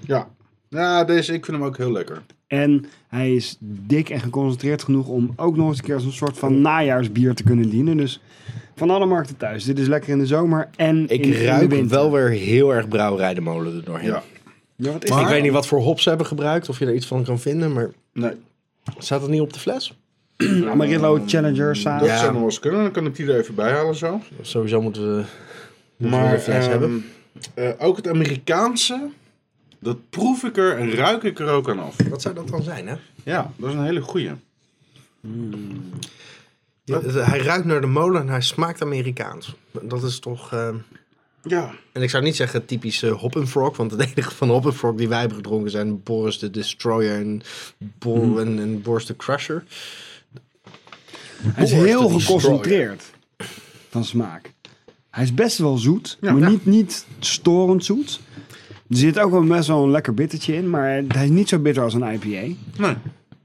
[SPEAKER 2] Ja. Ja, deze, ik vind hem ook heel lekker.
[SPEAKER 4] En hij is dik en geconcentreerd genoeg om ook nog eens een keer als een soort van najaarsbier te kunnen dienen. Dus van alle markten thuis. Dit is lekker in de zomer en
[SPEAKER 3] Ik
[SPEAKER 4] in, in de
[SPEAKER 3] ruik
[SPEAKER 4] winter.
[SPEAKER 3] wel weer heel erg brouwerijdenmolen er doorheen.
[SPEAKER 2] Ja.
[SPEAKER 4] Ja, wat is
[SPEAKER 2] Maar-
[SPEAKER 3] Ik weet niet wat voor hops ze hebben gebruikt, of je er iets van kan vinden, maar
[SPEAKER 2] Nee.
[SPEAKER 3] staat dat niet op de fles?
[SPEAKER 4] dit? Amarillo Challenger saus.
[SPEAKER 2] Dat
[SPEAKER 3] Ja.
[SPEAKER 2] zou nog wel eens kunnen. Dan kan ik die er even bij halen zo.
[SPEAKER 3] Sowieso moeten we, moeten we
[SPEAKER 2] Maar
[SPEAKER 3] een fles
[SPEAKER 2] ehm,
[SPEAKER 3] hebben.
[SPEAKER 2] eh, ook het Amerikaanse, dat proef ik er en ruik ik er ook aan af.
[SPEAKER 3] Wat zou dat dan zijn, hè?
[SPEAKER 2] Ja, dat is een hele goeie.
[SPEAKER 3] Ja, het- hij ruikt naar de molen en hij smaakt Amerikaans. Dat is toch... ehm,
[SPEAKER 2] Ja.
[SPEAKER 3] En ik zou niet zeggen typisch eh, Hop and Frog, want het enige van Hop and Frog die wij hebben gedronken zijn Boris de Destroyer en, Bor
[SPEAKER 4] Hmm.
[SPEAKER 3] en, en Boris de Crusher.
[SPEAKER 4] Hij is
[SPEAKER 3] Boris
[SPEAKER 4] heel
[SPEAKER 3] de Destroyer.
[SPEAKER 4] geconcentreerd van smaak. Hij is best wel zoet, maar Niet, niet storend zoet. Er zit ook wel best wel een lekker bittertje in, maar hij is niet zo bitter als een IPA.
[SPEAKER 2] Nee.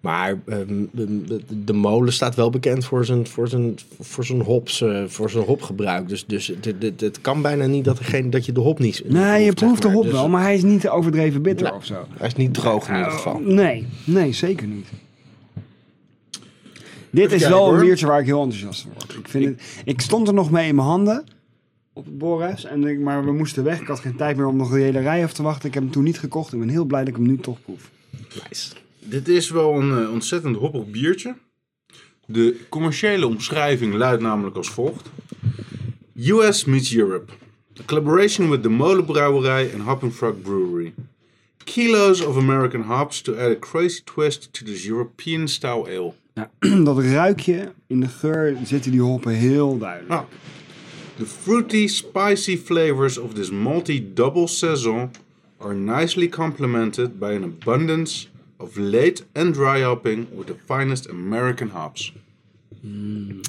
[SPEAKER 3] Maar ehm, de- de, de molen staat wel bekend voor zijn, voor zijn, voor zijn, hops, eh, voor zijn hopgebruik. Dus, dus het, het, het kan bijna niet dat, er geen, dat je de hop niet
[SPEAKER 4] Nee, je
[SPEAKER 3] proeft,
[SPEAKER 4] proeft
[SPEAKER 3] zeg
[SPEAKER 4] de
[SPEAKER 3] maar.
[SPEAKER 4] hop wel,
[SPEAKER 3] Dus Nou,
[SPEAKER 4] Nou, maar hij is niet overdreven bitter
[SPEAKER 3] Nee.
[SPEAKER 4] of zo.
[SPEAKER 3] Hij is niet droog in ieder geval.
[SPEAKER 4] Nee, nee, zeker niet. Dit is
[SPEAKER 2] kijken,
[SPEAKER 4] wel een
[SPEAKER 2] hoor.
[SPEAKER 4] biertje waar ik heel enthousiast van word. Ik, vind het, ik stond er nog mee in mijn handen op het Boris, en ik, maar we moesten weg. Ik had geen tijd meer om nog de hele rij af te wachten. Ik heb hem toen niet gekocht. Ik ben heel blij dat ik hem nu toch proef.
[SPEAKER 3] Nice.
[SPEAKER 2] Dit is wel een eh, ontzettend hoppig biertje. De commerciële omschrijving luidt namelijk als volgt. US meets Europe. A collaboration with de Molenbrouwerij en Hop and Frog Brewery. Kilos of American hops to add a crazy twist to this European style ale.
[SPEAKER 4] Ja, dat ruikje in de geur zitten die hoppen heel duidelijk.
[SPEAKER 2] Nou, the fruity, spicy flavors of this multi double saison are nicely complemented by an abundance of late and dry hopping with the finest American hops.
[SPEAKER 3] Mm.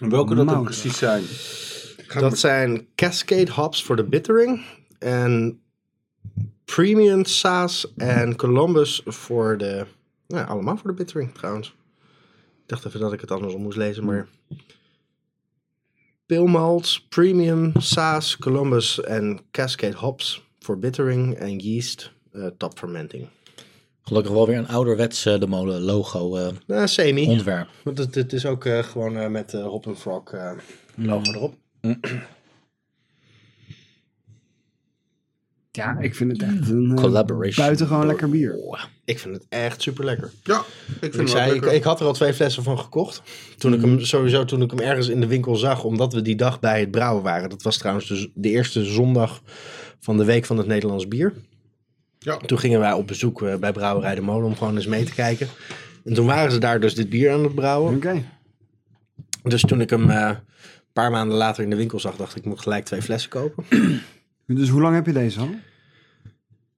[SPEAKER 2] En welke dat ook
[SPEAKER 4] Moutig.
[SPEAKER 2] precies zijn?
[SPEAKER 3] Dat zijn Cascade hops voor de bittering. En Premium Saas en Columbus voor de... Nou, allemaal voor de bittering trouwens. Ik dacht even dat ik het andersom moest lezen, maar... Pilmalt, Premium, Saas, Columbus en Cascade hops voor bittering en yeast eh tap fermenting.
[SPEAKER 1] Gelukkig wel weer een ouderwets eh, de molen logo eh,
[SPEAKER 3] Nou, semi.
[SPEAKER 1] ontwerp.
[SPEAKER 3] Want het, het is ook eh, gewoon eh, met eh, Hop and Frog eh, logo erop.
[SPEAKER 4] Ja, ik vind het echt een eh,
[SPEAKER 1] Collaboration.
[SPEAKER 4] buitengewoon lekker bier.
[SPEAKER 3] Ik vind het echt super lekker.
[SPEAKER 2] Ja, ik
[SPEAKER 3] Ik,
[SPEAKER 2] vind het
[SPEAKER 3] zei, ik,
[SPEAKER 2] lekker. Mhm.
[SPEAKER 3] ik had er al twee flessen van gekocht. Toen ik hem sowieso toen ik hem ergens in de winkel zag, omdat we die dag bij het brouwen waren. Dat was trouwens dus de eerste zondag van de week van het Nederlands bier.
[SPEAKER 2] Ja.
[SPEAKER 3] Toen gingen wij op bezoek eh, bij Brouwerij de Molen om gewoon eens mee te kijken. En toen waren ze daar dus dit bier aan het brouwen.
[SPEAKER 4] Oké.
[SPEAKER 2] Mhm.
[SPEAKER 3] Dus toen ik hem eh, een paar maanden later in de winkel zag, dacht ik, ik moet gelijk twee flessen kopen.
[SPEAKER 4] Dus hoe lang heb je deze al?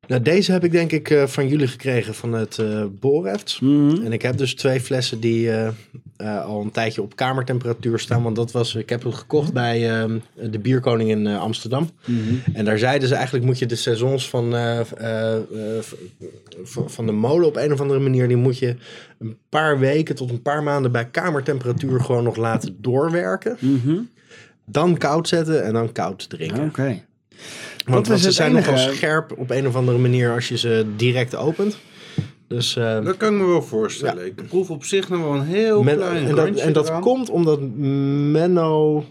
[SPEAKER 3] Nou, deze heb ik denk ik eh, van jullie gekregen van het eh Borefts. En ik heb dus twee flessen die eh, eh, al een tijdje op kamertemperatuur staan. Want dat was, ik heb het gekocht bij ehm, de Bierkoning in eh, Amsterdam. En daar zeiden ze eigenlijk moet je de saisons van, eh, eh, eh, v- van de molen op een of andere manier... die moet je een paar weken tot een paar maanden bij kamertemperatuur gewoon nog laten doorwerken. Dan koud zetten en dan koud drinken.
[SPEAKER 4] Oké. Dat
[SPEAKER 3] Want, want
[SPEAKER 4] is
[SPEAKER 3] ze
[SPEAKER 4] het
[SPEAKER 3] zijn
[SPEAKER 4] enige.
[SPEAKER 3] nogal scherp op een eh, of andere manier als je ze direct opent. Dus, eh,
[SPEAKER 2] Dat kan ik me wel voorstellen. Ik proef op zich nog wel een heel
[SPEAKER 3] men-
[SPEAKER 2] klein
[SPEAKER 3] en dat,
[SPEAKER 2] randje
[SPEAKER 3] en dat
[SPEAKER 2] eraan.
[SPEAKER 3] komt omdat Menno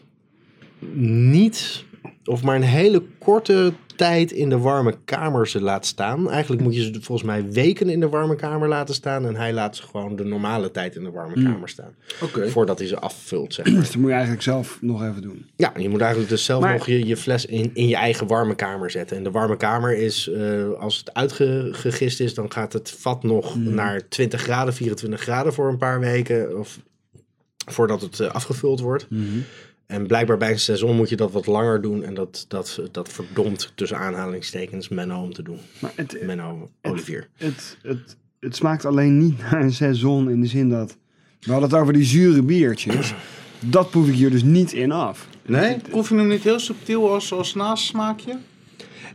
[SPEAKER 3] niet of maar een hele korte tijd in de warme kamer ze laat staan. Eigenlijk moet je ze volgens mij weken in de warme kamer laten staan. En hij laat ze gewoon de normale tijd in de warme kamer staan.
[SPEAKER 2] Oké.
[SPEAKER 3] Voordat hij ze afvult, zeg maar.
[SPEAKER 4] Dus dat moet je eigenlijk zelf nog even doen.
[SPEAKER 3] Ja, je moet eigenlijk dus zelf
[SPEAKER 4] Maar-
[SPEAKER 3] nog je, je fles in, in je eigen warme kamer zetten. En de warme kamer is, eh, als het uitgegist is, dan gaat het vat nog naar 20 graden, 24 graden voor een paar weken. Of voordat het eh, afgevuld wordt. En blijkbaar bij een seizoen moet je dat wat langer doen. En dat, dat, dat verdomt tussen aanhalingstekens Menno om te doen.
[SPEAKER 4] Maar het,
[SPEAKER 3] Menno Olivier.
[SPEAKER 4] Het, het, het smaakt alleen niet naar een seizoen in de zin dat... We hadden het over die zure biertjes. Dat proef ik hier dus niet in af.
[SPEAKER 2] Nee? Proef je hem niet heel subtiel als, als nasmaakje?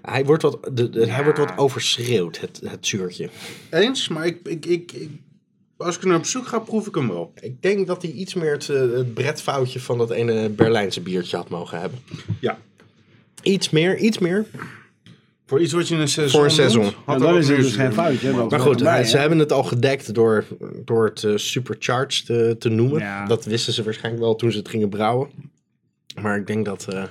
[SPEAKER 3] Hij wordt wat, de, de- hij wordt wat overschreeuwd, het, het zuurtje.
[SPEAKER 2] Eens, maar ik, ik, ik, ik- als ik er naar op zoek ga, proef ik hem wel.
[SPEAKER 3] Ik denk dat hij iets meer het, eh, het bretfoutje van dat ene Berlijnse biertje had mogen hebben.
[SPEAKER 2] Ja.
[SPEAKER 3] Iets meer, iets meer.
[SPEAKER 2] Voor iets wat je in een seizoen
[SPEAKER 3] Voor een seizoen.
[SPEAKER 2] doet, had
[SPEAKER 4] En
[SPEAKER 2] er
[SPEAKER 4] dan
[SPEAKER 2] ook
[SPEAKER 4] is
[SPEAKER 2] meer
[SPEAKER 4] het dus
[SPEAKER 2] zuur
[SPEAKER 4] geen
[SPEAKER 2] in.
[SPEAKER 4] foutje. dat
[SPEAKER 3] Maar
[SPEAKER 4] is
[SPEAKER 3] goed,
[SPEAKER 4] erbij,
[SPEAKER 3] hij-
[SPEAKER 4] hè?
[SPEAKER 3] ze hebben het al gedekt door, door het eh, supercharged eh, te noemen.
[SPEAKER 4] Ja.
[SPEAKER 3] Dat wisten ze waarschijnlijk wel toen ze het gingen brouwen. Maar ik denk dat... eh,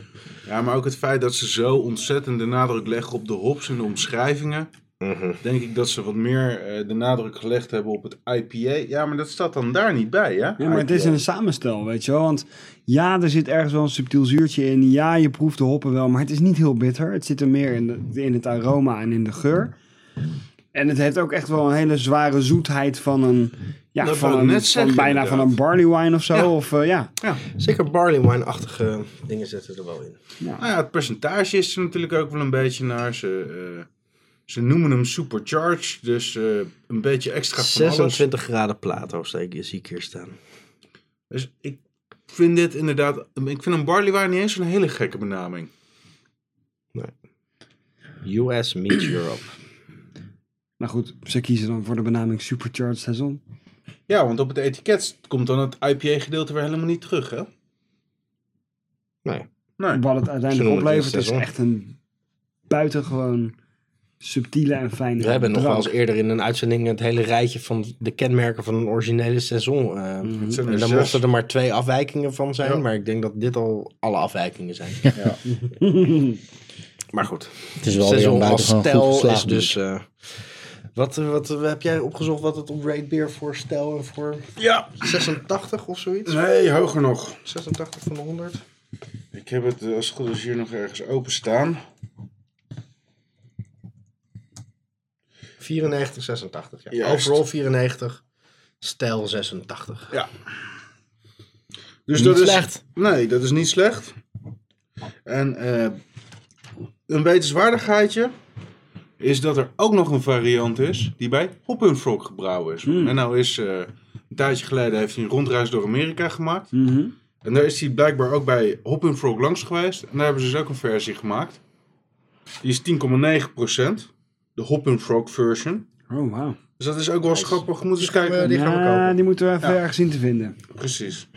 [SPEAKER 2] Ja, maar ook het feit dat ze zo ontzettend de nadruk leggen op de hops en de omschrijvingen.
[SPEAKER 3] Mhm.
[SPEAKER 2] Denk ik dat ze wat meer eh, de nadruk gelegd hebben op het IPA. Ja, maar dat staat dan daar niet bij, hè?
[SPEAKER 4] Ja, maar het is een samenstel, weet je wel. Want ja, er zit ergens wel een subtiel zuurtje in. Ja, je proeft de hoppen wel, maar het is niet heel bitter. Het zit er meer in, de- in het aroma en in de geur. En het heeft ook echt wel een hele zware zoetheid van een... Ja,
[SPEAKER 2] Dat
[SPEAKER 4] van,
[SPEAKER 2] wou ik
[SPEAKER 4] een,
[SPEAKER 2] net
[SPEAKER 4] van
[SPEAKER 2] zeggen,
[SPEAKER 4] bijna
[SPEAKER 2] inderdaad.
[SPEAKER 4] van een barley wine of zo.
[SPEAKER 2] Ja.
[SPEAKER 4] Of, eh, ja.
[SPEAKER 3] Zeker barley wine-achtige dingen zitten er wel in.
[SPEAKER 2] Nou ja, het percentage is er natuurlijk ook wel een beetje naar. Ze, eh, ze noemen hem supercharged, dus eh, een beetje extra van alles.
[SPEAKER 3] 26 graden Plato steek, zie ik hier staan.
[SPEAKER 2] Dus ik vind dit inderdaad... Ik vind een barley wine niet eens een hele gekke benaming.
[SPEAKER 3] US meets Europe.
[SPEAKER 4] Nou goed, ze kiezen dan voor de benaming Supercharged Saison.
[SPEAKER 2] Ja, want op het etiket komt dan het IPA-gedeelte weer helemaal niet terug, hè?
[SPEAKER 3] Nee.
[SPEAKER 2] Nee.
[SPEAKER 4] Wat het
[SPEAKER 3] Ze
[SPEAKER 4] uiteindelijk
[SPEAKER 3] noemen het
[SPEAKER 4] oplevert
[SPEAKER 3] een
[SPEAKER 4] is
[SPEAKER 3] saison.
[SPEAKER 4] echt een buitengewoon subtiele en fijne
[SPEAKER 3] We hebben nog wel
[SPEAKER 4] drank.
[SPEAKER 3] eens eerder in een uitzending het hele rijtje van de kenmerken van een originele seizoen. eh,
[SPEAKER 2] zijn Mhm. er
[SPEAKER 3] En dan
[SPEAKER 2] zes.
[SPEAKER 3] mochten er maar twee afwijkingen van zijn,
[SPEAKER 2] Ja.
[SPEAKER 3] maar ik denk dat dit al alle afwijkingen zijn. maar goed,
[SPEAKER 1] Het is wel weer een
[SPEAKER 3] seizoen als
[SPEAKER 1] buitengewoon goed
[SPEAKER 3] stijl is
[SPEAKER 1] geslaagd bier.
[SPEAKER 3] dus... eh, wat, eh, wat, eh, heb jij opgezocht wat het op Raid Beer voor stijl en voor
[SPEAKER 2] Ja.
[SPEAKER 3] 86 of zoiets?
[SPEAKER 2] Nee, hoger nog.
[SPEAKER 3] 86 van de 100?
[SPEAKER 2] Ik heb het eh, als het goed is hier nog ergens openstaan.
[SPEAKER 3] 94, 86. Ja.
[SPEAKER 2] Juist.
[SPEAKER 3] Overall 94, stijl 86.
[SPEAKER 2] Ja. Dus
[SPEAKER 3] Niet
[SPEAKER 2] dat is,
[SPEAKER 3] slecht.
[SPEAKER 2] Nee, dat is niet slecht. En eh, een wetenswaardigheidje is dat er ook nog een variant is die bij Hop and Frog gebrouwen is. En nou is, eh, een tijdje geleden heeft hij een rondreis door Amerika gemaakt.
[SPEAKER 4] Mhm.
[SPEAKER 2] En daar is hij blijkbaar ook bij Hop and Frog langs geweest. En daar hebben ze dus ook een versie gemaakt. Die is 10,9%. De Hop and Frog version.
[SPEAKER 4] Oh, wauw.
[SPEAKER 2] Dus dat is ook wel schappig. Moeten eens kijken.
[SPEAKER 3] Die gaan we
[SPEAKER 4] Ja,
[SPEAKER 3] kopen.
[SPEAKER 4] die moeten we even
[SPEAKER 2] Ja.
[SPEAKER 4] ergens zien te vinden.
[SPEAKER 2] Precies.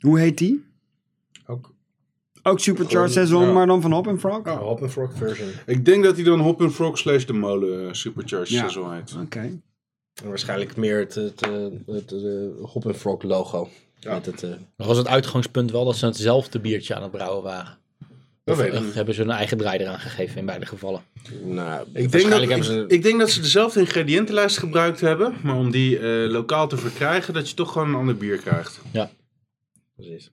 [SPEAKER 4] Hoe heet die?
[SPEAKER 3] Ook
[SPEAKER 4] Ook Supercharged
[SPEAKER 2] Gewoon,
[SPEAKER 4] Saison,
[SPEAKER 2] ja.
[SPEAKER 4] maar dan van Hop and Frog?
[SPEAKER 3] de Oh, Hop and Frog version.
[SPEAKER 2] Ik denk dat hij dan Hop and Frog slash de molen eh, supercharged
[SPEAKER 4] Ja.
[SPEAKER 2] seizoen heet.
[SPEAKER 4] Oké.
[SPEAKER 3] En waarschijnlijk meer het, het, eh, het, eh, Hop and Frog logo. Met het, eh,
[SPEAKER 1] Maar was het uitgangspunt wel dat ze hetzelfde biertje aan het brouwen waren? Of
[SPEAKER 2] weet ik
[SPEAKER 1] eh, hebben ze hun eigen draai eraan gegeven in beide gevallen?
[SPEAKER 3] nou,
[SPEAKER 2] Ik denk, dat,
[SPEAKER 3] hebben
[SPEAKER 2] ik,
[SPEAKER 3] ze...
[SPEAKER 2] ik denk dat ze dezelfde ingrediëntenlijst gebruikt hebben, maar om die eh, lokaal te verkrijgen, dat je toch gewoon een ander bier krijgt.
[SPEAKER 1] Ja.
[SPEAKER 3] Precies.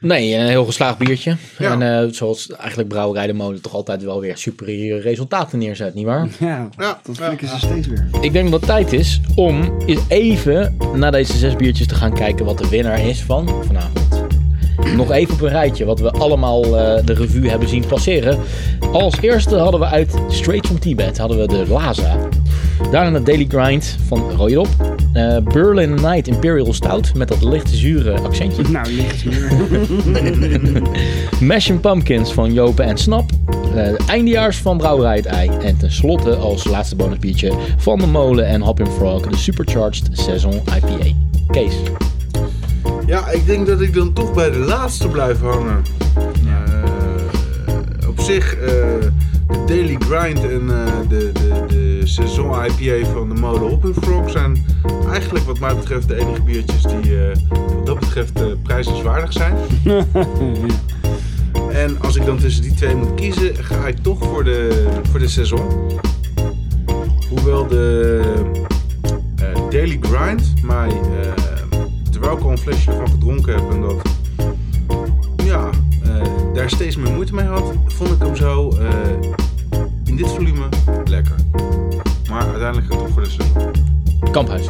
[SPEAKER 1] Nee, een eh, heel geslaagd biertje.
[SPEAKER 2] Ja.
[SPEAKER 1] En eh, zoals eigenlijk brouwerij de molen toch altijd wel weer superieure resultaten neerzet, nietwaar?
[SPEAKER 4] Ja,
[SPEAKER 2] Ja,
[SPEAKER 4] dat
[SPEAKER 2] ja.
[SPEAKER 4] flikken ze steeds weer.
[SPEAKER 1] Ik denk dat het tijd is om eens even na deze zes biertjes te gaan kijken wat de winnaar is van vanavond. Nog even op een rijtje wat we allemaal eh, de revue hebben zien passeren. Als eerste hadden we uit Straight from Tibet hadden we de Laza. Daarna de Daily Grind van Royop. Eh Berlin Night Imperial Stout met dat lichte zure accentje.
[SPEAKER 4] Nou, licht weer.
[SPEAKER 1] Mash and Pumpkins van Jopen en Snap. Eh, eindejaars van Brouwerij het Ei. En tenslotte als laatste bonusbiertje van de Molen en Hop and Frog. De Supercharged Saison IPA. Kees.
[SPEAKER 2] Ja, ik denk dat ik dan toch bij de laatste blijf hangen. Eh, op zich, eh, de Daily Grind en eh, de, de, de Saison IPA van de Mode Hop and Frog zijn eigenlijk wat mij betreft de enige biertjes die eh, wat dat betreft eh, prijzenswaardig zijn. En als ik dan tussen die twee moet kiezen, ga ik toch voor de, voor de Saison. Hoewel de eh, Daily Grind mij, eh, terwijl ik al een flesje ervan gedronken heb en dat, ja, eh, daar steeds meer moeite mee had, vond ik hem zo eh, in dit volume lekker. Maar uiteindelijk ga ik toch voor de Saison.
[SPEAKER 1] Kamphuis.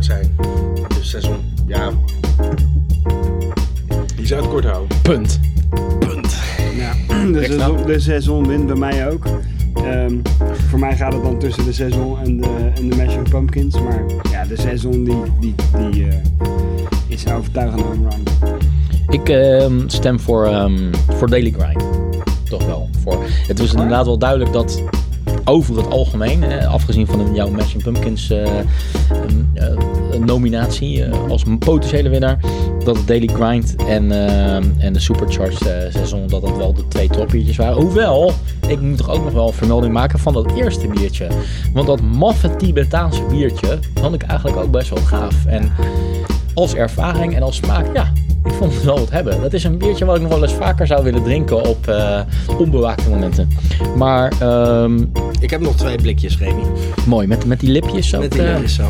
[SPEAKER 3] zijn. Dus seizoen. Ja,
[SPEAKER 2] Die zou het kort houden.
[SPEAKER 1] Punt.
[SPEAKER 4] Ja, de, seizoen, de seizoen wint bij mij ook. Ehm, voor mij gaat het dan tussen de seizoen en de, en de Mashing Pumpkins. Maar ja, de seizoen die, die, die eh, is een overtuigende home run.
[SPEAKER 1] Ik ehm, stem voor, ehm, voor Daily Grind. Toch wel. Voor. Het was inderdaad wel duidelijk dat over het algemeen, hè, afgezien van een- jouw Mashing Pumpkins eh, ehm, eh, nominatie eh, als een potentiële winnaar, dat het Daily Grind en, ehm, en de Supercharged eh, seizoen, dat dat wel de twee toppiertjes waren. Hoewel, ik moet toch ook nog wel een vermelding maken van dat eerste biertje. Want dat maffe Tibetaanse biertje vond ik eigenlijk ook best wel gaaf. En als ervaring en als smaak, ja, ik vond het wel wat hebben. Dat is een biertje wat ik nog wel eens vaker zou willen drinken op eh, onbewaakte momenten. Maar ehm,
[SPEAKER 3] ik heb nog twee blikjes, Remy.
[SPEAKER 1] mooi, met, met die lipjes ook.
[SPEAKER 3] Met die
[SPEAKER 1] eh,
[SPEAKER 3] lipjes zo.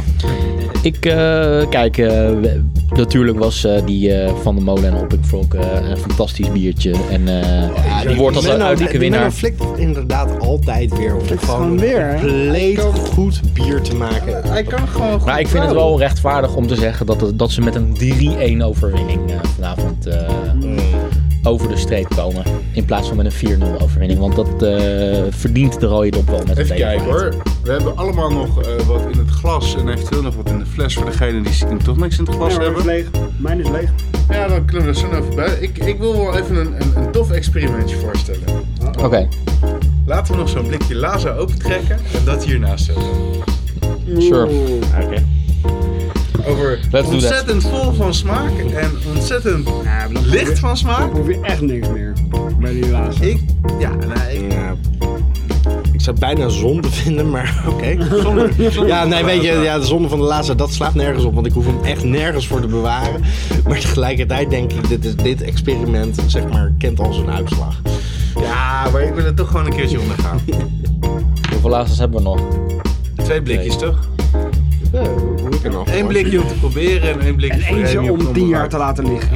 [SPEAKER 1] ik, eh, kijk, eh, we- natuurlijk was eh, die eh, Van de Molen en Hopping Frog eh, een fantastisch biertje. En eh, ja, die wordt als een
[SPEAKER 3] Menno-
[SPEAKER 1] unieke
[SPEAKER 3] Menno
[SPEAKER 1] winnaar.
[SPEAKER 3] flikt inderdaad altijd weer om
[SPEAKER 4] gewoon
[SPEAKER 3] gewoon
[SPEAKER 4] weer, hè?
[SPEAKER 3] compleet goed bier te maken.
[SPEAKER 2] Hij kan gewoon
[SPEAKER 1] Maar ik vind het wel rechtvaardig om te zeggen dat, het- dat ze met een 3-1 overwinning eh, vanavond eh, over de streep komen. In plaats van met een 4-0 overwinning. Want dat eh, verdient de rode dop wel met
[SPEAKER 2] Even
[SPEAKER 1] een
[SPEAKER 2] kijken hoor. We hebben allemaal nog eh, wat in het glas en eventueel nog wat in de fles voor degenen die stiekem toch niks in het glas
[SPEAKER 4] Ja, maar het is
[SPEAKER 2] hebben.
[SPEAKER 4] leeg. Mijn is leeg.
[SPEAKER 6] Ja, dan kunnen we er zo nog even bij. Ik, ik wil wel even een, een, een tof experimentje voorstellen.
[SPEAKER 1] Oké,
[SPEAKER 6] Laten we nog zo'n blikje Laza opentrekken en dat hiernaast zetten.
[SPEAKER 1] sure.
[SPEAKER 6] Over
[SPEAKER 1] do that.
[SPEAKER 6] ontzettend vol van smaak en ontzettend
[SPEAKER 4] Ja, maar dan
[SPEAKER 6] licht van smaak.
[SPEAKER 4] hoef je echt niks meer bij die laatste.
[SPEAKER 6] Ik, ja, nou, ik,
[SPEAKER 3] Ja. Ik zou bijna zonde vinden, maar oké. Ja, nee, weet je, ja, de zonde van de laatste, dat slaat nergens op. Want ik hoef hem echt nergens voor te bewaren. Maar tegelijkertijd denk ik, dit, is, dit experiment, zeg maar, kent al zijn uitslag.
[SPEAKER 6] ja, maar ik wil er toch gewoon een keertje onder gaan.
[SPEAKER 1] Hoeveel laatste hebben we nog?
[SPEAKER 6] Twee blikjes toch? Eén blikje om te proberen en één blikje
[SPEAKER 4] En
[SPEAKER 6] voor Remy
[SPEAKER 4] eentje
[SPEAKER 6] op
[SPEAKER 4] om tien jaar te laten liggen.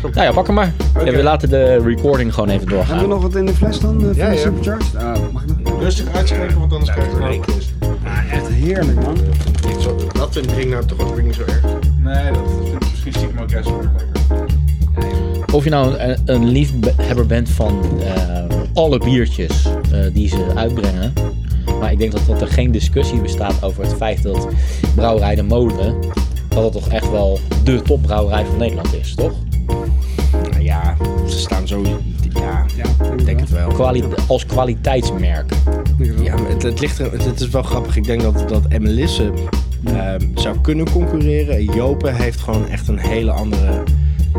[SPEAKER 1] Nou ja, pak hem maar. Ja, we laten de recording gewoon even doorgaan.
[SPEAKER 4] Hebben we nog wat in de fles dan? eh, van
[SPEAKER 6] Ja,
[SPEAKER 4] de
[SPEAKER 6] ja.
[SPEAKER 4] Supercharged? Ah, mag ik nog?
[SPEAKER 6] Rustig uitschenken, want anders krijg je gewoon...
[SPEAKER 4] Ah, echt heerlijk, man.
[SPEAKER 3] Dat vind ik nou toch ook niet zo erg.
[SPEAKER 6] Nee, dat vind ik misschien stiekem ook juist wel weer lekker.
[SPEAKER 1] Of je nou een, een liefhebber bent van eh, alle biertjes eh, die ze uitbrengen. Maar ik denk dat, dat er geen discussie bestaat over het feit dat Brouwerij de Molen. dat het toch echt wel de topbrouwerij van Nederland is, toch?
[SPEAKER 3] Nou ja, ze staan zo... Ja,
[SPEAKER 4] Ja,
[SPEAKER 3] ik denk het wel.
[SPEAKER 1] Kwali- als kwaliteitsmerk.
[SPEAKER 3] Ja, maar het, het, ligt er, het, het is wel grappig. Ik denk dat, dat Emelisse ehm, zou kunnen concurreren. Jopen heeft gewoon echt een hele andere...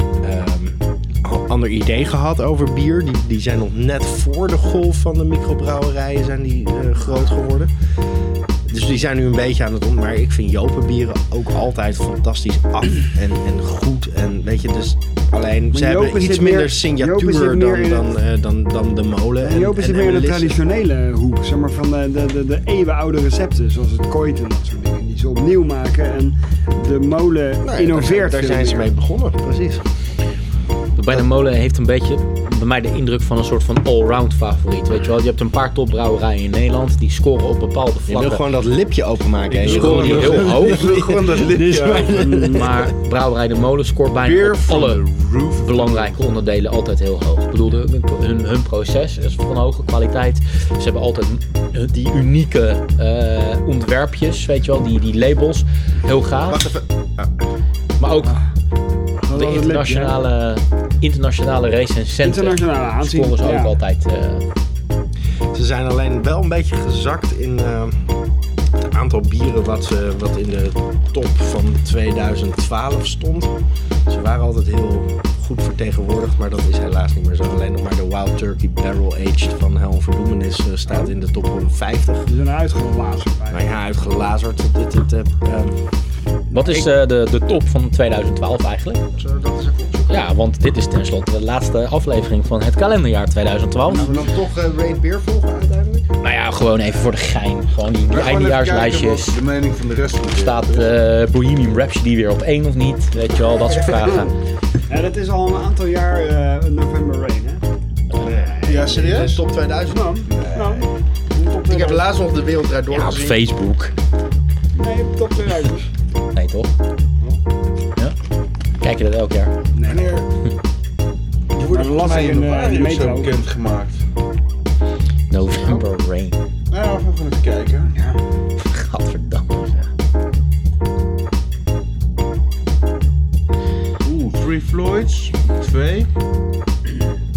[SPEAKER 3] ehm, a- ander idee gehad over bier. Die, die zijn nog net voor de golf van de microbrouwerijen zijn die, eh, groot geworden. Dus die zijn nu een beetje aan het om. Maar ik vind Jopen bieren ook altijd fantastisch af en, en goed. En weet je, dus alleen ze
[SPEAKER 4] Maar Jopen
[SPEAKER 3] hebben iets
[SPEAKER 4] zit meer-
[SPEAKER 3] minder
[SPEAKER 4] Jopen zit
[SPEAKER 3] signatuur
[SPEAKER 4] meer
[SPEAKER 3] dan,
[SPEAKER 4] in
[SPEAKER 3] dan, eh, dan, dan de molen. en-
[SPEAKER 4] Joop is
[SPEAKER 3] en
[SPEAKER 4] het meer in de
[SPEAKER 3] Emelisse.
[SPEAKER 4] traditionele hoek, zeg maar van de, de, de, de eeuwenoude recepten, zoals het kooit en dat soort dingen, die ze opnieuw maken en de molen
[SPEAKER 3] Nee,
[SPEAKER 4] innoveert.
[SPEAKER 3] Daar,
[SPEAKER 4] veel
[SPEAKER 3] daar zijn ze
[SPEAKER 4] meer.
[SPEAKER 3] mee begonnen, precies.
[SPEAKER 1] Bij de Molen heeft een beetje bij mij de indruk van een soort van allround favoriet. Weet je wel, je hebt een paar topbrouwerijen in Nederland die scoren op bepaalde
[SPEAKER 3] Je wil
[SPEAKER 1] vlakken.
[SPEAKER 3] gewoon dat lipje openmaken. hè? Je wil
[SPEAKER 1] Scoren die
[SPEAKER 3] gewoon-
[SPEAKER 1] heel hoog.
[SPEAKER 6] Ik wil gewoon dat
[SPEAKER 3] Dus-
[SPEAKER 6] lipje...
[SPEAKER 1] Maar Brouwerij de Molen scoort bijna
[SPEAKER 6] Beer
[SPEAKER 1] op
[SPEAKER 6] from
[SPEAKER 1] alle
[SPEAKER 6] the roof.
[SPEAKER 1] belangrijke onderdelen altijd heel hoog. Ik bedoel, hun, hun, hun proces is van hoge kwaliteit. Ze hebben altijd eh, die unieke eh, ontwerpjes, weet je wel, die, die labels. Heel gaaf.
[SPEAKER 6] Wacht even.
[SPEAKER 1] Maar ook
[SPEAKER 4] Dat was
[SPEAKER 1] de
[SPEAKER 4] het Ah, lipje,
[SPEAKER 1] internationale, internationale
[SPEAKER 4] hè?
[SPEAKER 1] recensenten
[SPEAKER 4] internationale aanzien.
[SPEAKER 1] scoren ze ook
[SPEAKER 4] ja.
[SPEAKER 1] altijd. eh,
[SPEAKER 3] Ze zijn alleen wel een beetje gezakt in eh, het aantal bieren wat, ze, wat in de top van 2012 stond. Ze waren altijd heel goed vertegenwoordigd, maar dat is helaas niet meer zo. Alleen nog maar de Wild Turkey Barrel Aged van Hel Verdoemenis eh, staat in de top 50.
[SPEAKER 4] Ze zijn uitgelazen.
[SPEAKER 3] Nou ja, uitgelazerd. Het, het, het, eh,
[SPEAKER 1] Wat is eh, de, de top van 2012 eigenlijk?
[SPEAKER 6] Zullen we dat eens even opzoeken?
[SPEAKER 1] Ja, want dit is tenslotte de laatste aflevering van het kalenderjaar 2012.
[SPEAKER 6] Zullen we dan toch eh, Raid Beer volgen uiteindelijk?
[SPEAKER 1] Nou ja, gewoon even voor de gein. Gewoon die, die
[SPEAKER 6] Maar gewoon even
[SPEAKER 1] eindejaarslijstjes.
[SPEAKER 6] kijken wat De mening van de rest van de
[SPEAKER 1] Staat eh Bohemian Rhapsody weer op één of niet? Weet je wel, dat soort vragen.
[SPEAKER 4] Ja, dat is al een aantal jaar eh, November Rain, hè?
[SPEAKER 6] Ja, serieus?
[SPEAKER 3] top 2000.
[SPEAKER 4] Nou, nou, top
[SPEAKER 6] Ik heb
[SPEAKER 4] 2000.
[SPEAKER 6] laatst nog de wereld draait door
[SPEAKER 1] Ja, op
[SPEAKER 6] gezien.
[SPEAKER 1] Facebook.
[SPEAKER 4] Ja, Nee, toch weer uit.
[SPEAKER 1] Nee, toch? Ja? Kijk je dat elk jaar?
[SPEAKER 2] Wanneer Die worden
[SPEAKER 4] Dat las
[SPEAKER 2] volgens mij
[SPEAKER 4] ik
[SPEAKER 2] in
[SPEAKER 4] in, eh,
[SPEAKER 2] januari
[SPEAKER 4] in
[SPEAKER 2] of zo
[SPEAKER 4] Metro.
[SPEAKER 2] bekendgemaakt.
[SPEAKER 1] November Rain.
[SPEAKER 2] Nou, even even kijken.
[SPEAKER 1] Gadverdamme. zeg.
[SPEAKER 2] Oeh, Free Floyds, twee.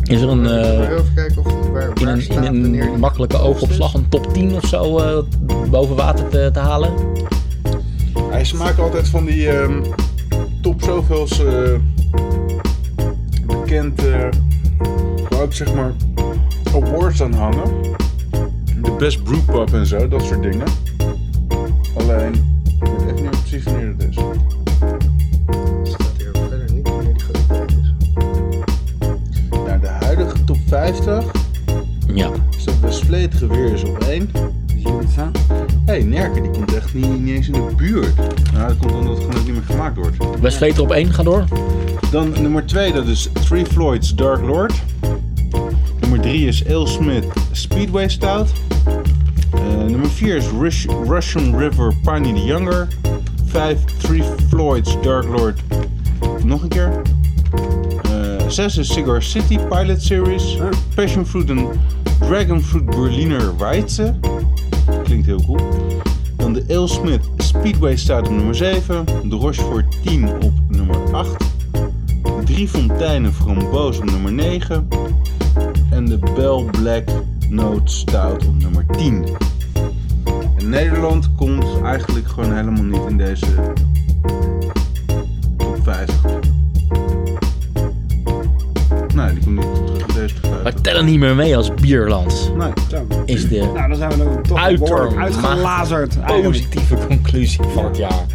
[SPEAKER 1] Is er een, eh,
[SPEAKER 6] Even kijken of waar, waar
[SPEAKER 1] in een,
[SPEAKER 6] staat
[SPEAKER 1] in
[SPEAKER 6] wanneer
[SPEAKER 1] een
[SPEAKER 6] die
[SPEAKER 1] makkelijke
[SPEAKER 6] gepost
[SPEAKER 1] oogopslag
[SPEAKER 6] is?
[SPEAKER 1] een top 10 of zo eh, boven water te, te halen?
[SPEAKER 2] Hij ze maken altijd van die ehm, top zoveels eh, bekend, eh, waar ook zeg maar awards aan hangen. De best brewpub en zo, dat soort dingen. Alleen, ik weet echt niet precies wanneer het is.
[SPEAKER 6] Staat hier verder niet wanneer die geüpdate is.
[SPEAKER 2] Nou, de huidige top 50
[SPEAKER 1] Ja.
[SPEAKER 2] is dat Westvleet geweer is op één.
[SPEAKER 4] Zie je het staan?
[SPEAKER 2] Hé, hey, Nerken die komt echt niet, niet eens in de buurt. Nou, dat komt omdat het gewoon ook niet meer gemaakt wordt.
[SPEAKER 1] West Vleter op 1, ga door.
[SPEAKER 2] Dan nummer 2, dat is Three Floyds Dark Lord. Nummer 3 is Ale Smith Speedway Stout. Eh, nummer 4 is Rush- Russian River Piney the Younger. 5 Three Floyds Dark Lord. Nog een keer. 6 is Cigar City Pilot Series. Passion Fruit en Dragon Fruit Berliner Weizen. Klinkt heel cool. Dan de Ale Smith Speedway Stout op nummer 7. De Rochefort 10 op nummer 8. Drie Fonteinen Framboos op nummer 9. En de Bell Black Note Stout op nummer 10. En Nederland komt eigenlijk gewoon helemaal niet in deze top 50. Nee, die komt niet terug in deze top 50.
[SPEAKER 1] Maar tellen niet meer mee als bierland. Ah,
[SPEAKER 2] Nee.
[SPEAKER 4] Zo.
[SPEAKER 1] Is de
[SPEAKER 4] Nou, dan zijn we dan toch
[SPEAKER 1] Uitermate
[SPEAKER 4] behoorlijk uitgelazerd. eigenlijk.
[SPEAKER 1] positieve conclusie van het jaar.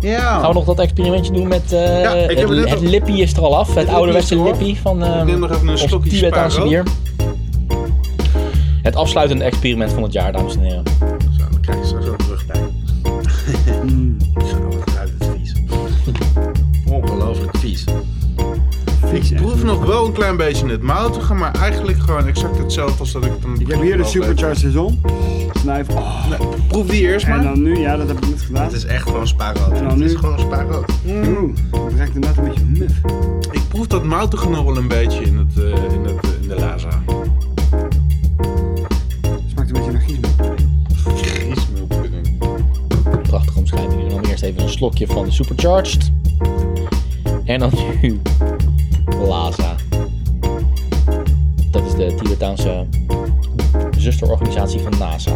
[SPEAKER 2] Ja.
[SPEAKER 1] Gaan we nog dat experimentje doen met... eh,
[SPEAKER 2] Ja, ik heb
[SPEAKER 1] het,
[SPEAKER 2] het net
[SPEAKER 1] het
[SPEAKER 2] al-
[SPEAKER 1] lippie is er al af. Het
[SPEAKER 2] lippie
[SPEAKER 1] ouderwetse
[SPEAKER 2] is er al af.
[SPEAKER 1] lippie van eh,
[SPEAKER 2] Ik neem nog even een
[SPEAKER 1] ons
[SPEAKER 2] slokje
[SPEAKER 1] Tibetaanse
[SPEAKER 2] Sparrow.
[SPEAKER 1] bier. Het afsluitende experiment van het jaar, dames en heren.
[SPEAKER 6] Zo, dan krijg je straks ook rugpijn.
[SPEAKER 4] Mm.
[SPEAKER 6] Zo, wat ruikt het vies. Ongelooflijk vies.
[SPEAKER 4] Vies, hè?
[SPEAKER 2] Ik proef nog wel een klein beetje het moutige, maar eigenlijk gewoon exact hetzelfde als dat ik het aan het
[SPEAKER 4] Ik heb
[SPEAKER 2] begin
[SPEAKER 4] hier de
[SPEAKER 2] al deed.
[SPEAKER 4] Supercharged Saison. Snuif. Oh.
[SPEAKER 2] Nee, proef die eerst maar.
[SPEAKER 4] En dan nu, ja, dat heb ik net gedaan.
[SPEAKER 6] Het is echt gewoon spaarrood.
[SPEAKER 4] En dan
[SPEAKER 6] Het is
[SPEAKER 4] nu?
[SPEAKER 6] gewoon spaarrood.
[SPEAKER 4] Oeh, het ruikt inderdaad een beetje muf.
[SPEAKER 2] Ik proef dat moutige nog wel een beetje in, het, eh, in, het, eh, in de laza.
[SPEAKER 4] Het smaakt een beetje naar giesmeel.
[SPEAKER 2] Griesmeelpudding.
[SPEAKER 1] Prachtige omschrijving. En dan eerst even een slokje van de Supercharged. En dan nu Laza. Dat is de Tibetaanse zusterorganisatie van NASA.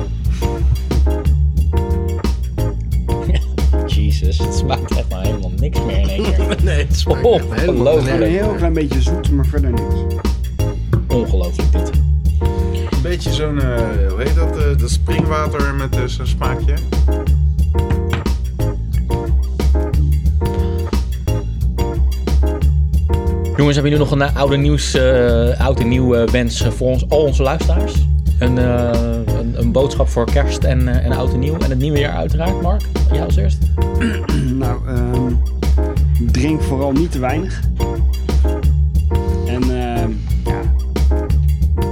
[SPEAKER 1] Jezus, het smaakt echt maar helemaal niks meer in één keer.
[SPEAKER 6] Nee, het smaakt echt
[SPEAKER 1] Oh,
[SPEAKER 6] helemaal
[SPEAKER 1] ongelooflijk.
[SPEAKER 4] Een
[SPEAKER 6] nergens.
[SPEAKER 4] heel klein beetje zoet, maar verder niks.
[SPEAKER 1] Ongelooflijk dit.
[SPEAKER 2] Een beetje zo'n, eh, hoe heet dat, eh, dat springwater met eh, zo'n smaakje.
[SPEAKER 1] Jongens, hebben jullie nog een eh, oude nieuws, eh oud en nieuw eh, wens voor ons, al onze luisteraars? Een, eh, een, een boodschap voor kerst en, eh, en oud en nieuw. En het nieuwe jaar uiteraard, Mark. Jou als eerst.
[SPEAKER 4] Nou, ehm, drink vooral niet te weinig. En ehm, ja, eh,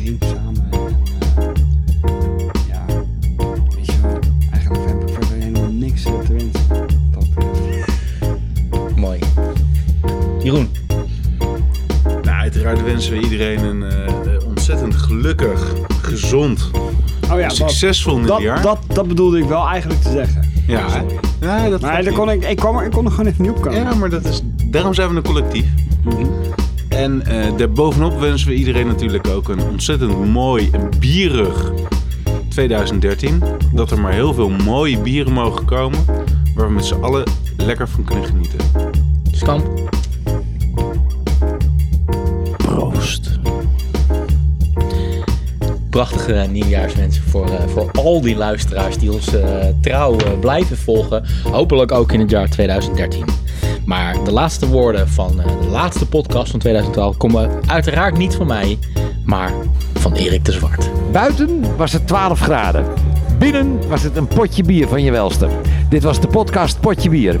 [SPEAKER 4] drink samen. En, eh, ja, weet je wel, eigenlijk heb ik verder helemaal niks eh, te wensen. Wat Dat betreft.
[SPEAKER 1] Mooi. Jeroen.
[SPEAKER 2] Nou, uiteraard wensen we iedereen een eh, eh, ontzettend gelukkig, gezond,
[SPEAKER 4] oh ja, dat,
[SPEAKER 2] succesvol
[SPEAKER 4] dat,
[SPEAKER 2] nieuwjaar.
[SPEAKER 4] dat, dat bedoelde ik wel eigenlijk te zeggen.
[SPEAKER 2] ja, hè? ja, dat
[SPEAKER 4] Maar
[SPEAKER 2] valt
[SPEAKER 4] daar kon
[SPEAKER 2] niet.
[SPEAKER 4] ik, ik, kwam er, ik kon er gewoon even niet op komen.
[SPEAKER 2] Ja, maar dat is, daarom zijn we een collectief. En eh, daarbovenop wensen we iedereen natuurlijk ook een ontzettend mooi en bierig 2013. Dat er maar heel veel mooie bieren mogen komen waar we met z'n allen lekker van kunnen genieten.
[SPEAKER 1] Stamp. Proost. Prachtige eh, nieuwjaarswensen voor, eh, voor al die luisteraars die ons eh, trouw eh, blijven volgen. Hopelijk ook in het jaar 2013. Maar de laatste woorden van eh, de laatste podcast van 2012 komen uiteraard niet van mij, maar van Erik de Zwart.
[SPEAKER 7] Buiten was het 12 graden. Binnen was het een potje bier van je welste. Dit was de podcast Potje Bier.